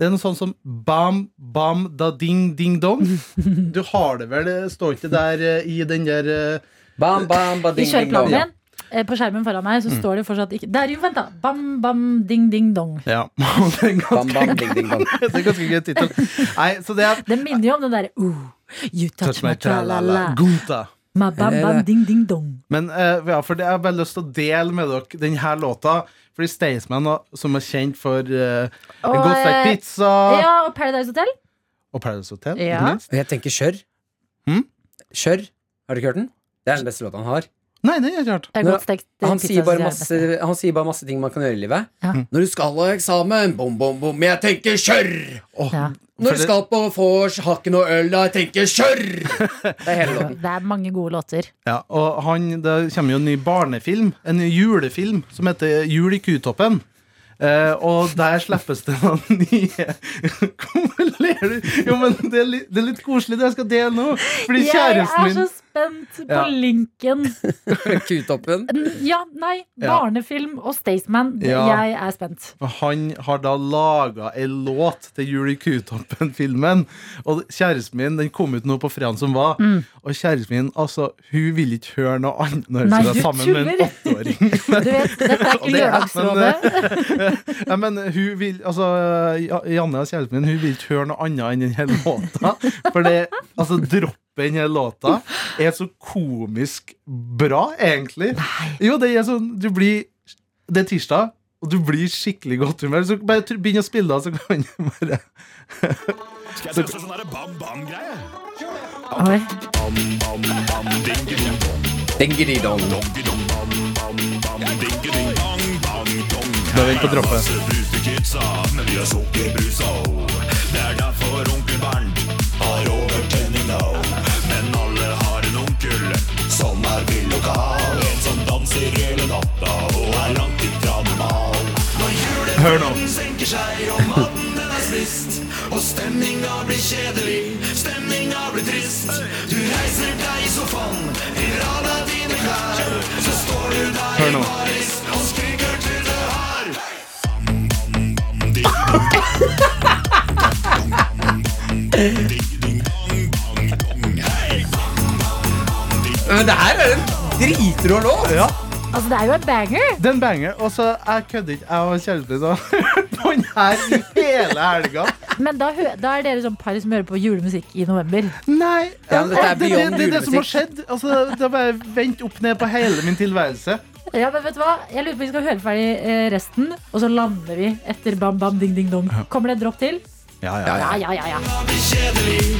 Speaker 9: Det er noe sånn som Bam, bam, da ding, ding, dong. Du har det vel, det står ikke der eh, i den der eh,
Speaker 3: Bam, bam, ba,
Speaker 2: I
Speaker 3: ding, ding, dong.
Speaker 2: kjøreplanen min, eh, på skjermen foran meg, så står det fortsatt ikke Der, jo, vent, da! Bam, bam, ding, ding, dong.
Speaker 9: Ja. det er en ganske,
Speaker 3: Bam, bam, ding, ding, dong.
Speaker 9: det er en ganske gøy tittel. Nei, så det er
Speaker 2: Det minner jo om den derre oh, You touch, my tralala.
Speaker 9: Gota.
Speaker 2: My bam, bam, ding, ding, dong.
Speaker 9: Men eh, ja, for det jeg har bare lyst til å dele med dere denne låta. Fordi Staysman, da, som er kjent for eh,
Speaker 2: Og,
Speaker 9: En godt stekt
Speaker 2: eh,
Speaker 9: pizza
Speaker 2: Ja, og Paradise Hotel.
Speaker 9: og Paradise Hotel.
Speaker 2: Ja.
Speaker 9: ikke minst.
Speaker 3: Og jeg tenker kjør.
Speaker 9: Hm?
Speaker 3: Kjør. Har du ikke hørt den? Det er den beste låta han har.
Speaker 9: Nei, det er ikke rart.
Speaker 2: Det er
Speaker 3: Nå,
Speaker 2: godt stekt eh,
Speaker 3: Han
Speaker 2: pizza,
Speaker 3: sier, bare
Speaker 2: synes
Speaker 3: masse,
Speaker 2: jeg er det beste.
Speaker 3: han sier bare masse ting man kan gjøre i livet.
Speaker 2: Ja.
Speaker 3: Når du skal ha eksamen, bom, bom, bom, jeg tenker kjør!
Speaker 9: Åh,
Speaker 2: Ja.
Speaker 9: for
Speaker 3: Når du
Speaker 9: det-
Speaker 3: skal på vors, har ikke noe øl, da, jeg tenker kjør! Det er hele låten.
Speaker 2: Det er mange gode låter.
Speaker 9: Ja, og han, Det kommer jo en ny barnefilm, en ny julefilm, som heter Jul i kutoppen. Eh, og der slippes det noen nye Hvorfor ler du? Jo, men det er, litt, det er litt koselig, det jeg skal dele nå. Fordi
Speaker 2: Jeg
Speaker 9: kjæresten
Speaker 2: er
Speaker 9: min
Speaker 2: så spent på
Speaker 9: Ja.
Speaker 2: linken.
Speaker 3: Kutoppen.
Speaker 2: N- Ja, nei,
Speaker 9: Ja.
Speaker 2: barnefilm og Staysman. Det-
Speaker 9: Ja.
Speaker 2: Jeg er spent.
Speaker 9: Han har da laga ei låt til Jul i Kutoppen-filmen. Og kjæresten min den kom ut nå på fredagen som var.
Speaker 2: Mm.
Speaker 9: Og kjæresten min altså, hun vil ikke høre noe annet når hun
Speaker 2: Nei,
Speaker 9: skal
Speaker 2: du
Speaker 9: være sammen med en
Speaker 2: tuller.
Speaker 9: åtteåring.
Speaker 2: Du vet, dette er ikke
Speaker 9: Og det er-
Speaker 2: Lørdagsrådet.
Speaker 9: Ja, men hun vil, altså, Ja- Janne og kjæresten min Hun vil ikke høre noe annet enn denne låta. For det, altså, droppet i denne låta er så komisk bra, egentlig. Jo, det er sånn Du blir Det er tirsdag, og du blir skikkelig godt humør. Så bare tr- begynn å spille, da, så kan du bare
Speaker 7: Skal jeg teste sånn der bam bam-greie?
Speaker 2: Oi.
Speaker 3: Dingeri-dong.
Speaker 9: Da er vi på droppet.
Speaker 7: Brusekidsa, men vi har sukkerbrus òg. Det er derfor onkel Bernt har overtenning nå. Men alle har en onkel som er vill og gal. En som danser hele natta og er langt ifra normal. Når julefreden senker seg og maten den er spist, og stemninga blir kjedelig, stemninga blir trist. Du reiser deg i sofaen, gir av deg dine klær, så står du der
Speaker 9: Hør nå.
Speaker 7: Paris og skriker til det her.
Speaker 3: Men det her er en dritrå låt!
Speaker 9: Ja.
Speaker 2: Altså, det er jo en banger.
Speaker 9: Det er en banger. Og så jeg kødder ikke. Jeg og kjæresten min har hørt på den her i hele helga.
Speaker 2: Men da, hø- da er dere sånn par som hører på julemusikk i november.
Speaker 9: Nei.
Speaker 3: Ja, men dette er
Speaker 9: det, det,
Speaker 3: beyond
Speaker 9: det, er det som har
Speaker 3: julemusikk.
Speaker 9: skjedd. Altså, det har bare vendt opp ned på hele min tilværelse.
Speaker 2: Ja, men vet du hva? Jeg lurer på om vi skal høre ferdig eh, resten, og så lander vi etter bam, bam, ding, ding, dong. Kommer det en dropp til?
Speaker 9: Ja,
Speaker 2: Ja, ja, ja. ja.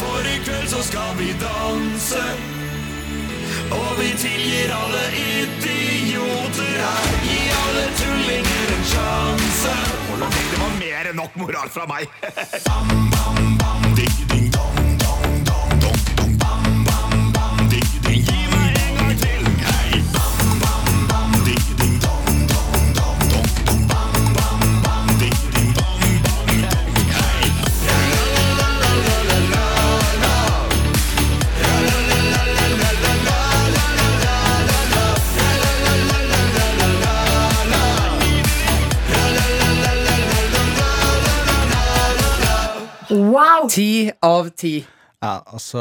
Speaker 7: For i kveld så skal vi danse Og vi tilgir alle idioter her Gi alle tullinger en sjanse Det var mer enn nok moral fra meg Bam, bam, bam Digg, ding, dong, dong, dong, dong, dong Bam, bam, bam Digg, ding Gi meg en gang til Hei Bam, bam, bam Digg, ding, dong, dong, dong, dong, dong Bam, bam, bam Digg, ding, dong, dong, dong Hei
Speaker 2: Wow!
Speaker 3: Ti av ti.
Speaker 9: ja altså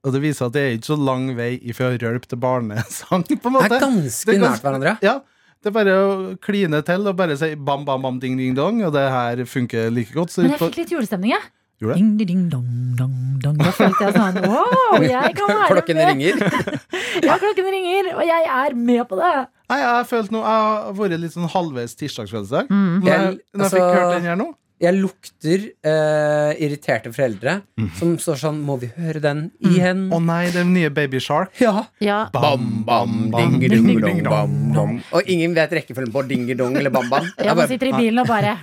Speaker 9: og det viser at det er ikke så lang vei ifra rølp til barnesang. på en
Speaker 3: Det
Speaker 9: måte
Speaker 3: er ganske nært hverandre.
Speaker 9: Ja,
Speaker 8: Det er bare å kline til og bare si bam, bam, bam, ding, ding, dong, og det her funker like godt. Så
Speaker 2: Men jeg
Speaker 8: utpå-
Speaker 2: fikk litt julestemning, jeg.
Speaker 8: Gjorde det?
Speaker 2: Ding, ding, ding, dong, dong, dong. Da følte jeg sånn Wow, jeg kan være
Speaker 3: Klokken
Speaker 2: med!
Speaker 3: ringer.
Speaker 2: Ja, klokken ringer, og jeg er med på det!
Speaker 8: Nei, jeg har følt noe Jeg har vært litt sånn halvveis tirsdagsfølelse.
Speaker 2: Mm.
Speaker 8: Når, jeg- når
Speaker 3: Jeg-
Speaker 8: jeg
Speaker 3: altså-
Speaker 8: fikk hørt den her nå
Speaker 3: Jeg lukter eh, irriterte foreldre som står sånn Må vi høre den igjen?
Speaker 8: Å nei, den nye Baby Shark.
Speaker 3: Ja.
Speaker 2: Ja,
Speaker 3: Bam, bam, ding, ding, ding, dong, bam, bam. Og ingen vet rekkefølgen på dingedong eller bam, bam.
Speaker 2: ja,
Speaker 3: Jeg
Speaker 2: man
Speaker 3: bare,
Speaker 2: sitter i bilen og bare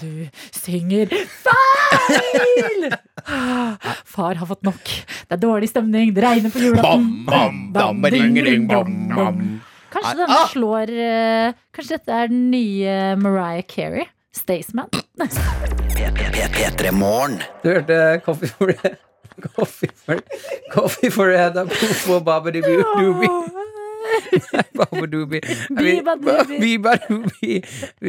Speaker 2: Du synger feil! Ah, Far har fått nok. Det er dårlig stemning. Det regner på julaften.
Speaker 3: bam,
Speaker 2: Bam,
Speaker 3: bam, ding, ding, bam, ah!
Speaker 2: dong,
Speaker 3: bam.
Speaker 2: dong. Kanskje denne slår eh, Kanskje dette er den nye Mariah Carey? Staysman?
Speaker 3: Du hørte Coffee for det. Coffee for, coffee for head of Coffee Babadoobie.
Speaker 2: Ah,
Speaker 3: Babadoobie.
Speaker 2: Bibadoobie.
Speaker 3: Bibadoobie. Vi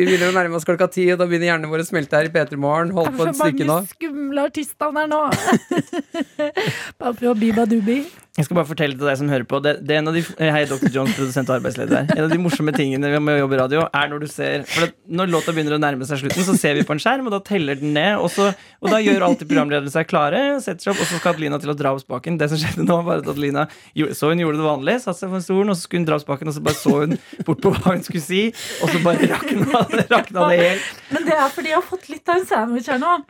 Speaker 3: begynner å nærme oss klokka ti, og da begynner hjernen vår å smelte her i P3 Morgen. Hold
Speaker 2: Det
Speaker 3: på
Speaker 2: er
Speaker 3: et
Speaker 2: så
Speaker 3: stykke nå.
Speaker 2: mange skumle artistnavn her nå. Bare for å biba dubi.
Speaker 4: Jeg skal bare fortelle til deg som hører på det, det er en av de, Hei, Dr. Jones, produsent og arbeidsleder her. En av de morsomme tingene med å jobbe i radio er når du ser For det, når låta begynner å nærme seg slutten, så ser vi på en skjerm, og da teller den ned. Og, så, og da gjør alltid programlederne seg klare, setter seg opp, og så skal Adelina til å dra opp spaken. Det som skjedde nå, var at Adelina gjorde, så hun gjorde det vanlig, satte seg på stolen, og så skulle hun dra opp spaken, og så bare så hun bort på hva hun skulle si, og så bare rakna, det- rakna det helt. Mm.
Speaker 2: Men det er fordi jeg har fått litt av en sandwich her nå.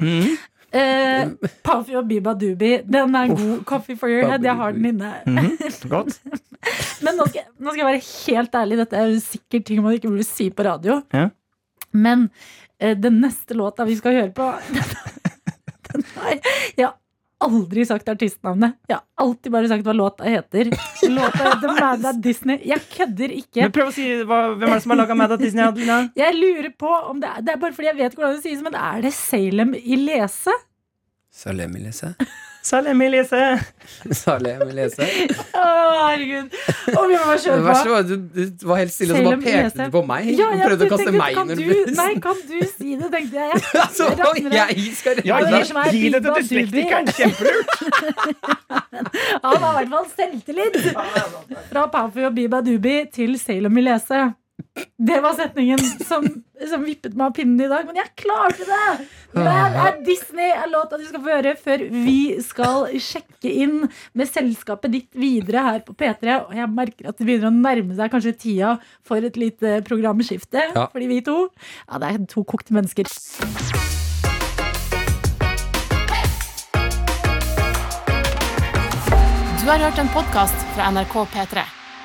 Speaker 2: Eh, Puffy og Biba Dubi. Den er god. Coffee for your head. Jeg har den inne.
Speaker 4: Mhm, Godt.
Speaker 2: Men nå skal, jeg- nå skal jeg være helt ærlig. Dette er jo sikkert ting man ikke burde si på radio.
Speaker 4: Ja.
Speaker 2: Men eh, den neste låta vi skal høre på Den, den har Jeg har aldri sagt artistnavnet. Jeg har alltid bare sagt hva låta heter. Låta heter Mad at Disney. Jeg kødder ikke.
Speaker 4: Men prøv å si hva, hvem er det som har laga Mad at Disney, Adelina?
Speaker 2: Jeg lurer på om det er, det er bare fordi jeg vet hvordan det sies, men er det Salem i Lese?
Speaker 3: Salem Elise.
Speaker 4: Salem Elise.
Speaker 3: Salem Elise.
Speaker 2: Å, herregud. Om jeg må bare
Speaker 3: Det
Speaker 2: kjøre
Speaker 3: verste
Speaker 2: på.
Speaker 3: var at du, du var helt stille, og så
Speaker 2: Salem
Speaker 3: bare pekte
Speaker 2: Elise.
Speaker 3: du på meg.
Speaker 2: Ja,
Speaker 3: og
Speaker 2: jeg
Speaker 3: prøvde å kaste
Speaker 2: tenkte,
Speaker 3: meg
Speaker 2: kan
Speaker 3: under
Speaker 2: du,
Speaker 3: bussen.
Speaker 2: nei, kan du si det, tenkte jeg. jeg.
Speaker 3: Så jeg skal
Speaker 4: Ja,
Speaker 3: redde deg.
Speaker 2: som er
Speaker 4: gi, gi det til
Speaker 2: Biba Dubi.
Speaker 4: dyslektikeren. Kjempelurt.
Speaker 2: Han har i hvert fall selvtillit! Fra Pafi og Biba Dubi til Salem i Lese. Det var setningen som, som vippet meg av pinnen i dag, men jeg klarte det! Men er Disney er låta du skal få høre før vi skal sjekke inn med selskapet ditt videre her på P3. Og jeg merker at det begynner å nærme seg kanskje tida for et lite programskifte.
Speaker 3: Ja.
Speaker 2: Fordi vi to Ja, det er to kokte mennesker.
Speaker 1: Du har hørt en podkast fra NRK P3.